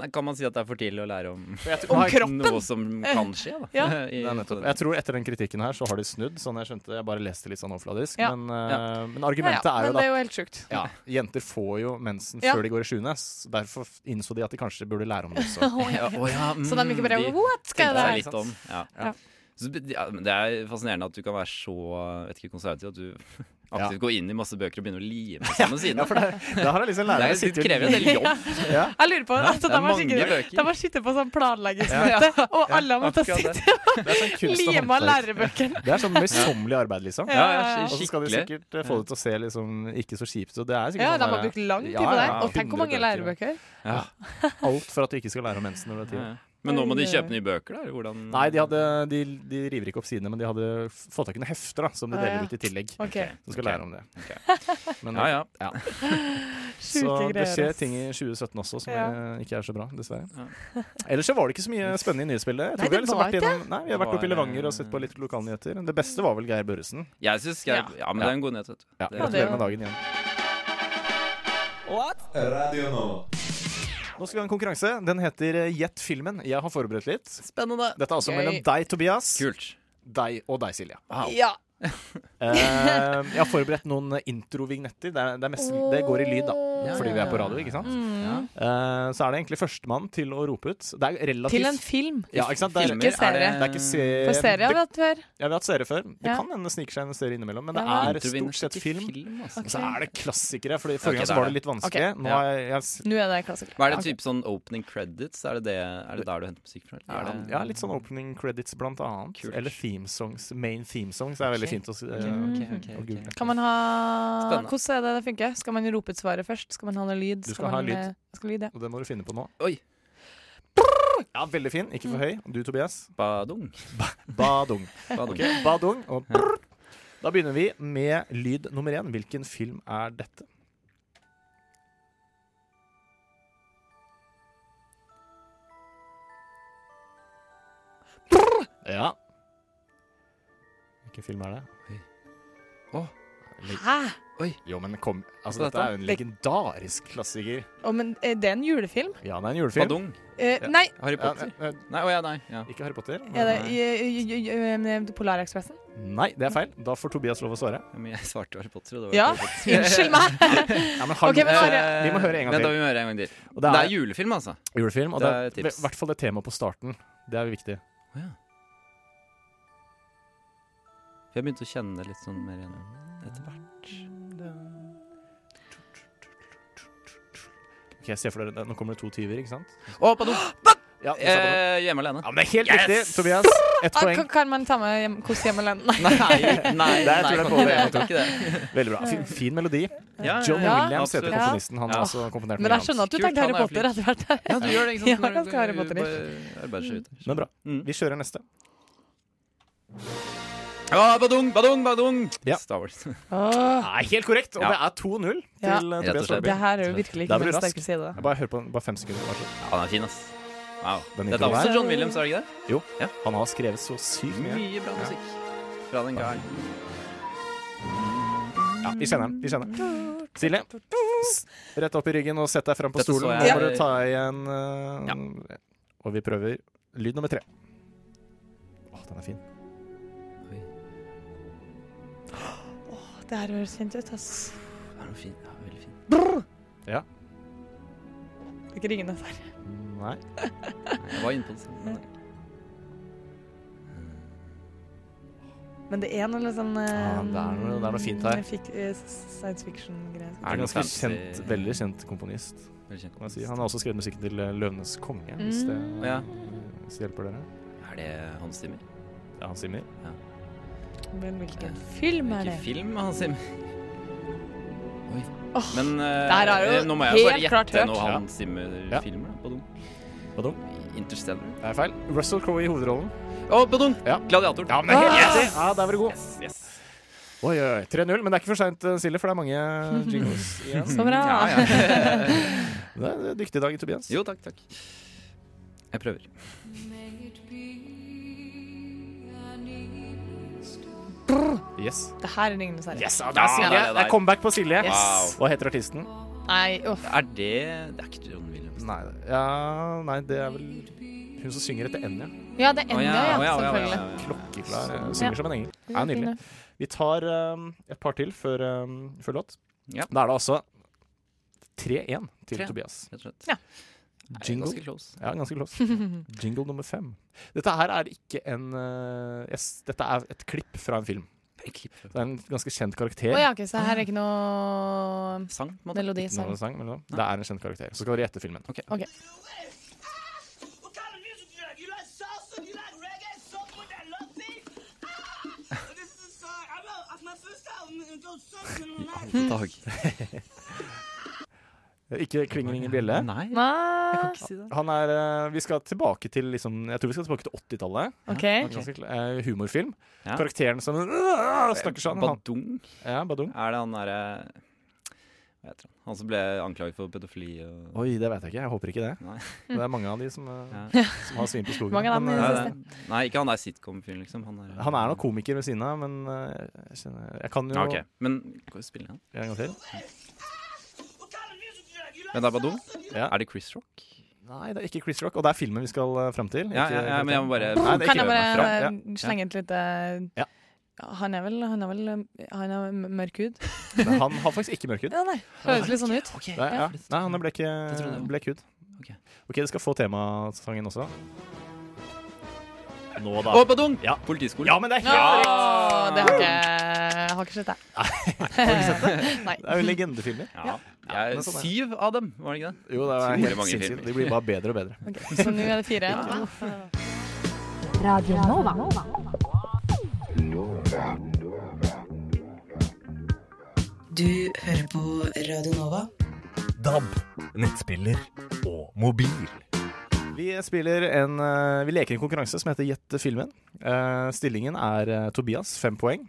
[SPEAKER 4] hvordan kan man si at det er for tidlig å lære om, [LAUGHS]
[SPEAKER 3] Om kroppen?
[SPEAKER 4] noe som kan skje? Da.
[SPEAKER 3] [LAUGHS] Ja.
[SPEAKER 4] [LAUGHS] I-
[SPEAKER 2] Nei, nettopp. Jeg tror etter den kritikken her så har de snudd, sånn jeg skjønte. Jeg bare leste litt sånn overfladisk.
[SPEAKER 3] Ja.
[SPEAKER 2] Men, eh, men
[SPEAKER 3] Ja, ja,
[SPEAKER 2] argumentet er
[SPEAKER 3] men
[SPEAKER 2] jo
[SPEAKER 3] det
[SPEAKER 2] da
[SPEAKER 3] er jo helt
[SPEAKER 2] [LAUGHS]
[SPEAKER 3] sjukt.
[SPEAKER 2] ja, jenter får jo mensen
[SPEAKER 3] Ja.
[SPEAKER 2] før de går i sjuende. s- Derfor f- innså de at de kanskje burde lære om det også.
[SPEAKER 3] [LAUGHS]
[SPEAKER 4] ja, å ja, mm,
[SPEAKER 3] Så de ikke bare
[SPEAKER 4] de
[SPEAKER 3] What skal
[SPEAKER 4] tenkte seg
[SPEAKER 2] sånn.
[SPEAKER 3] jeg
[SPEAKER 4] litt om. Ja.
[SPEAKER 3] Ja.
[SPEAKER 4] Så, be- ja, men det er fascinerende at du kan være så vet ikke, konservativ at du [LAUGHS] aktivt går inn i masse bøker og begynner å
[SPEAKER 2] [LAUGHS]
[SPEAKER 4] lime sammen siden.
[SPEAKER 2] Ja, for det, da har jeg liksom
[SPEAKER 4] det,
[SPEAKER 2] lærere
[SPEAKER 4] er, det krever en del
[SPEAKER 2] [LAUGHS]
[SPEAKER 4] jobb.
[SPEAKER 2] Ja.
[SPEAKER 3] Jeg lurer på altså,
[SPEAKER 4] det
[SPEAKER 3] De
[SPEAKER 4] er
[SPEAKER 3] har
[SPEAKER 4] mange
[SPEAKER 3] sikkert-
[SPEAKER 4] bøker.
[SPEAKER 3] de har sittet på sånn planleggingsmøte, og alle har måttet
[SPEAKER 4] akkurat det.
[SPEAKER 3] sitte
[SPEAKER 2] Det er sånn
[SPEAKER 3] og
[SPEAKER 2] kunst og
[SPEAKER 3] lime av
[SPEAKER 2] håndverk.
[SPEAKER 3] lærebøkene.
[SPEAKER 2] Det er sånn møysommelig arbeid, liksom.
[SPEAKER 4] Ja,
[SPEAKER 3] Ja,
[SPEAKER 4] ja,
[SPEAKER 2] Og så skal de
[SPEAKER 4] skikkelig.
[SPEAKER 2] sikkert eh, få det til å se liksom ikke så kjipt ut. Det er [LAUGHS] sikkert
[SPEAKER 3] Ja,
[SPEAKER 2] sånn
[SPEAKER 3] de har
[SPEAKER 2] der-
[SPEAKER 3] brukt lang tid
[SPEAKER 2] Ja,
[SPEAKER 3] på det.
[SPEAKER 2] ja,
[SPEAKER 3] Og tenk hvor
[SPEAKER 2] 100
[SPEAKER 3] mange lærebøker.
[SPEAKER 4] Ja.
[SPEAKER 2] Alt for at du ikke skal lære om mensen når du er ti
[SPEAKER 4] Ja.
[SPEAKER 2] år.
[SPEAKER 4] Men nå må de kjøpe nye bøker, da? eller Hvordan?
[SPEAKER 2] Nei, de, hadde, de, de river ikke opp sidene, men de hadde f- fått tak i noen hefter da, som de
[SPEAKER 3] Ah,
[SPEAKER 2] deler
[SPEAKER 3] ja.
[SPEAKER 2] ut i tillegg.
[SPEAKER 3] Ok,
[SPEAKER 2] Som skal
[SPEAKER 4] Ok.
[SPEAKER 2] lære om det. Men,
[SPEAKER 4] Ja, ja.
[SPEAKER 2] Så
[SPEAKER 3] Sjuke
[SPEAKER 2] det
[SPEAKER 3] greier.
[SPEAKER 2] skjer
[SPEAKER 3] ass.
[SPEAKER 2] ting i 2017 også som
[SPEAKER 3] Ja.
[SPEAKER 2] eh, ikke er så bra, dessverre.
[SPEAKER 4] Ja.
[SPEAKER 2] [LAUGHS] Ellers så var det ikke så mye spennende i nyhetsbildet. Jeg
[SPEAKER 3] Nei,
[SPEAKER 2] tror vi har
[SPEAKER 3] det
[SPEAKER 2] liksom
[SPEAKER 3] var
[SPEAKER 2] vært gjennom, nei, vi har
[SPEAKER 4] Det
[SPEAKER 2] vært oppe i
[SPEAKER 4] var,
[SPEAKER 2] Levanger og sett på litt lokalnyheter. Det beste var vel Geir Børresen.
[SPEAKER 4] Jeg syns
[SPEAKER 3] Ja.
[SPEAKER 4] Geir Ja, men det er en god nyhet, vet du.
[SPEAKER 2] Ja,
[SPEAKER 4] det-
[SPEAKER 2] Gratulerer
[SPEAKER 3] Ja, det-
[SPEAKER 2] med dagen igjen. Nå skal vi ha en konkurranse. Den heter eh, Gjett filmen. Jeg har forberedt litt.
[SPEAKER 4] Spennende.
[SPEAKER 2] Dette er altså
[SPEAKER 3] Gøy.
[SPEAKER 2] mellom deg, Tobias,
[SPEAKER 4] Kult.
[SPEAKER 2] deg og deg, Silja.
[SPEAKER 3] Ja.
[SPEAKER 2] Eh, jeg har forberedt noen introvignetter. Det, er- det, er mest- det går i lyd, da.
[SPEAKER 4] Ja,
[SPEAKER 2] Fordi
[SPEAKER 4] ja,
[SPEAKER 2] vi er
[SPEAKER 4] ja.
[SPEAKER 2] på radio, ikke sant?
[SPEAKER 3] Mm.
[SPEAKER 4] Ja.
[SPEAKER 2] Eh, så er det egentlig førstemann til å rope ut. Det er relativt
[SPEAKER 3] Til en film.
[SPEAKER 2] ja, ikke sant? Det er,
[SPEAKER 4] Filmer,
[SPEAKER 3] Ikke
[SPEAKER 4] er det-
[SPEAKER 3] serie.
[SPEAKER 2] det er ikke se...
[SPEAKER 3] For serier har
[SPEAKER 2] Eh, det,
[SPEAKER 3] vi hatt før.
[SPEAKER 2] ja, vi har hatt serie før. Det
[SPEAKER 3] Ja.
[SPEAKER 2] kan hende det sniker seg en serie innimellom, men det
[SPEAKER 3] Ja.
[SPEAKER 2] er stort sett film.
[SPEAKER 4] altså.
[SPEAKER 2] Så er det klassikere, Fordi forrige
[SPEAKER 4] Ok,
[SPEAKER 2] gang så
[SPEAKER 4] der
[SPEAKER 2] var
[SPEAKER 4] er
[SPEAKER 2] det litt vanskelig.
[SPEAKER 3] Ok.
[SPEAKER 2] Nå
[SPEAKER 4] Ja.
[SPEAKER 2] er jeg, jeg
[SPEAKER 3] Nå er det klassiker.
[SPEAKER 4] Hva er det typ sånn opening credits? Er det, det, er det der du henter musikk fra?
[SPEAKER 2] ja,
[SPEAKER 4] eller Er det,
[SPEAKER 2] ja, litt sånn opening credits, blant annet.
[SPEAKER 4] Kult.
[SPEAKER 2] Eller theme songs. Main theme songs er veldig
[SPEAKER 4] Ok.
[SPEAKER 2] fint å s- eh,
[SPEAKER 4] Ok, ok,
[SPEAKER 2] å
[SPEAKER 4] ok,
[SPEAKER 2] google.
[SPEAKER 3] Kan man ha
[SPEAKER 4] Spennende.
[SPEAKER 3] Hvordan er det det funker? Skal man rope ut svaret først? Skal man ha noe lyd?
[SPEAKER 2] Du skal ha
[SPEAKER 3] man,
[SPEAKER 2] lyd.
[SPEAKER 3] eh, Skal lyd ja.
[SPEAKER 2] Og det må du finne på nå.
[SPEAKER 4] Oi.
[SPEAKER 2] Ja, Veldig fin. Ikke for høy. Du, Tobias?
[SPEAKER 4] Badung.
[SPEAKER 2] Badung.
[SPEAKER 4] Badung.
[SPEAKER 2] Ok, Badung og brrr. Da begynner vi med lyd nummer én. Hvilken film er dette? Ja. Hvilken film er det?
[SPEAKER 4] Åh.
[SPEAKER 2] Le-
[SPEAKER 3] Hæ?
[SPEAKER 2] Jo, men kom Altså,
[SPEAKER 4] Hva er
[SPEAKER 2] dette er jo en
[SPEAKER 3] dette?
[SPEAKER 2] legendarisk klassiker.
[SPEAKER 3] Å, men er det en julefilm?
[SPEAKER 2] Ja, det er en julefilm.
[SPEAKER 4] Badung.
[SPEAKER 3] Eh,
[SPEAKER 2] Ja.
[SPEAKER 3] Nei,
[SPEAKER 4] Harry
[SPEAKER 2] Ja,
[SPEAKER 4] Potter.
[SPEAKER 2] eh, eh,
[SPEAKER 4] Nei, å ja, nei. Ja.
[SPEAKER 2] ikke Harry Potter.
[SPEAKER 3] er det
[SPEAKER 2] men-
[SPEAKER 3] i- i- i- i-
[SPEAKER 2] [LAUGHS]
[SPEAKER 3] Polarekspressen?
[SPEAKER 2] Nei, det er feil. Da får Tobias lov å svare.
[SPEAKER 4] Men jeg svarte Harry Potter, og det var
[SPEAKER 3] Ja,
[SPEAKER 4] ikke Harry Potter.
[SPEAKER 3] unnskyld meg!
[SPEAKER 2] Ja, men har
[SPEAKER 3] Ok,
[SPEAKER 2] du-
[SPEAKER 3] men
[SPEAKER 2] eh,
[SPEAKER 3] Are-
[SPEAKER 2] vi må høre en gang
[SPEAKER 4] Vent da,
[SPEAKER 2] til.
[SPEAKER 4] vi må høre en gang til.
[SPEAKER 2] Og
[SPEAKER 4] Det er julefilm, altså.
[SPEAKER 2] julefilm, og
[SPEAKER 4] det
[SPEAKER 2] det
[SPEAKER 4] er
[SPEAKER 2] er i
[SPEAKER 4] tips.
[SPEAKER 2] hvert fall det temaet på starten. Det er viktig.
[SPEAKER 4] For jeg begynte å kjenne det litt sånn mer igjen etter hvert.
[SPEAKER 2] Ok, jeg ser for dere, Nå kommer det to tyver, ikke sant?
[SPEAKER 4] Å, Badung!
[SPEAKER 2] Ja, det sa dere.
[SPEAKER 4] Eh, hjemme alene.
[SPEAKER 2] ja men det er helt riktig, Tobias. Ett
[SPEAKER 3] Ah,
[SPEAKER 2] [LAUGHS] poeng.
[SPEAKER 3] kan, kan man ta med hjem, Kos hjem alene? Nei.
[SPEAKER 4] Nei, [LAUGHS] nei,
[SPEAKER 2] Det er- jeg
[SPEAKER 4] nei,
[SPEAKER 2] tror det er
[SPEAKER 4] kan
[SPEAKER 2] både en
[SPEAKER 4] ikke
[SPEAKER 2] og
[SPEAKER 4] Jeg tror ikke det.
[SPEAKER 2] Veldig bra. Fin, fin melodi.
[SPEAKER 4] Ja,
[SPEAKER 2] John
[SPEAKER 3] ja,
[SPEAKER 2] Williams heter
[SPEAKER 4] absolutt.
[SPEAKER 2] komponisten. Han har
[SPEAKER 4] Ja.
[SPEAKER 2] også komponert
[SPEAKER 3] Men
[SPEAKER 2] mye
[SPEAKER 3] jeg skjønner at du
[SPEAKER 4] Kult,
[SPEAKER 3] tenkte Harry
[SPEAKER 4] han er
[SPEAKER 3] Potter etter hvert.
[SPEAKER 4] Ja, du gjør det, ikke
[SPEAKER 3] Ja,
[SPEAKER 4] sant? Når
[SPEAKER 3] ganske
[SPEAKER 4] du-
[SPEAKER 3] Harry Potter-ish.
[SPEAKER 4] bare arbeider seg ut.
[SPEAKER 2] annet. Men bra.
[SPEAKER 4] Mm.
[SPEAKER 2] Vi kjører neste.
[SPEAKER 4] Ja, badung, badung, badung!
[SPEAKER 2] Ja.
[SPEAKER 4] Star Wars. [LAUGHS] Det
[SPEAKER 3] [LAUGHS] Åh,
[SPEAKER 2] Nei, helt korrekt! Og
[SPEAKER 4] Ja.
[SPEAKER 2] det er 2-0 til
[SPEAKER 3] Ja.
[SPEAKER 2] eh,
[SPEAKER 4] Rett
[SPEAKER 2] Tobias
[SPEAKER 4] og slett.
[SPEAKER 2] Solberg.
[SPEAKER 3] det her er jo virkelig
[SPEAKER 2] Da blir
[SPEAKER 3] ikke min
[SPEAKER 2] det rask.
[SPEAKER 3] sterke side.
[SPEAKER 2] Jeg Bare hør på den. Bare fem sekunder. Vær så god.
[SPEAKER 4] Ja, den er fin, ass. Wow.
[SPEAKER 2] Den
[SPEAKER 4] Dette
[SPEAKER 2] introen
[SPEAKER 4] er også
[SPEAKER 2] her.
[SPEAKER 4] John Williams, er det ikke det?
[SPEAKER 2] Han har skrevet så sykt mye.
[SPEAKER 4] Mye bra musikk fra den karen.
[SPEAKER 2] Ja, vi kjenner den. Vi kjenner den. Silje, s- rett opp i ryggen og sett deg fram på
[SPEAKER 4] Dette så
[SPEAKER 2] stolen. Nå
[SPEAKER 4] jeg.
[SPEAKER 2] må du ta igjen eh, Og vi prøver lyd nummer tre. Å, den er fin.
[SPEAKER 3] Det her høres kjent ut, ass.
[SPEAKER 4] Ja, den er fin. Ja, veldig fin.
[SPEAKER 3] Det er ikke Ringenes her.
[SPEAKER 2] Nei.
[SPEAKER 4] Nei, Jeg var inne på det samme. men-
[SPEAKER 3] Men det er noe litt sånn eh,
[SPEAKER 2] Ja, Ah, det er noe- det er noe fint her.
[SPEAKER 3] Fik, eh, science fiction-greier.
[SPEAKER 4] Er det noe
[SPEAKER 2] Ganske
[SPEAKER 4] fancy-
[SPEAKER 2] kjent, veldig kjent komponist.
[SPEAKER 4] Veldig kjent.
[SPEAKER 2] Må jeg si. Han har også skrevet musikken til eh, 'Løvenes konge', hvis det,
[SPEAKER 3] Mm.
[SPEAKER 4] Ja.
[SPEAKER 2] hvis det hjelper dere.
[SPEAKER 4] Er det Hans Zimmer?
[SPEAKER 2] Det er Hans Zimmer.
[SPEAKER 3] Men hvilken film er det?
[SPEAKER 4] Hvilken film er Hans Zimmer? Oi.
[SPEAKER 3] Åh,
[SPEAKER 4] Men eh,
[SPEAKER 3] der er jo
[SPEAKER 4] eh, nå må jeg jo bare
[SPEAKER 3] helt klart
[SPEAKER 4] gjette
[SPEAKER 3] hørt.
[SPEAKER 4] noe
[SPEAKER 2] Ja.
[SPEAKER 4] Hans Zimmer-filmer. da, Badung.
[SPEAKER 2] Badung.
[SPEAKER 4] Interstellar.
[SPEAKER 2] Det er feil. Russell Crowe i hovedrollen.
[SPEAKER 4] Å, Badung!
[SPEAKER 2] Ja.
[SPEAKER 4] Gladiator.
[SPEAKER 2] Ja, men det er helt
[SPEAKER 3] Ah!
[SPEAKER 2] riktig! Ja, der var du god.
[SPEAKER 4] Yes, yes.
[SPEAKER 2] Oi, oi, oi. 3-0. Men det er ikke for seint, eh, Silje, for det er mange jingles
[SPEAKER 4] [LAUGHS]
[SPEAKER 2] igjen.
[SPEAKER 3] Så bra.
[SPEAKER 4] Ah, Ja, ja.
[SPEAKER 2] Det er en dyktig dag, Tobias.
[SPEAKER 4] [LAUGHS] Jo, takk, takk. Jeg prøver.
[SPEAKER 2] Yes.
[SPEAKER 3] Det her er Ringenes herre.
[SPEAKER 2] Yes, ja, det er Silje.
[SPEAKER 4] det er det
[SPEAKER 2] Det er comeback på Silje.
[SPEAKER 4] Yes.
[SPEAKER 2] Hva heter artisten?
[SPEAKER 3] Nei, uff.
[SPEAKER 4] Er det Det er ikke John Williams.
[SPEAKER 2] Nei, ja, nei, det er vel hun som synger etter Enja.
[SPEAKER 3] Ja, det ender
[SPEAKER 4] Å,
[SPEAKER 3] jo igjen,
[SPEAKER 4] å, å,
[SPEAKER 3] selvfølgelig.
[SPEAKER 4] å, ja.
[SPEAKER 2] Klokkeklar. eh, Synger
[SPEAKER 3] Ja.
[SPEAKER 2] som en engel. Det er nydelig. Vi tar um, et par til før, um, før låt.
[SPEAKER 4] Ja.
[SPEAKER 2] Da er det altså 3-1 til
[SPEAKER 4] Tre.
[SPEAKER 2] Tobias.
[SPEAKER 4] Rett og slett.
[SPEAKER 3] Ja.
[SPEAKER 4] Nei,
[SPEAKER 2] Jingle.
[SPEAKER 4] Ganske close.
[SPEAKER 2] Ja, ganske close. Jingle nummer fem. Dette her er ikke en eh, yes, Dette er et klipp fra en film.
[SPEAKER 4] Klipp.
[SPEAKER 2] Det er en ganske kjent
[SPEAKER 3] Å
[SPEAKER 2] karakter.
[SPEAKER 3] ja, ok, så her er ikke noe
[SPEAKER 4] Sang, på en måte.
[SPEAKER 3] melodi.
[SPEAKER 2] Ikke noe
[SPEAKER 3] Sang.
[SPEAKER 2] sang, men noe. Det er en kjent karakter. Så skal dere gjette filmen.
[SPEAKER 4] [LAUGHS] Alle dag.
[SPEAKER 2] Ikke klinger ingen bjelle.
[SPEAKER 4] Nei.
[SPEAKER 3] Nei,
[SPEAKER 2] Han er, eh, vi skal tilbake til liksom, Jeg tror vi skal tilbake til 80-tallet.
[SPEAKER 3] OK.
[SPEAKER 2] En ganske kl- eh, humorfilm.
[SPEAKER 4] Ja. Eh,
[SPEAKER 2] Karakteren som øh, snakker sånn. Han,
[SPEAKER 4] Badung.
[SPEAKER 2] ja, Badung.
[SPEAKER 4] Er det han derre Hva heter han? Han som ble anklaget for pedofili og
[SPEAKER 2] Oi, det vet jeg ikke. Jeg håper ikke det.
[SPEAKER 4] Nei.
[SPEAKER 2] Det er mange av de som, eh,
[SPEAKER 4] Ja.
[SPEAKER 2] som har svin på skogen.
[SPEAKER 3] Mange av dem
[SPEAKER 2] Men,
[SPEAKER 3] i
[SPEAKER 4] Nei,
[SPEAKER 2] eh,
[SPEAKER 3] det siste.
[SPEAKER 4] det, nei, ikke han der sitcom-fyren, liksom. Han er,
[SPEAKER 2] han er nok komiker ved siden av, men eh, jeg, kjenner, jeg kan jo
[SPEAKER 4] Ja, ok. Men kan vi spille han?
[SPEAKER 2] en gang til.
[SPEAKER 4] Men det er Badung?
[SPEAKER 2] Ja.
[SPEAKER 4] Er det Chris Rock?
[SPEAKER 2] Nei, det er ikke Chris Rock, og det er filmen vi skal uh, fram til.
[SPEAKER 4] Ja,
[SPEAKER 2] ikke
[SPEAKER 4] ja, ja, men jeg må bare
[SPEAKER 2] Nei, det er
[SPEAKER 3] Kan
[SPEAKER 2] ikke
[SPEAKER 3] jeg
[SPEAKER 4] prøve meg
[SPEAKER 3] bare
[SPEAKER 2] fram.
[SPEAKER 3] eh, slenge et lite
[SPEAKER 2] Ja.
[SPEAKER 3] Han er vel Han er vel Han er mørk hud?
[SPEAKER 2] Nei, Han har faktisk ikke mørk hud.
[SPEAKER 3] Ja, nei. Høres litt sånn ut.
[SPEAKER 4] Ok,
[SPEAKER 2] Nei, ja. Nei, han er blek, eh,
[SPEAKER 4] Det tror jeg det.
[SPEAKER 2] blek hud.
[SPEAKER 4] Ok.
[SPEAKER 2] ok, du skal få temasangen også. Nå, da.
[SPEAKER 4] Å, Badung!
[SPEAKER 2] Ja.
[SPEAKER 4] Politiskolen.
[SPEAKER 2] Ja, men det er
[SPEAKER 3] Ja,
[SPEAKER 2] helt
[SPEAKER 3] det har ikke Jeg har ikke sett det. Nei.
[SPEAKER 2] Det er jo legendefilmer.
[SPEAKER 4] Ja.
[SPEAKER 2] Ja,
[SPEAKER 4] Jeg
[SPEAKER 2] men
[SPEAKER 4] er
[SPEAKER 2] sånn er det.
[SPEAKER 4] syv av dem, var det ikke det?
[SPEAKER 2] Jo, det er
[SPEAKER 4] Utrolig
[SPEAKER 2] helt
[SPEAKER 4] mange
[SPEAKER 2] sinnssykt.
[SPEAKER 4] filmer.
[SPEAKER 2] De blir bare bedre og bedre.
[SPEAKER 3] Ok, Så nå er det fire.
[SPEAKER 9] Du hører på Radio Nova.
[SPEAKER 6] DAB, nettspiller og mobil.
[SPEAKER 2] Vi spiller en eh, Vi leker en konkurranse som heter Gjett filmen. Eh, stillingen er eh, Tobias fem
[SPEAKER 4] [LAUGHS]
[SPEAKER 2] poeng.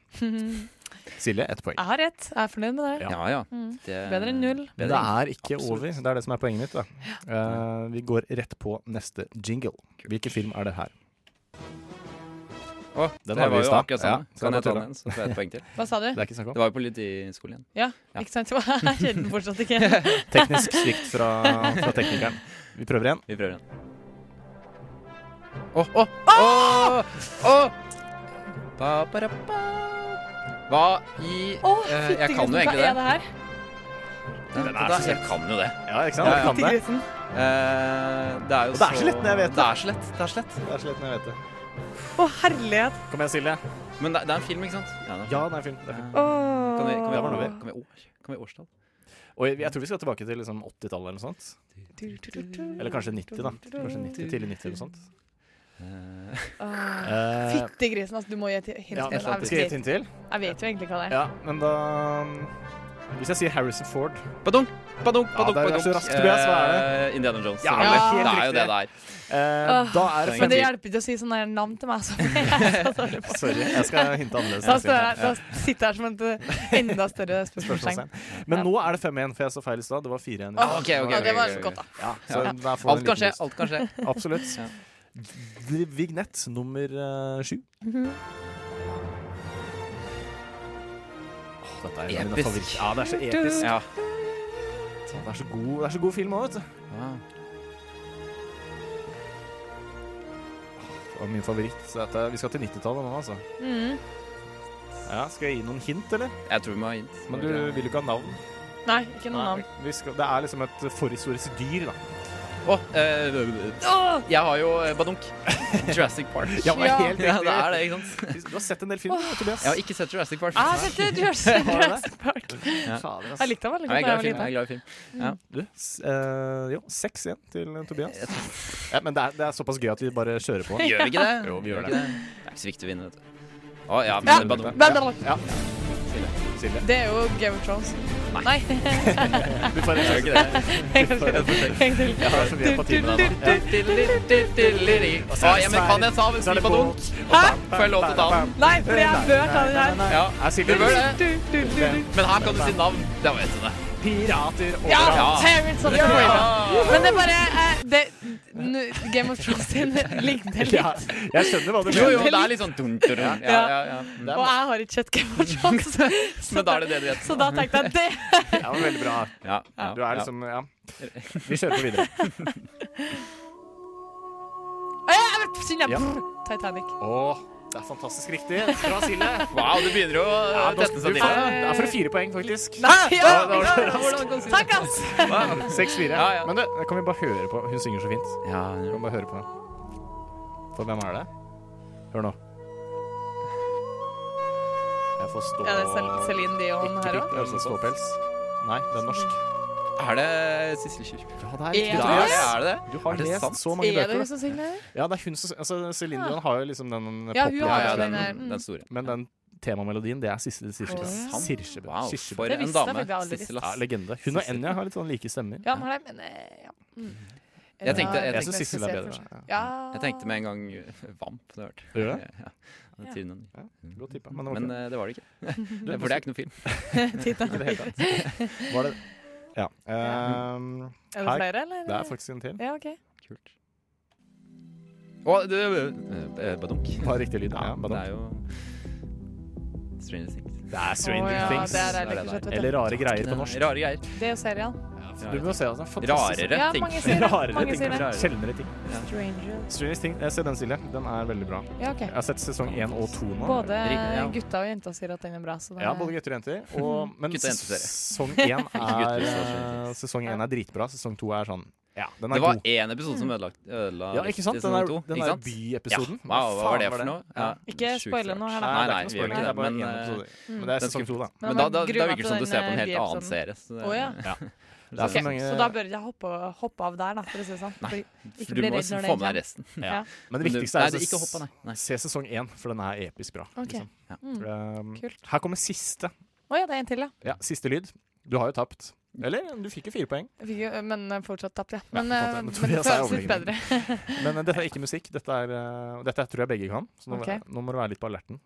[SPEAKER 2] Silje ett poeng.
[SPEAKER 3] Jeg har rett. Jeg er fornøyd med det.
[SPEAKER 2] Ja.
[SPEAKER 4] Ja, ja.
[SPEAKER 3] Mm.
[SPEAKER 4] Det,
[SPEAKER 3] Bedre enn null.
[SPEAKER 2] Men det er ikke
[SPEAKER 4] Absolutt.
[SPEAKER 2] over. Det er det som er poenget mitt. Da. Eh, vi går rett på neste jingle. Hvilken film er det her?
[SPEAKER 4] Å,
[SPEAKER 2] Den
[SPEAKER 4] det
[SPEAKER 2] hadde vi
[SPEAKER 4] var
[SPEAKER 2] i
[SPEAKER 4] jo
[SPEAKER 2] stad.
[SPEAKER 4] akkurat
[SPEAKER 2] Ja,
[SPEAKER 4] samme.
[SPEAKER 2] så
[SPEAKER 4] kan
[SPEAKER 2] den
[SPEAKER 4] jeg ta
[SPEAKER 2] var
[SPEAKER 4] den igjen, så får jeg et poeng til?
[SPEAKER 3] Hva sa du?
[SPEAKER 2] Det er ikke snakk om.
[SPEAKER 4] Det var jo politiskolen igjen.
[SPEAKER 3] Ja,
[SPEAKER 4] Ja.
[SPEAKER 3] ikke sant? [LAUGHS] Jeg kjente den fortsatt ikke.
[SPEAKER 2] Teknisk svikt fra, fra teknikeren. Vi prøver igjen.
[SPEAKER 4] Vi prøver igjen. Åh, åh, åh, åh! Ba, ba, da, ba. Hva i
[SPEAKER 3] Åh,
[SPEAKER 4] eh, Jeg kan
[SPEAKER 3] fytti grisen,
[SPEAKER 4] jo
[SPEAKER 3] Hva
[SPEAKER 4] egentlig det.
[SPEAKER 3] er det her?
[SPEAKER 4] Den
[SPEAKER 2] er så
[SPEAKER 4] jeg kan jo det.
[SPEAKER 2] Ja, ikke sant? Du kan
[SPEAKER 4] Ja, ja.
[SPEAKER 2] det.
[SPEAKER 3] Fytti grisen.
[SPEAKER 4] Eh, det er jo
[SPEAKER 2] Og det er så lett når jeg vet det.
[SPEAKER 4] det. er så lett, det er så lett.
[SPEAKER 2] Det er så lett når jeg vet det.
[SPEAKER 3] Å, herlighet.
[SPEAKER 2] Kom igjen, Silje.
[SPEAKER 4] Men det, det er en film, ikke sant? Ja, det er en
[SPEAKER 2] Ja, det er film. Det er film.
[SPEAKER 4] film. Eh,
[SPEAKER 3] Åh.
[SPEAKER 4] Kan vi, kan vi,
[SPEAKER 2] Der var det
[SPEAKER 4] kan vi, år, kan vi årstall?
[SPEAKER 2] Og jeg- jeg tror vi skal tilbake til liksom 80-tallet eller noe sånt. Eller kanskje 90, da. Kanskje 90, Tidlig 90 eller noe sånt.
[SPEAKER 4] Eh,
[SPEAKER 3] Åh.
[SPEAKER 2] Eh,
[SPEAKER 3] Fytti grisen, altså. Du må gi et hint.
[SPEAKER 2] ja,
[SPEAKER 3] til.
[SPEAKER 2] skal
[SPEAKER 3] jeg,
[SPEAKER 2] jeg gi et
[SPEAKER 3] vet,
[SPEAKER 2] hint til?
[SPEAKER 3] jeg vet jo egentlig hva det er.
[SPEAKER 2] Ja, men da Hvis jeg sier Harrison Ford
[SPEAKER 4] badunk, badunk,
[SPEAKER 2] Ja,
[SPEAKER 4] badunk.
[SPEAKER 2] det er
[SPEAKER 4] badunk.
[SPEAKER 2] så raskt, Tobias, hva er
[SPEAKER 4] Eh, Indiana Jones.
[SPEAKER 2] Ja,
[SPEAKER 4] selvfølgelig.
[SPEAKER 3] helt
[SPEAKER 4] det er jo
[SPEAKER 2] riktig.
[SPEAKER 4] det det er.
[SPEAKER 2] eh, Da er det
[SPEAKER 3] Men det
[SPEAKER 2] fem-
[SPEAKER 3] hjelper ikke å si sånne her navn til meg. Så [LAUGHS] jeg er så dårlig på.
[SPEAKER 2] Sorry, jeg skal hinte annerledes.
[SPEAKER 3] Da,
[SPEAKER 2] neste
[SPEAKER 3] står
[SPEAKER 2] gang.
[SPEAKER 3] jeg, da sitter jeg her som et eh, enda større spørsmålstegn.
[SPEAKER 2] Spørsmålstegn. Men nå er det 5-1, for jeg så feil i stad. Det var 4-1. i
[SPEAKER 4] Ah,
[SPEAKER 2] stad.
[SPEAKER 4] ok, ok,
[SPEAKER 3] Ja,
[SPEAKER 4] ok,
[SPEAKER 3] det var
[SPEAKER 4] ok, ok.
[SPEAKER 3] godt, da.
[SPEAKER 2] Ja, så der får du en
[SPEAKER 4] Alt kan skje,
[SPEAKER 2] liten boost.
[SPEAKER 4] alt kan skje.
[SPEAKER 2] Absolutt.
[SPEAKER 4] Ja.
[SPEAKER 2] D- Vignett nummer eh, sju.
[SPEAKER 4] Mhm.
[SPEAKER 2] Åh, dette er en av mine
[SPEAKER 4] Episk.
[SPEAKER 2] favoritter. Ja, det er så episk.
[SPEAKER 4] Ja.
[SPEAKER 2] Det er så god, det er så god film òg, vet du.
[SPEAKER 4] Wow.
[SPEAKER 2] Det var min favoritt. Så dette, vi skal til 90-tallet nå, altså.
[SPEAKER 4] Mm.
[SPEAKER 3] Mhm.
[SPEAKER 2] Ja, skal jeg gi noen hint, eller?
[SPEAKER 4] Jeg tror vi må ha hint.
[SPEAKER 2] Men du vil jo ikke ha navn.
[SPEAKER 3] Nei, ikke noe
[SPEAKER 2] [LAUGHS]
[SPEAKER 3] navn.
[SPEAKER 2] Vi skal, det er liksom et forhistorisk dyr, da.
[SPEAKER 4] Å, eh, jeg har jo eh, badunk. Jurassic Park.
[SPEAKER 2] Ja, det
[SPEAKER 3] Ja.
[SPEAKER 2] er helt
[SPEAKER 4] Ja,
[SPEAKER 2] riktig.
[SPEAKER 4] det er det, ikke sant?
[SPEAKER 2] Du har sett en del film, Tobias.
[SPEAKER 4] Jeg har ikke sett Jurassic Park.
[SPEAKER 3] Jeg setter Jurassic
[SPEAKER 2] Har du det?
[SPEAKER 3] Jurassic Park.
[SPEAKER 2] Fader, ass.
[SPEAKER 3] Jeg likte den veldig
[SPEAKER 4] Nei, jeg er
[SPEAKER 3] godt da jeg
[SPEAKER 4] glad i film.
[SPEAKER 3] var
[SPEAKER 4] Jeg
[SPEAKER 3] liten.
[SPEAKER 4] er glad i film.
[SPEAKER 2] Du, s- eh, jo, seks igjen til Tobias. Ja, men det er, det er såpass gøy at vi bare kjører på.
[SPEAKER 4] Gjør vi ikke [LAUGHS] det?
[SPEAKER 2] Jo, vi gjør
[SPEAKER 4] ikke Det er ikke så viktig å vinne, vet du. Å, ja,
[SPEAKER 3] Ja.
[SPEAKER 4] men badunk.
[SPEAKER 3] Men det var-
[SPEAKER 2] Silje.
[SPEAKER 3] Det er jo Game of Thrones. Nei. [LAUGHS]
[SPEAKER 2] Du får en
[SPEAKER 4] Gjør
[SPEAKER 2] sjanse. [LAUGHS]
[SPEAKER 4] vi ikke det?
[SPEAKER 3] En gang til. En gang til.
[SPEAKER 2] Ja, så vi er på timen her nå. Ja.
[SPEAKER 4] Å, ja, men kan jeg ta hvis
[SPEAKER 2] Så er
[SPEAKER 4] vi
[SPEAKER 2] det
[SPEAKER 4] badunk?
[SPEAKER 3] Hæ?
[SPEAKER 4] Får jeg lov til å ta den?
[SPEAKER 3] Nei, for jeg bør ta den her.
[SPEAKER 4] Ja,
[SPEAKER 2] Er
[SPEAKER 4] du
[SPEAKER 2] Silje
[SPEAKER 4] bør det.
[SPEAKER 3] Du, du, du, du.
[SPEAKER 4] Men her kan du si navn. Det var jeg det.
[SPEAKER 2] pirater
[SPEAKER 3] Ja!
[SPEAKER 2] overalt?
[SPEAKER 3] Pirates of the Caribbean. Men det er bare eh, det, nu- Game of Thrones sin ligner
[SPEAKER 2] Ja,
[SPEAKER 3] litt.
[SPEAKER 2] jeg skjønner hva du
[SPEAKER 4] Jo, jo,
[SPEAKER 2] mener.
[SPEAKER 4] det er litt sånn dun, dun, dun. Ja, ja, ja. Mm.
[SPEAKER 3] Og jeg har ikke sett
[SPEAKER 2] [LAUGHS]
[SPEAKER 3] Game of Thrones. Så
[SPEAKER 4] Men da er det det du heter.
[SPEAKER 3] så da tenkte jeg det
[SPEAKER 2] Det var veldig bra.
[SPEAKER 4] Ja, ja,
[SPEAKER 2] Du er
[SPEAKER 4] ja.
[SPEAKER 2] liksom Ja. Vi kjører på videre.
[SPEAKER 3] Å, ja, jeg vet, synd, jeg-
[SPEAKER 2] Ja.
[SPEAKER 3] Titanic.
[SPEAKER 2] Åh, det er fantastisk riktig. Bra, Silje.
[SPEAKER 4] Wow, du begynner jo å
[SPEAKER 2] Ja, da,
[SPEAKER 4] teste
[SPEAKER 2] du får,
[SPEAKER 4] seg til. det.
[SPEAKER 2] det er for fire poeng, faktisk.
[SPEAKER 3] Nei,
[SPEAKER 2] Ja,
[SPEAKER 3] ja,
[SPEAKER 2] det var så raskt.
[SPEAKER 4] Hvordan kan du si det?
[SPEAKER 3] takk, ass!
[SPEAKER 2] Seks-fire.
[SPEAKER 4] Ja, ja.
[SPEAKER 2] Men du, kan vi bare høre på? Hun synger så fint.
[SPEAKER 4] Ja,
[SPEAKER 2] Kan vi bare høre på den. For hvem er det? Hør nå. Jeg får stå
[SPEAKER 3] Ja, det er Cel- Celine Dion
[SPEAKER 2] Ikke
[SPEAKER 3] her òg.
[SPEAKER 2] riktig, altså ståpels. Nei, det er norsk.
[SPEAKER 4] Er det Sissel Kyrk?
[SPEAKER 2] Ja, det er riktig.
[SPEAKER 3] riktig, Ja.
[SPEAKER 4] Ja,
[SPEAKER 3] Tobias.
[SPEAKER 2] Tobias.
[SPEAKER 4] er det det?
[SPEAKER 2] Du har
[SPEAKER 4] Er det
[SPEAKER 2] lest
[SPEAKER 4] sant?
[SPEAKER 2] så mange
[SPEAKER 3] Er det hun
[SPEAKER 2] bøker. da.
[SPEAKER 3] som synger det?
[SPEAKER 2] Ja, det er hun som altså, Celine Dion har jo liksom den
[SPEAKER 3] Ja, hun
[SPEAKER 4] Ja,
[SPEAKER 3] har
[SPEAKER 4] ja,
[SPEAKER 2] popleggen.
[SPEAKER 3] jo
[SPEAKER 4] den,
[SPEAKER 3] der, mm.
[SPEAKER 4] den store.
[SPEAKER 2] Men den temamelodien, det er Sissel
[SPEAKER 3] Er
[SPEAKER 2] Sirsebø.
[SPEAKER 3] det sant?
[SPEAKER 2] Sirsebø.
[SPEAKER 4] Wow,
[SPEAKER 2] Sirsebø.
[SPEAKER 4] for
[SPEAKER 3] Det
[SPEAKER 4] en
[SPEAKER 3] visste jeg
[SPEAKER 4] dame.
[SPEAKER 3] faktisk aldri.
[SPEAKER 4] Sissel,
[SPEAKER 2] Ja,
[SPEAKER 4] ass.
[SPEAKER 2] legende. Hun og
[SPEAKER 4] Sissel.
[SPEAKER 2] Enja har litt sånn like stemmer.
[SPEAKER 3] Ja, men, det, men eh, ja. Mm.
[SPEAKER 4] Jeg tenkte- jeg
[SPEAKER 2] Jeg
[SPEAKER 4] tenkte
[SPEAKER 2] syns Sissel er bedre. Ja.
[SPEAKER 3] Ja.
[SPEAKER 4] Jeg tenkte
[SPEAKER 3] [LAUGHS]
[SPEAKER 4] med en gang uh, Vamp. Det hørte
[SPEAKER 2] Du gjør det?
[SPEAKER 4] [LAUGHS] Ja.
[SPEAKER 3] Ja.
[SPEAKER 4] Tiden.
[SPEAKER 2] Godt tippa. Men, [LAUGHS] det var
[SPEAKER 4] Men
[SPEAKER 2] ikke-
[SPEAKER 4] uh, det var det ikke. [LAUGHS] For det er ikke noen film.
[SPEAKER 3] eh,
[SPEAKER 2] i det hele tatt. Var det Ja. ehm,
[SPEAKER 3] Er det
[SPEAKER 2] Her-
[SPEAKER 3] flere, eller?
[SPEAKER 2] det er faktisk en til.
[SPEAKER 3] Ja, OK.
[SPEAKER 4] Kult. Å, du eh, eh, Badunk.
[SPEAKER 2] Bare riktig lyd.
[SPEAKER 4] Ja,
[SPEAKER 2] Ja,
[SPEAKER 4] det
[SPEAKER 2] badum.
[SPEAKER 4] er jo Stranger Things.
[SPEAKER 2] det er
[SPEAKER 3] Å,
[SPEAKER 2] Stranger
[SPEAKER 3] ja,
[SPEAKER 2] Things.
[SPEAKER 3] Det er
[SPEAKER 4] Det er
[SPEAKER 3] deilig,
[SPEAKER 4] det
[SPEAKER 3] ikke sant, vet
[SPEAKER 2] Eller rare greier på norsk.
[SPEAKER 4] Rare greier.
[SPEAKER 3] du. Det er jo serien.
[SPEAKER 2] Du må se altså, fantastisk.
[SPEAKER 4] Rarere
[SPEAKER 3] Ja,
[SPEAKER 4] ting.
[SPEAKER 3] mange sier det.
[SPEAKER 2] [LAUGHS] Rarere
[SPEAKER 3] Mange
[SPEAKER 2] ting.
[SPEAKER 3] sier det.
[SPEAKER 2] Sjeldnere ting.
[SPEAKER 3] Stranger.
[SPEAKER 2] Stranger Things, eh, Se den, Silje. Den er veldig bra.
[SPEAKER 3] Ja, OK.
[SPEAKER 2] Jeg har sett sesong én og to nå.
[SPEAKER 3] Både
[SPEAKER 4] Riktig, ja.
[SPEAKER 3] gutta og jenta sier at den er bra. Så det
[SPEAKER 2] Ja, både gutter og jenter.
[SPEAKER 4] [LAUGHS]
[SPEAKER 2] Og, men
[SPEAKER 4] Gutter og jenteserie. [LAUGHS]
[SPEAKER 2] sesong én
[SPEAKER 4] gutter,
[SPEAKER 2] er,
[SPEAKER 4] så
[SPEAKER 2] eh, sesong én er dritbra. Sesong to er sånn Ja, den er
[SPEAKER 4] Det var
[SPEAKER 2] god.
[SPEAKER 4] én episode som ødelagt, ødela
[SPEAKER 2] Ja, ikke sant?
[SPEAKER 4] riktig
[SPEAKER 2] Den er,
[SPEAKER 4] sesong to,
[SPEAKER 2] den
[SPEAKER 4] ikke
[SPEAKER 2] er
[SPEAKER 4] sant?
[SPEAKER 2] byepisoden.
[SPEAKER 4] Ja. Wow, hva var det for noe? Ja.
[SPEAKER 3] Ikke
[SPEAKER 4] Sjukt
[SPEAKER 3] spoile
[SPEAKER 4] rart.
[SPEAKER 3] noe her, da.
[SPEAKER 2] Nei, det
[SPEAKER 4] Nei, nei,
[SPEAKER 2] er ikke noe spoiler. Det er bare
[SPEAKER 4] vi gjør ikke det. Men,
[SPEAKER 2] én
[SPEAKER 4] eh,
[SPEAKER 2] episode. Men det er
[SPEAKER 4] den
[SPEAKER 2] sesong to, da.
[SPEAKER 3] Men
[SPEAKER 4] men da,
[SPEAKER 3] man
[SPEAKER 4] da,
[SPEAKER 3] gruer
[SPEAKER 4] da
[SPEAKER 3] meg
[SPEAKER 4] virker det som
[SPEAKER 3] til
[SPEAKER 4] du ser
[SPEAKER 3] den,
[SPEAKER 4] på en
[SPEAKER 3] eh,
[SPEAKER 4] helt annen
[SPEAKER 3] Bibelsen.
[SPEAKER 4] serie. Så det,
[SPEAKER 3] Å,
[SPEAKER 4] [LAUGHS]
[SPEAKER 3] ja.
[SPEAKER 2] Ja.
[SPEAKER 4] Så
[SPEAKER 2] Det er eh,
[SPEAKER 4] det-
[SPEAKER 2] for mange-
[SPEAKER 3] Så da bør jeg hoppe, hoppe av der, da, for å si det sånn. Fordi- ikke
[SPEAKER 4] Du
[SPEAKER 3] bli
[SPEAKER 4] må
[SPEAKER 3] redd når
[SPEAKER 4] jo
[SPEAKER 3] den
[SPEAKER 4] få med deg resten.
[SPEAKER 2] Ja.
[SPEAKER 3] Ja.
[SPEAKER 2] Men det
[SPEAKER 4] Men du-
[SPEAKER 2] viktigste er
[SPEAKER 4] Nei,
[SPEAKER 2] altså
[SPEAKER 4] ikke hoppe, nei. nei.
[SPEAKER 2] Se sesong én, for den er episk bra.
[SPEAKER 3] OK.
[SPEAKER 2] liksom.
[SPEAKER 4] Ja.
[SPEAKER 3] Mm.
[SPEAKER 2] Um,
[SPEAKER 3] Kult.
[SPEAKER 2] Her kommer siste.
[SPEAKER 3] Å ja, det er en til, ja.
[SPEAKER 2] Ja, siste lyd. Du har jo tapt. Eller du fikk jo fire poeng.
[SPEAKER 3] Jeg fikk jo, men eh, fortsatt tapt, ja.
[SPEAKER 2] Ja,
[SPEAKER 3] Men, eh,
[SPEAKER 2] fortsatt, men
[SPEAKER 3] men det
[SPEAKER 2] Tobias er
[SPEAKER 3] føles litt
[SPEAKER 2] overlegen.
[SPEAKER 3] bedre.
[SPEAKER 2] Men eh, dette er ikke musikk. Dette, er, eh, dette tror jeg begge kan. Så nå,
[SPEAKER 3] Ok.
[SPEAKER 2] nå må du være litt på alerten.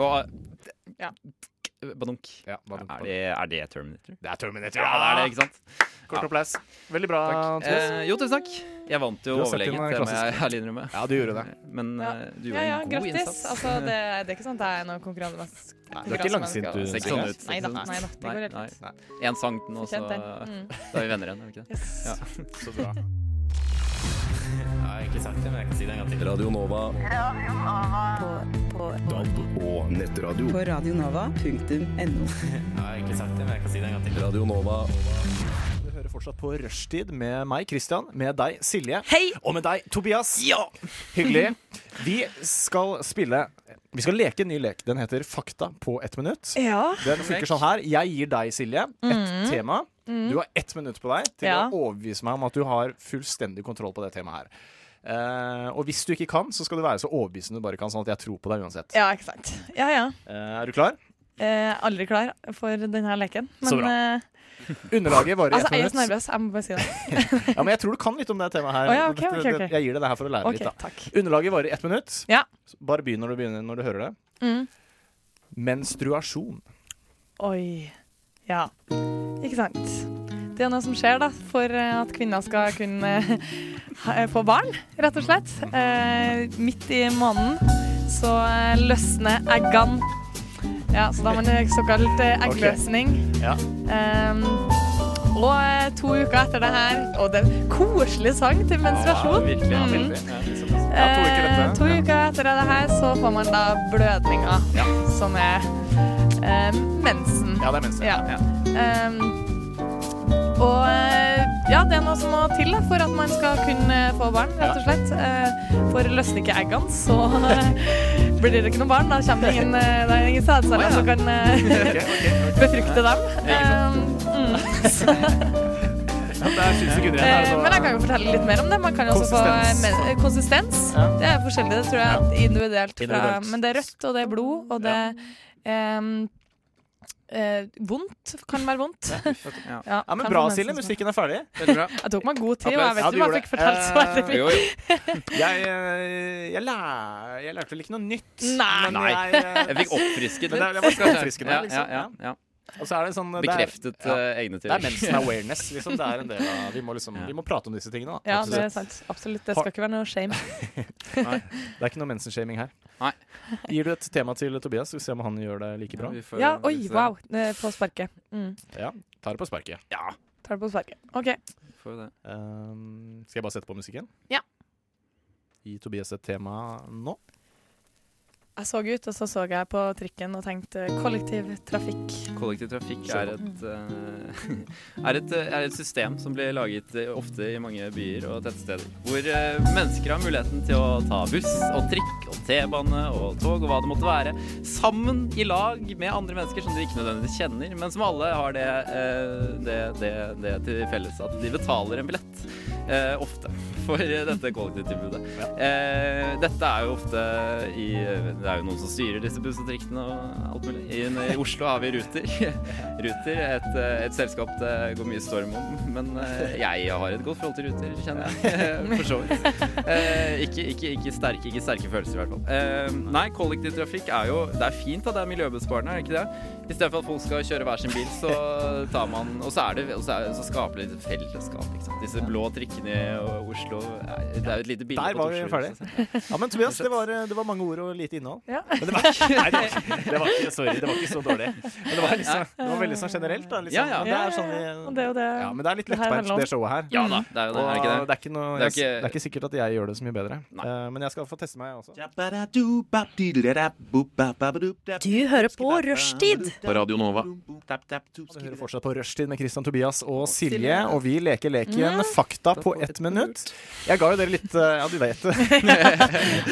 [SPEAKER 4] Og,
[SPEAKER 3] Ja.
[SPEAKER 4] Badunk.
[SPEAKER 2] Ja, hva
[SPEAKER 4] Er det, er det Terminator?
[SPEAKER 2] Det er Terminator.
[SPEAKER 4] Ja, det er det, ikke sant?
[SPEAKER 2] Kort applaus. Veldig bra, Andreas.
[SPEAKER 4] Eh, jo, tusen takk. Jeg vant jo
[SPEAKER 2] Du har satt inn
[SPEAKER 4] overlegent,
[SPEAKER 2] en
[SPEAKER 4] det må jeg
[SPEAKER 2] klassisk-
[SPEAKER 4] ærlig innrømme.
[SPEAKER 2] Ja, du gjorde det.
[SPEAKER 4] Men
[SPEAKER 3] Ja.
[SPEAKER 4] eh, du
[SPEAKER 3] Ja,
[SPEAKER 4] gjorde
[SPEAKER 3] ja,
[SPEAKER 4] en god
[SPEAKER 3] grattis.
[SPEAKER 4] innsats.
[SPEAKER 3] Altså, det, det er ikke sant det er noe konkurransemenneske.
[SPEAKER 2] Du er ikke langsint, du.
[SPEAKER 4] Det ser ikke sånn ut.
[SPEAKER 3] Nei da, nei da. Det går helt
[SPEAKER 4] Nei,
[SPEAKER 3] fint.
[SPEAKER 4] nei. Altså- En sang til nå, så
[SPEAKER 3] Fortjent den. Mm.
[SPEAKER 4] da er vi venner igjen. er vi ikke det?
[SPEAKER 3] Yes.
[SPEAKER 4] Ja.
[SPEAKER 2] Så bra.
[SPEAKER 8] Radio Nova.
[SPEAKER 9] På, på,
[SPEAKER 8] DAB og nettradio.
[SPEAKER 9] på radionova.no.
[SPEAKER 8] Radio Nova.
[SPEAKER 2] Du hører fortsatt på Rushtid med meg, Christian, med deg, Silje,
[SPEAKER 7] Hei!
[SPEAKER 2] og med deg, Tobias. Hyggelig. Vi skal spille Vi skal leke en ny lek. Den heter Fakta på ett minutt.
[SPEAKER 3] Ja.
[SPEAKER 2] Den funker sånn her. Jeg gir deg, Silje, et tema. Du har ett minutt på deg til
[SPEAKER 3] Mm. Ja.
[SPEAKER 2] å overbevise meg om at du har fullstendig kontroll på det temaet her. Eh, og hvis du ikke kan, så skal du være så overbevisende du bare kan, sånn at jeg tror på deg uansett.
[SPEAKER 3] ja, ikke sant. Ja, ja.
[SPEAKER 2] Eh, er du klar?
[SPEAKER 3] Eh, aldri klar for denne leken. Men
[SPEAKER 2] Så bra.
[SPEAKER 3] eh,
[SPEAKER 2] Underlaget varer i
[SPEAKER 3] altså, jeg er
[SPEAKER 2] ett
[SPEAKER 3] så
[SPEAKER 2] minutt.
[SPEAKER 3] nervøs. Jeg må bare si det.
[SPEAKER 2] Ja, men jeg tror du kan litt om det temaet her.
[SPEAKER 3] Å ja, ok,
[SPEAKER 2] Dette-
[SPEAKER 3] ok, ok.
[SPEAKER 2] det- Jeg gir deg det her for å lære
[SPEAKER 3] OK,
[SPEAKER 2] litt, da.
[SPEAKER 3] takk.
[SPEAKER 2] Underlaget varer i ett minutt.
[SPEAKER 3] Ja.
[SPEAKER 2] Bare begynn når du, begynner, når du hører det.
[SPEAKER 3] Mm.
[SPEAKER 2] Menstruasjon.
[SPEAKER 3] Oi. Ja. Ikke sant. Det er noe som skjer da, for eh, at kvinner skal kunne eh, [LAUGHS] ha- få barn, rett og slett. Eh, midt i måneden så eh, løsner eggene. Ja, så da har man eh, såkalt eh, eggløsning.
[SPEAKER 2] Ja.
[SPEAKER 3] Ehm, og eh, to uker etter det her Og det er en koselig sang til menstruasjon.
[SPEAKER 4] Virkelig. Ja,
[SPEAKER 3] Mm.
[SPEAKER 4] veldig. Ja,
[SPEAKER 2] Ja, to uker etter.
[SPEAKER 3] Eh, to uker etter det her så får man da blødninga, som er eh, mensen.
[SPEAKER 2] Ja, det er mensen.
[SPEAKER 3] Ja. Ehm, og eh, ja, det er noe som må til da, for at man skal kunne få barn, rett og slett. Eh, for løsner ikke eggene, så [LAUGHS] eh, blir det ikke noe barn. Da kommer det ingen, eh, det er ingen sædceller som
[SPEAKER 2] [LAUGHS]
[SPEAKER 3] kan eh, befrukte dem. Ehm, mm. Eh, Men jeg kan jo fortelle litt mer om det. Man kan jo også få
[SPEAKER 2] Konsistens.
[SPEAKER 3] eh, men- eh, konsistens.
[SPEAKER 2] Ja.
[SPEAKER 3] Det er forskjellig, det tror jeg, individuelt. Fra,
[SPEAKER 2] Individuelt.
[SPEAKER 3] men det er rødt, og det er blod, og det em, eh, Vondt kan være vondt.
[SPEAKER 4] ja.
[SPEAKER 3] Ja,
[SPEAKER 2] Ja, men
[SPEAKER 3] kan
[SPEAKER 2] bra,
[SPEAKER 3] være
[SPEAKER 2] Silje.
[SPEAKER 3] mensen som-
[SPEAKER 2] Musikken er ferdig.
[SPEAKER 4] Veldig bra.
[SPEAKER 3] Jeg tok meg god tid, og jeg vet
[SPEAKER 2] Ja,
[SPEAKER 3] ikke
[SPEAKER 2] du
[SPEAKER 3] om
[SPEAKER 2] gjorde
[SPEAKER 3] jeg fikk fortalt så veldig
[SPEAKER 2] det. Eh,
[SPEAKER 3] mye.
[SPEAKER 4] Jo, jo.
[SPEAKER 2] Jeg, eh, jeg, lær, jeg lærte vel ikke noe nytt.
[SPEAKER 3] Nei.
[SPEAKER 2] Men jeg, eh,
[SPEAKER 4] Jeg fikk
[SPEAKER 2] Men
[SPEAKER 4] oppfrisket
[SPEAKER 2] det er- det
[SPEAKER 4] litt.
[SPEAKER 2] var ikke oppfriskende,
[SPEAKER 4] Ja,
[SPEAKER 2] liksom.
[SPEAKER 4] Ja, ja, ja.
[SPEAKER 2] og så er det sånn eh, det er-
[SPEAKER 4] Bekreftet
[SPEAKER 2] ja.
[SPEAKER 4] eh, egne
[SPEAKER 2] Det er
[SPEAKER 4] teorier.
[SPEAKER 2] mensen awareness. Liksom. Det er en del av, vi, må liksom, vi må prate om disse tingene. Da.
[SPEAKER 3] Ja, det er sant. Absolutt. Det skal ikke være noe shame.
[SPEAKER 2] Det er ikke noe mensenshaming her.
[SPEAKER 4] Nei.
[SPEAKER 2] Gir du et tema til Tobias, skal vi se om han gjør det like bra.
[SPEAKER 4] [LAUGHS] Vi får-
[SPEAKER 3] Ja,
[SPEAKER 4] vi
[SPEAKER 3] oi,
[SPEAKER 4] får se.
[SPEAKER 3] wow. Det er På sparket. Mm.
[SPEAKER 2] Ja, Tar det på sparket.
[SPEAKER 4] Ja,
[SPEAKER 3] Tar det på sparket. OK.
[SPEAKER 4] får jo det.
[SPEAKER 2] Ehm, skal jeg bare sette på musikken?
[SPEAKER 3] Ja.
[SPEAKER 2] Gi Tobias et tema nå.
[SPEAKER 3] Jeg så ut, og så så jeg på trikken og tenkte kollektivtrafikk.
[SPEAKER 4] Kollektiv trafikk er et, eh, [LAUGHS] er, et, eh, er et system som blir laget eh, ofte i mange byer og tettsteder. Hvor eh, mennesker har muligheten til å ta buss og trikk og T-bane og tog og hva det måtte være. Sammen i lag med andre mennesker som de ikke nødvendigvis kjenner, men som alle har det, eh, det, det, det til felles at de betaler en billett. eh, ofte for eh, dette kollektivtilbudet. Eh, dette er jo ofte i Det er jo noen som styrer disse buss og trikkene og alt mulig. I, I Oslo har vi Ruter. Ruter, et, eh, et selskap det går mye storm om, [LAUGHS] men eh, jeg har et godt forhold til Ruter, kjenner jeg. [LAUGHS] For så vidt. Eh, Ikke, ikke, ikke, sterke, ikke sterke følelser, i hvert fall. Eh, Nei, kollektivtrafikk er jo Det er fint at det er miljøbesparende, er det ikke det? I stedet for at folk skal kjøre hver sin bil, så tar man Og så, er det, og så, er, så skaper det litt fellesskap, ikke sant. Disse blå trikkene i Oslo er- Det er jo et lite bilde
[SPEAKER 2] Der
[SPEAKER 4] på
[SPEAKER 2] var vi
[SPEAKER 4] Oslo,
[SPEAKER 2] ferdig.
[SPEAKER 4] så-
[SPEAKER 2] Ja, men Tobias, det var, eh, det var mange ord og lite innhold.
[SPEAKER 3] Ja.
[SPEAKER 2] Men det var, ikke- nei, det, var, ikke- det var ikke Sorry, det var ikke så dårlig. Men det var, liksom, det var veldig sånn generelt, da. Liksom.
[SPEAKER 4] Ja, ja.
[SPEAKER 2] Men det er sånn
[SPEAKER 3] Og det
[SPEAKER 2] vi
[SPEAKER 3] er jo det.
[SPEAKER 2] ja, men det er litt
[SPEAKER 3] Um, det her handler
[SPEAKER 2] lettbeint,
[SPEAKER 3] om.
[SPEAKER 2] det showet her.
[SPEAKER 4] Ja da, det er jo det, er det ikke
[SPEAKER 2] Og
[SPEAKER 4] det?
[SPEAKER 2] det er ikke, noe,
[SPEAKER 4] Det er
[SPEAKER 2] jeg,
[SPEAKER 4] ikke-
[SPEAKER 2] det er ikke sikkert at jeg gjør det så mye bedre.
[SPEAKER 4] Nei.
[SPEAKER 2] Eh, men jeg skal få teste meg også.
[SPEAKER 1] Du hører på Rushtid
[SPEAKER 8] På Radio Nova.
[SPEAKER 2] Du hører fortsatt på Rushtid med Christian Tobias og Silje, og vi leker
[SPEAKER 3] Mm.
[SPEAKER 2] leken Fakta på ett minutt. Jeg ga jo dere litt eh, Ja, du
[SPEAKER 4] [LAUGHS]
[SPEAKER 2] vet det.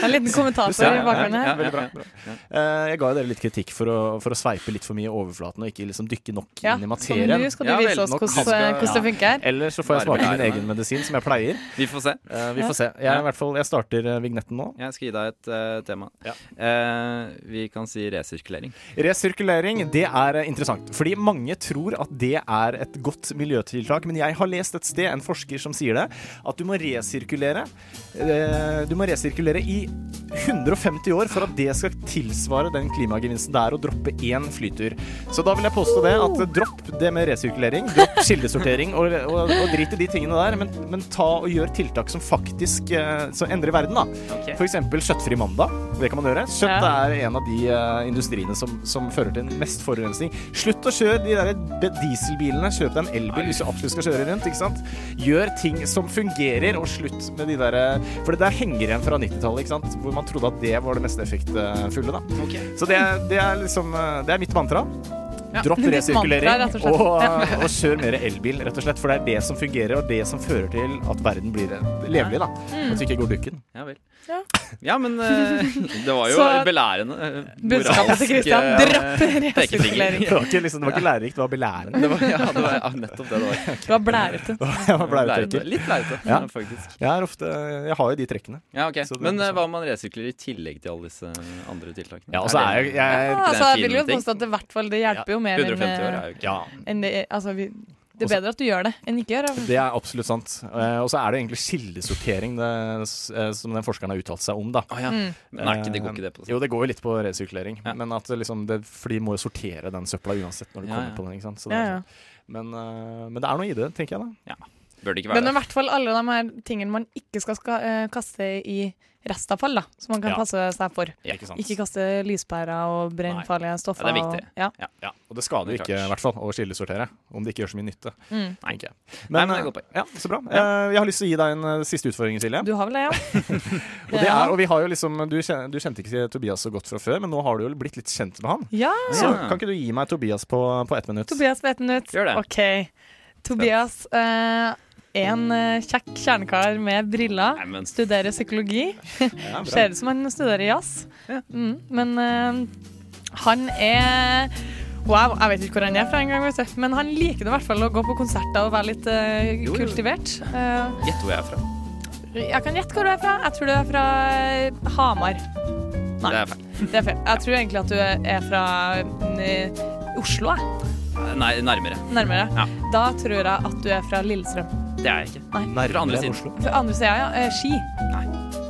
[SPEAKER 3] En liten kommentator i bakgrunnen her.
[SPEAKER 4] ja,
[SPEAKER 2] Veldig bra.
[SPEAKER 4] ja,
[SPEAKER 2] bra. Eh, Jeg ga jo dere litt kritikk for å, for å sveipe litt for mye i overflaten og ikke liksom dykke nok inn
[SPEAKER 3] Ja,
[SPEAKER 2] i
[SPEAKER 3] så nå
[SPEAKER 2] materien.
[SPEAKER 3] skal du
[SPEAKER 4] Ja, vel,
[SPEAKER 3] vise oss
[SPEAKER 4] nå
[SPEAKER 3] hvordan,
[SPEAKER 4] kan- skal-
[SPEAKER 3] hvordan det funker.
[SPEAKER 2] Eller så får jeg
[SPEAKER 4] Bare
[SPEAKER 2] smake min
[SPEAKER 4] belære
[SPEAKER 2] egen medisin, som jeg pleier.
[SPEAKER 4] Vi får se.
[SPEAKER 2] Eh, Vi
[SPEAKER 3] Ja.
[SPEAKER 2] får se. Jeg, er i hvert fall, jeg starter eh, vignetten nå.
[SPEAKER 4] Jeg skal gi deg et eh, tema.
[SPEAKER 2] Ja.
[SPEAKER 4] Eh, vi kan si resirkulering.
[SPEAKER 2] Resirkulering, det er eh, interessant. Fordi mange tror at det er et godt miljøtiltak. Men jeg har lest et sted, en forsker som sier det, at du må resirkulere. eh, Du må resirkulere i 150 år for at det det skal tilsvare den klimagevinsten det er å droppe én flytur. Så da vil jeg påstå det at dropp det med resirkulering, dropp kildesortering og, og, og drit i de tingene der, men, men ta og gjør tiltak som faktisk eh, som endrer verden, da.
[SPEAKER 4] Ok.
[SPEAKER 2] For eksempel Kjøttfri mandag. Det kan man gjøre. Kjøtt er en av de eh, industriene som, som fører til mest forurensning. Slutt å kjøre de der be- dieselbilene. Kjøp deg en elbil hvis du absolutt skal kjøre rundt. ikke sant? Gjør ting som fungerer, og slutt med de der eh, For det der henger igjen fra 90-tallet, ikke sant? hvor man trodde at det var det mest effektfulle. da. Så det, er- det er liksom eh, Det er mitt mantra.
[SPEAKER 3] Ja.
[SPEAKER 2] Dropp
[SPEAKER 3] Mitt mantra,
[SPEAKER 2] resirkulering
[SPEAKER 3] rett og slett.
[SPEAKER 2] og, eh, og kjør mer elbil, rett og slett. For det er det som fungerer, og det som fører til at verden blir eh, levelig. da.
[SPEAKER 3] Mm.
[SPEAKER 2] At vi ikke går dukken.
[SPEAKER 4] Ja vel.
[SPEAKER 3] Ja.
[SPEAKER 4] Ja, men eh,
[SPEAKER 3] [LAUGHS]
[SPEAKER 4] det var jo
[SPEAKER 3] Så-
[SPEAKER 4] belærende. eh,
[SPEAKER 3] Budskapet til
[SPEAKER 4] moralsk,
[SPEAKER 3] Christian
[SPEAKER 4] eh, [LAUGHS]
[SPEAKER 3] dropp
[SPEAKER 4] pekefinger.
[SPEAKER 3] resirkulering.
[SPEAKER 2] Det var ikke, liksom, det var ikke lærerikt, det var belærende.
[SPEAKER 4] Det var, ja, det var ja, nettopp det det var.
[SPEAKER 3] Du var blærete.
[SPEAKER 2] Jeg [LAUGHS] var
[SPEAKER 4] Lærete.
[SPEAKER 2] blærete.
[SPEAKER 4] Litt lærete,
[SPEAKER 2] Ja.
[SPEAKER 4] ja, faktisk.
[SPEAKER 2] Jeg, er ofte, jeg har jo de trekkene.
[SPEAKER 4] Ja, ok.
[SPEAKER 2] Så det-
[SPEAKER 4] Men eh, hva om man resirkulerer i tillegg til alle disse andre tiltakene?
[SPEAKER 2] Ja, og så er jeg,
[SPEAKER 3] [LAUGHS]
[SPEAKER 2] jeg
[SPEAKER 3] Ja, altså,
[SPEAKER 4] en
[SPEAKER 3] jeg
[SPEAKER 4] fin
[SPEAKER 3] vil jo
[SPEAKER 4] ting.
[SPEAKER 3] påstå at det, i hvert fall, det hjelper jo mer enn
[SPEAKER 4] 150 år
[SPEAKER 3] eh,
[SPEAKER 4] er jo ikke
[SPEAKER 2] ja,
[SPEAKER 3] enn det, altså, vi, det er
[SPEAKER 2] Også-
[SPEAKER 3] bedre at du gjør det enn ikke gjør det.
[SPEAKER 2] det er absolutt sant. Eh, Og så er det egentlig kildesortering det, s- eh, som den forskeren har uttalt seg om, da. Eh,
[SPEAKER 4] Å ja.
[SPEAKER 3] Mm.
[SPEAKER 4] Men er ikke, det går ikke det på
[SPEAKER 2] Jo, det går jo litt på resirkulering,
[SPEAKER 4] Ja.
[SPEAKER 2] men at det liksom det, for de må jo sortere den søpla uansett når du
[SPEAKER 4] Ja,
[SPEAKER 2] kommer
[SPEAKER 4] ja.
[SPEAKER 2] på den. ikke sant? Så det
[SPEAKER 3] Ja,
[SPEAKER 2] er
[SPEAKER 3] ja.
[SPEAKER 2] sånn. men, eh, men det er noe i det, tenker jeg da.
[SPEAKER 4] Bør det ikke
[SPEAKER 3] Men
[SPEAKER 4] være
[SPEAKER 3] i
[SPEAKER 4] det?
[SPEAKER 3] hvert fall alle de her tingene man ikke skal, ska- eh, kaste i restavfall, da, som man kan
[SPEAKER 2] Ja.
[SPEAKER 3] passe seg for.
[SPEAKER 4] Ja.
[SPEAKER 2] Ikke sant?
[SPEAKER 3] Ikke kaste lyspærer og brennfarlige stoffer.
[SPEAKER 4] Ja, det er viktig.
[SPEAKER 3] Og, ja.
[SPEAKER 2] Ja, og det skader jo ikke i hvert fall å skillesortere, om det ikke gjør så mye nytte.
[SPEAKER 3] Mm.
[SPEAKER 2] tenker jeg.
[SPEAKER 4] Nei,
[SPEAKER 2] Men,
[SPEAKER 4] men det er godt poeng.
[SPEAKER 2] eh, ja, så bra. Eh, Jeg har lyst til å gi deg en eh, siste utfordring, Silje.
[SPEAKER 3] Du har vel
[SPEAKER 4] [LAUGHS]
[SPEAKER 3] det, ja?
[SPEAKER 2] Og, det er, og vi har jo liksom, du, kjen- du kjente ikke Tobias så godt fra før, men nå har du jo blitt litt kjent med han.
[SPEAKER 3] Ja,
[SPEAKER 2] Så
[SPEAKER 4] Ja.
[SPEAKER 2] kan ikke du gi meg Tobias på, på ett minutt?
[SPEAKER 3] Tobias vet den ut.
[SPEAKER 4] Gjør det.
[SPEAKER 3] OK. Tobias eh, en eh, kjekk kjernekar med briller.
[SPEAKER 4] Mm. Nei, men
[SPEAKER 3] Studerer psykologi.
[SPEAKER 2] Ja, bra.
[SPEAKER 3] Ser ut som han studerer jazz.
[SPEAKER 4] Ja.
[SPEAKER 3] Mm, men eh, han er Wow, jeg vet ikke hvor han er fra engang, men han liker det i hvert fall å gå på konserter og være litt eh,
[SPEAKER 4] Jo, jo.
[SPEAKER 3] kultivert. Eh,
[SPEAKER 4] gjett hvor jeg er fra.
[SPEAKER 3] Jeg kan gjette hvor du er fra. Jeg tror du er fra eh, Hamar. Nei.
[SPEAKER 4] Det er feil.
[SPEAKER 3] Det er feil. Jeg tror egentlig at du er- er fra eh, Oslo, jeg.
[SPEAKER 4] Nei, nærmere.
[SPEAKER 3] Nærmere.
[SPEAKER 4] Ja.
[SPEAKER 3] Da tror jeg at du er fra Lillestrøm.
[SPEAKER 4] Det er jeg ikke.
[SPEAKER 2] Nærmere
[SPEAKER 4] Fra andre
[SPEAKER 2] enn
[SPEAKER 4] siden.
[SPEAKER 2] Oslo.
[SPEAKER 3] For andre sida, ja. eh, Ski.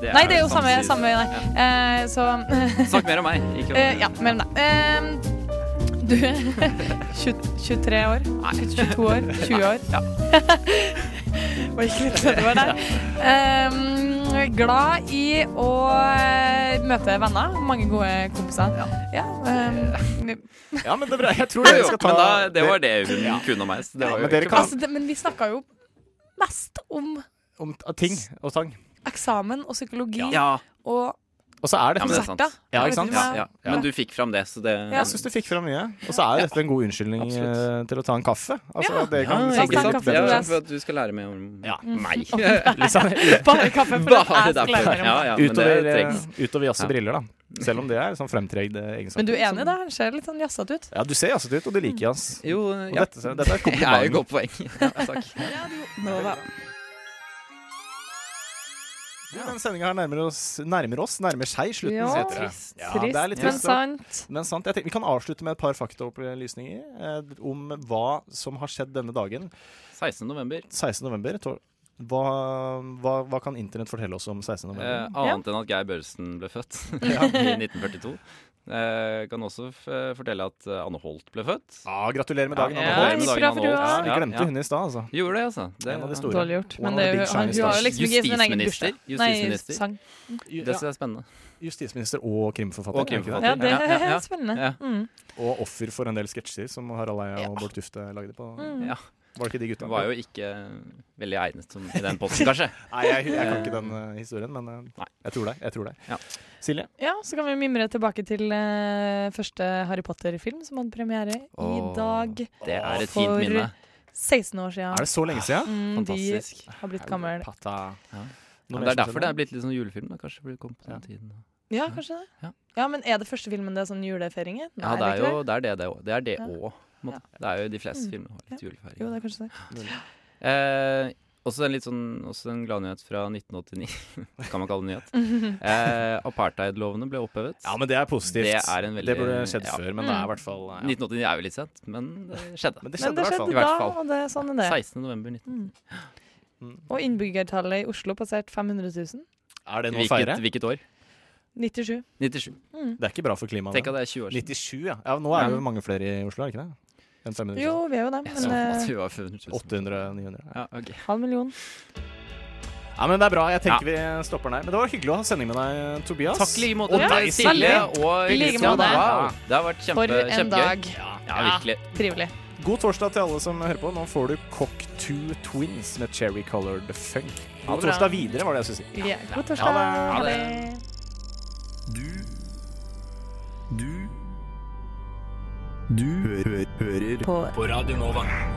[SPEAKER 3] Nei, det er jo samme,
[SPEAKER 4] side.
[SPEAKER 3] samme nei. Eh, så [LAUGHS]
[SPEAKER 4] Snakk mer om meg. Ikke om
[SPEAKER 3] eh, Ja, mer om deg. Eh, du [LAUGHS] er 23 år? Nei. 22
[SPEAKER 4] [LAUGHS]
[SPEAKER 3] år? 20 år? Ja. [LAUGHS] Var ikke litt sånn det var der. Eh, glad i å eh, møte venner. Mange gode kompiser. Ja.
[SPEAKER 4] [LAUGHS]
[SPEAKER 3] eh,
[SPEAKER 2] Ja, men det er bra. Jeg tror
[SPEAKER 4] Jo,
[SPEAKER 2] dere
[SPEAKER 4] jo,
[SPEAKER 2] skal ta
[SPEAKER 4] men da, det var det hun kunne om meg. Så det var jo
[SPEAKER 2] Men dere
[SPEAKER 4] ikke
[SPEAKER 2] kan-
[SPEAKER 4] bra.
[SPEAKER 3] altså, det, men vi snakka jo mest om
[SPEAKER 2] om ting og tang.
[SPEAKER 3] eksamen og psykologi
[SPEAKER 4] Ja,
[SPEAKER 3] og
[SPEAKER 2] Og så er
[SPEAKER 4] ja,
[SPEAKER 2] dette
[SPEAKER 4] men det er sant.
[SPEAKER 3] konserter.
[SPEAKER 2] Ja,
[SPEAKER 3] Jeg
[SPEAKER 2] ikke
[SPEAKER 3] vet
[SPEAKER 2] sant?
[SPEAKER 4] Ja,
[SPEAKER 3] hva-
[SPEAKER 4] ja. Men du fikk fram det, så det
[SPEAKER 3] Ja.
[SPEAKER 2] Jeg syns du fikk fram mye. Og så er dette en god unnskyldning
[SPEAKER 4] Absolutt.
[SPEAKER 2] eh, til å ta en kaffe. Altså,
[SPEAKER 3] Ja.
[SPEAKER 2] det kan
[SPEAKER 3] ikke
[SPEAKER 2] sikkert
[SPEAKER 3] sant?
[SPEAKER 2] litt
[SPEAKER 3] Kaffe.
[SPEAKER 2] bedre.
[SPEAKER 4] Ja, for at du skal lære mer om [LAUGHS]
[SPEAKER 2] Ja.
[SPEAKER 4] meg.
[SPEAKER 3] [LAUGHS] Bare kaffe for at
[SPEAKER 4] sånn- [LAUGHS] Bare
[SPEAKER 3] jeg skal lære
[SPEAKER 4] derfor.
[SPEAKER 3] mer om
[SPEAKER 4] Ja,
[SPEAKER 3] det.
[SPEAKER 4] ja, men det
[SPEAKER 2] Utover, eh,
[SPEAKER 4] trengs.
[SPEAKER 2] utover jazz
[SPEAKER 4] Ja.
[SPEAKER 2] og briller, da. Selv om det er sånn fremtregd eh, egenskap.
[SPEAKER 3] Men du er enig i det? Han ser litt sånn jazzete ut.
[SPEAKER 2] Ja, du ser jazzete ut, og du liker jazz.
[SPEAKER 3] Mm.
[SPEAKER 4] Jo,
[SPEAKER 2] Og
[SPEAKER 4] [LAUGHS] ja.
[SPEAKER 2] dette, dette er et
[SPEAKER 4] Det er jo
[SPEAKER 2] kompliment.
[SPEAKER 4] godt poeng. [LAUGHS] Ja, takk.
[SPEAKER 9] Nova.
[SPEAKER 2] Du, Den sendinga her nærmer oss, nærmer oss, nærmer seg slutten,
[SPEAKER 3] Ja.
[SPEAKER 2] heter det.
[SPEAKER 4] Trist.
[SPEAKER 2] Ja,
[SPEAKER 3] Trist,
[SPEAKER 2] det er litt
[SPEAKER 3] men
[SPEAKER 2] trist. da.
[SPEAKER 3] sant.
[SPEAKER 2] Men sant. Jeg tenker, vi kan avslutte med et par faktaopplysninger eh, om hva som har skjedd denne dagen.
[SPEAKER 4] 16. november.
[SPEAKER 2] 16. november. Tor- Hva, hva, hva kan internett fortelle oss om 16.
[SPEAKER 4] Eh,
[SPEAKER 2] november?
[SPEAKER 4] annet enn at Geir Børresen ble født [LAUGHS] i 1942. Eh, kan også f fortelle at eh, Anne Holt ble født.
[SPEAKER 2] Ah, gratulerer med dagen,
[SPEAKER 4] Ja,
[SPEAKER 2] Anne
[SPEAKER 3] ja,
[SPEAKER 2] Holm.
[SPEAKER 4] gratulerer
[SPEAKER 3] Hurra
[SPEAKER 4] med dagen,
[SPEAKER 3] for
[SPEAKER 4] Anne Holt.
[SPEAKER 2] Ja,
[SPEAKER 3] henne.
[SPEAKER 2] vi
[SPEAKER 4] Ja,
[SPEAKER 2] glemte
[SPEAKER 4] ja.
[SPEAKER 2] hun i stad, altså.
[SPEAKER 4] Gjorde det, altså. Det,
[SPEAKER 2] En av de store.
[SPEAKER 3] Dårlig gjort. Men
[SPEAKER 2] One
[SPEAKER 3] det,
[SPEAKER 2] of the big
[SPEAKER 3] han,
[SPEAKER 2] shiny
[SPEAKER 3] hun har jo
[SPEAKER 2] stars.
[SPEAKER 3] liksom ikke gitt sin egen
[SPEAKER 4] Justisminister.
[SPEAKER 3] bursdag. Nei,
[SPEAKER 4] Justisminister.
[SPEAKER 3] sang.
[SPEAKER 2] Ju-
[SPEAKER 4] Det
[SPEAKER 2] Ja,
[SPEAKER 4] som er spennende.
[SPEAKER 2] justisminister og krimforfatter.
[SPEAKER 4] Og
[SPEAKER 2] er det ikke
[SPEAKER 3] Ja,
[SPEAKER 4] krimforfatter.
[SPEAKER 3] det
[SPEAKER 4] Ja, ja,
[SPEAKER 3] er
[SPEAKER 4] ja.
[SPEAKER 3] spennende.
[SPEAKER 4] Ja.
[SPEAKER 3] Mm.
[SPEAKER 2] det? Og offer for en del sketsjer som Harald Eia og Bård Tufte lagde på.
[SPEAKER 3] Mm.
[SPEAKER 4] Ja.
[SPEAKER 2] Var det ikke de gutta?
[SPEAKER 4] Det var jo ikke eh, veldig egnet som i den [LAUGHS] posten, kanskje.
[SPEAKER 2] Nei, jeg, jeg kan ikke den eh, historien, men eh,
[SPEAKER 4] Nei.
[SPEAKER 2] jeg tror deg. Jeg tror deg.
[SPEAKER 4] Ja.
[SPEAKER 2] Silje?
[SPEAKER 3] Ja, så kan vi mimre tilbake til eh, første Harry Potter-film som hadde premiere i
[SPEAKER 4] Åh.
[SPEAKER 3] dag.
[SPEAKER 4] Det er et
[SPEAKER 3] For-
[SPEAKER 4] fint minne.
[SPEAKER 3] 16 år siden.
[SPEAKER 2] Er det så lenge siden?
[SPEAKER 3] Mm,
[SPEAKER 4] Fantastisk.
[SPEAKER 3] De har blitt gamle.
[SPEAKER 2] Patta.
[SPEAKER 4] Ja.
[SPEAKER 2] Noe
[SPEAKER 4] Men det
[SPEAKER 2] mer
[SPEAKER 4] er
[SPEAKER 2] som
[SPEAKER 4] derfor det
[SPEAKER 2] skjedde?
[SPEAKER 4] er blitt litt sånn julefilm. Da. Kanskje det kom på den tiden.
[SPEAKER 3] Ja, kanskje
[SPEAKER 4] Ja.
[SPEAKER 3] det. Ja, men er det første filmen det er sånn julefeiringer?
[SPEAKER 4] Ja, det er jo det er det det òg. Det er det
[SPEAKER 3] Ja.
[SPEAKER 4] òg. på en måte. Det er jo de fleste filmene har litt julefeiring.
[SPEAKER 3] Jo, det er kanskje det.
[SPEAKER 4] Eh, også en litt sånn Også en gladnyhet fra 1989. [LAUGHS] kan man kalle det nyhet? Eh, Apartheidlovene ble opphevet.
[SPEAKER 2] Ja, men det er positivt.
[SPEAKER 4] Det er en veldig-
[SPEAKER 2] Det burde skjedd
[SPEAKER 4] ja.
[SPEAKER 2] før, men det er i hvert fall ja.
[SPEAKER 4] 1989 er jo litt sent, men det skjedde.
[SPEAKER 2] Men det
[SPEAKER 3] Men
[SPEAKER 2] skjedde i
[SPEAKER 3] det
[SPEAKER 2] hvert
[SPEAKER 3] skjedde
[SPEAKER 2] fall.
[SPEAKER 4] I hvert
[SPEAKER 3] da,
[SPEAKER 4] fall.
[SPEAKER 3] og det er sånn det er.
[SPEAKER 4] 16. november 19...
[SPEAKER 3] Og innbyggertallet i Oslo passerte 500 000.
[SPEAKER 2] Er det noe å
[SPEAKER 4] Hvilket,
[SPEAKER 2] feire?
[SPEAKER 4] hvilket år?
[SPEAKER 3] 97.
[SPEAKER 4] 97.
[SPEAKER 2] Det er ikke bra for klimaet.
[SPEAKER 4] Tenk
[SPEAKER 2] det.
[SPEAKER 4] at det er 20 år siden.
[SPEAKER 2] 97, ja. ja. Nå er det jo mange flere i Oslo, er det ikke det? Enn 500
[SPEAKER 3] Jo, vi er jo det, men eh,
[SPEAKER 4] det var 500 000.
[SPEAKER 2] 800-900.
[SPEAKER 4] Ja, ok.
[SPEAKER 3] halv million.
[SPEAKER 2] Ja, men det er bra. Jeg tenker vi stopper den her. Men det var hyggelig å ha sending med deg, Tobias.
[SPEAKER 4] Takk i like måte.
[SPEAKER 2] Og
[SPEAKER 3] Ja,
[SPEAKER 2] deg,
[SPEAKER 3] Silje.
[SPEAKER 2] Silje.
[SPEAKER 4] og
[SPEAKER 3] I like måte.
[SPEAKER 4] Wow, Det har vært kjempe,
[SPEAKER 3] For en
[SPEAKER 4] kjempegøy.
[SPEAKER 3] dag.
[SPEAKER 4] Ja, virkelig.
[SPEAKER 3] Trivelig.
[SPEAKER 2] God torsdag til alle som hører på. Nå får du Cock 2 Twins med Cherry Colored Funk.
[SPEAKER 3] Ha det
[SPEAKER 2] God
[SPEAKER 3] bra.
[SPEAKER 2] torsdag videre, var det jeg skulle si.
[SPEAKER 3] Ja, god torsdag.
[SPEAKER 2] Ha
[SPEAKER 3] Ha det.
[SPEAKER 4] det.
[SPEAKER 8] Du Du Du hø hø hører
[SPEAKER 9] på
[SPEAKER 8] på Radio Nova.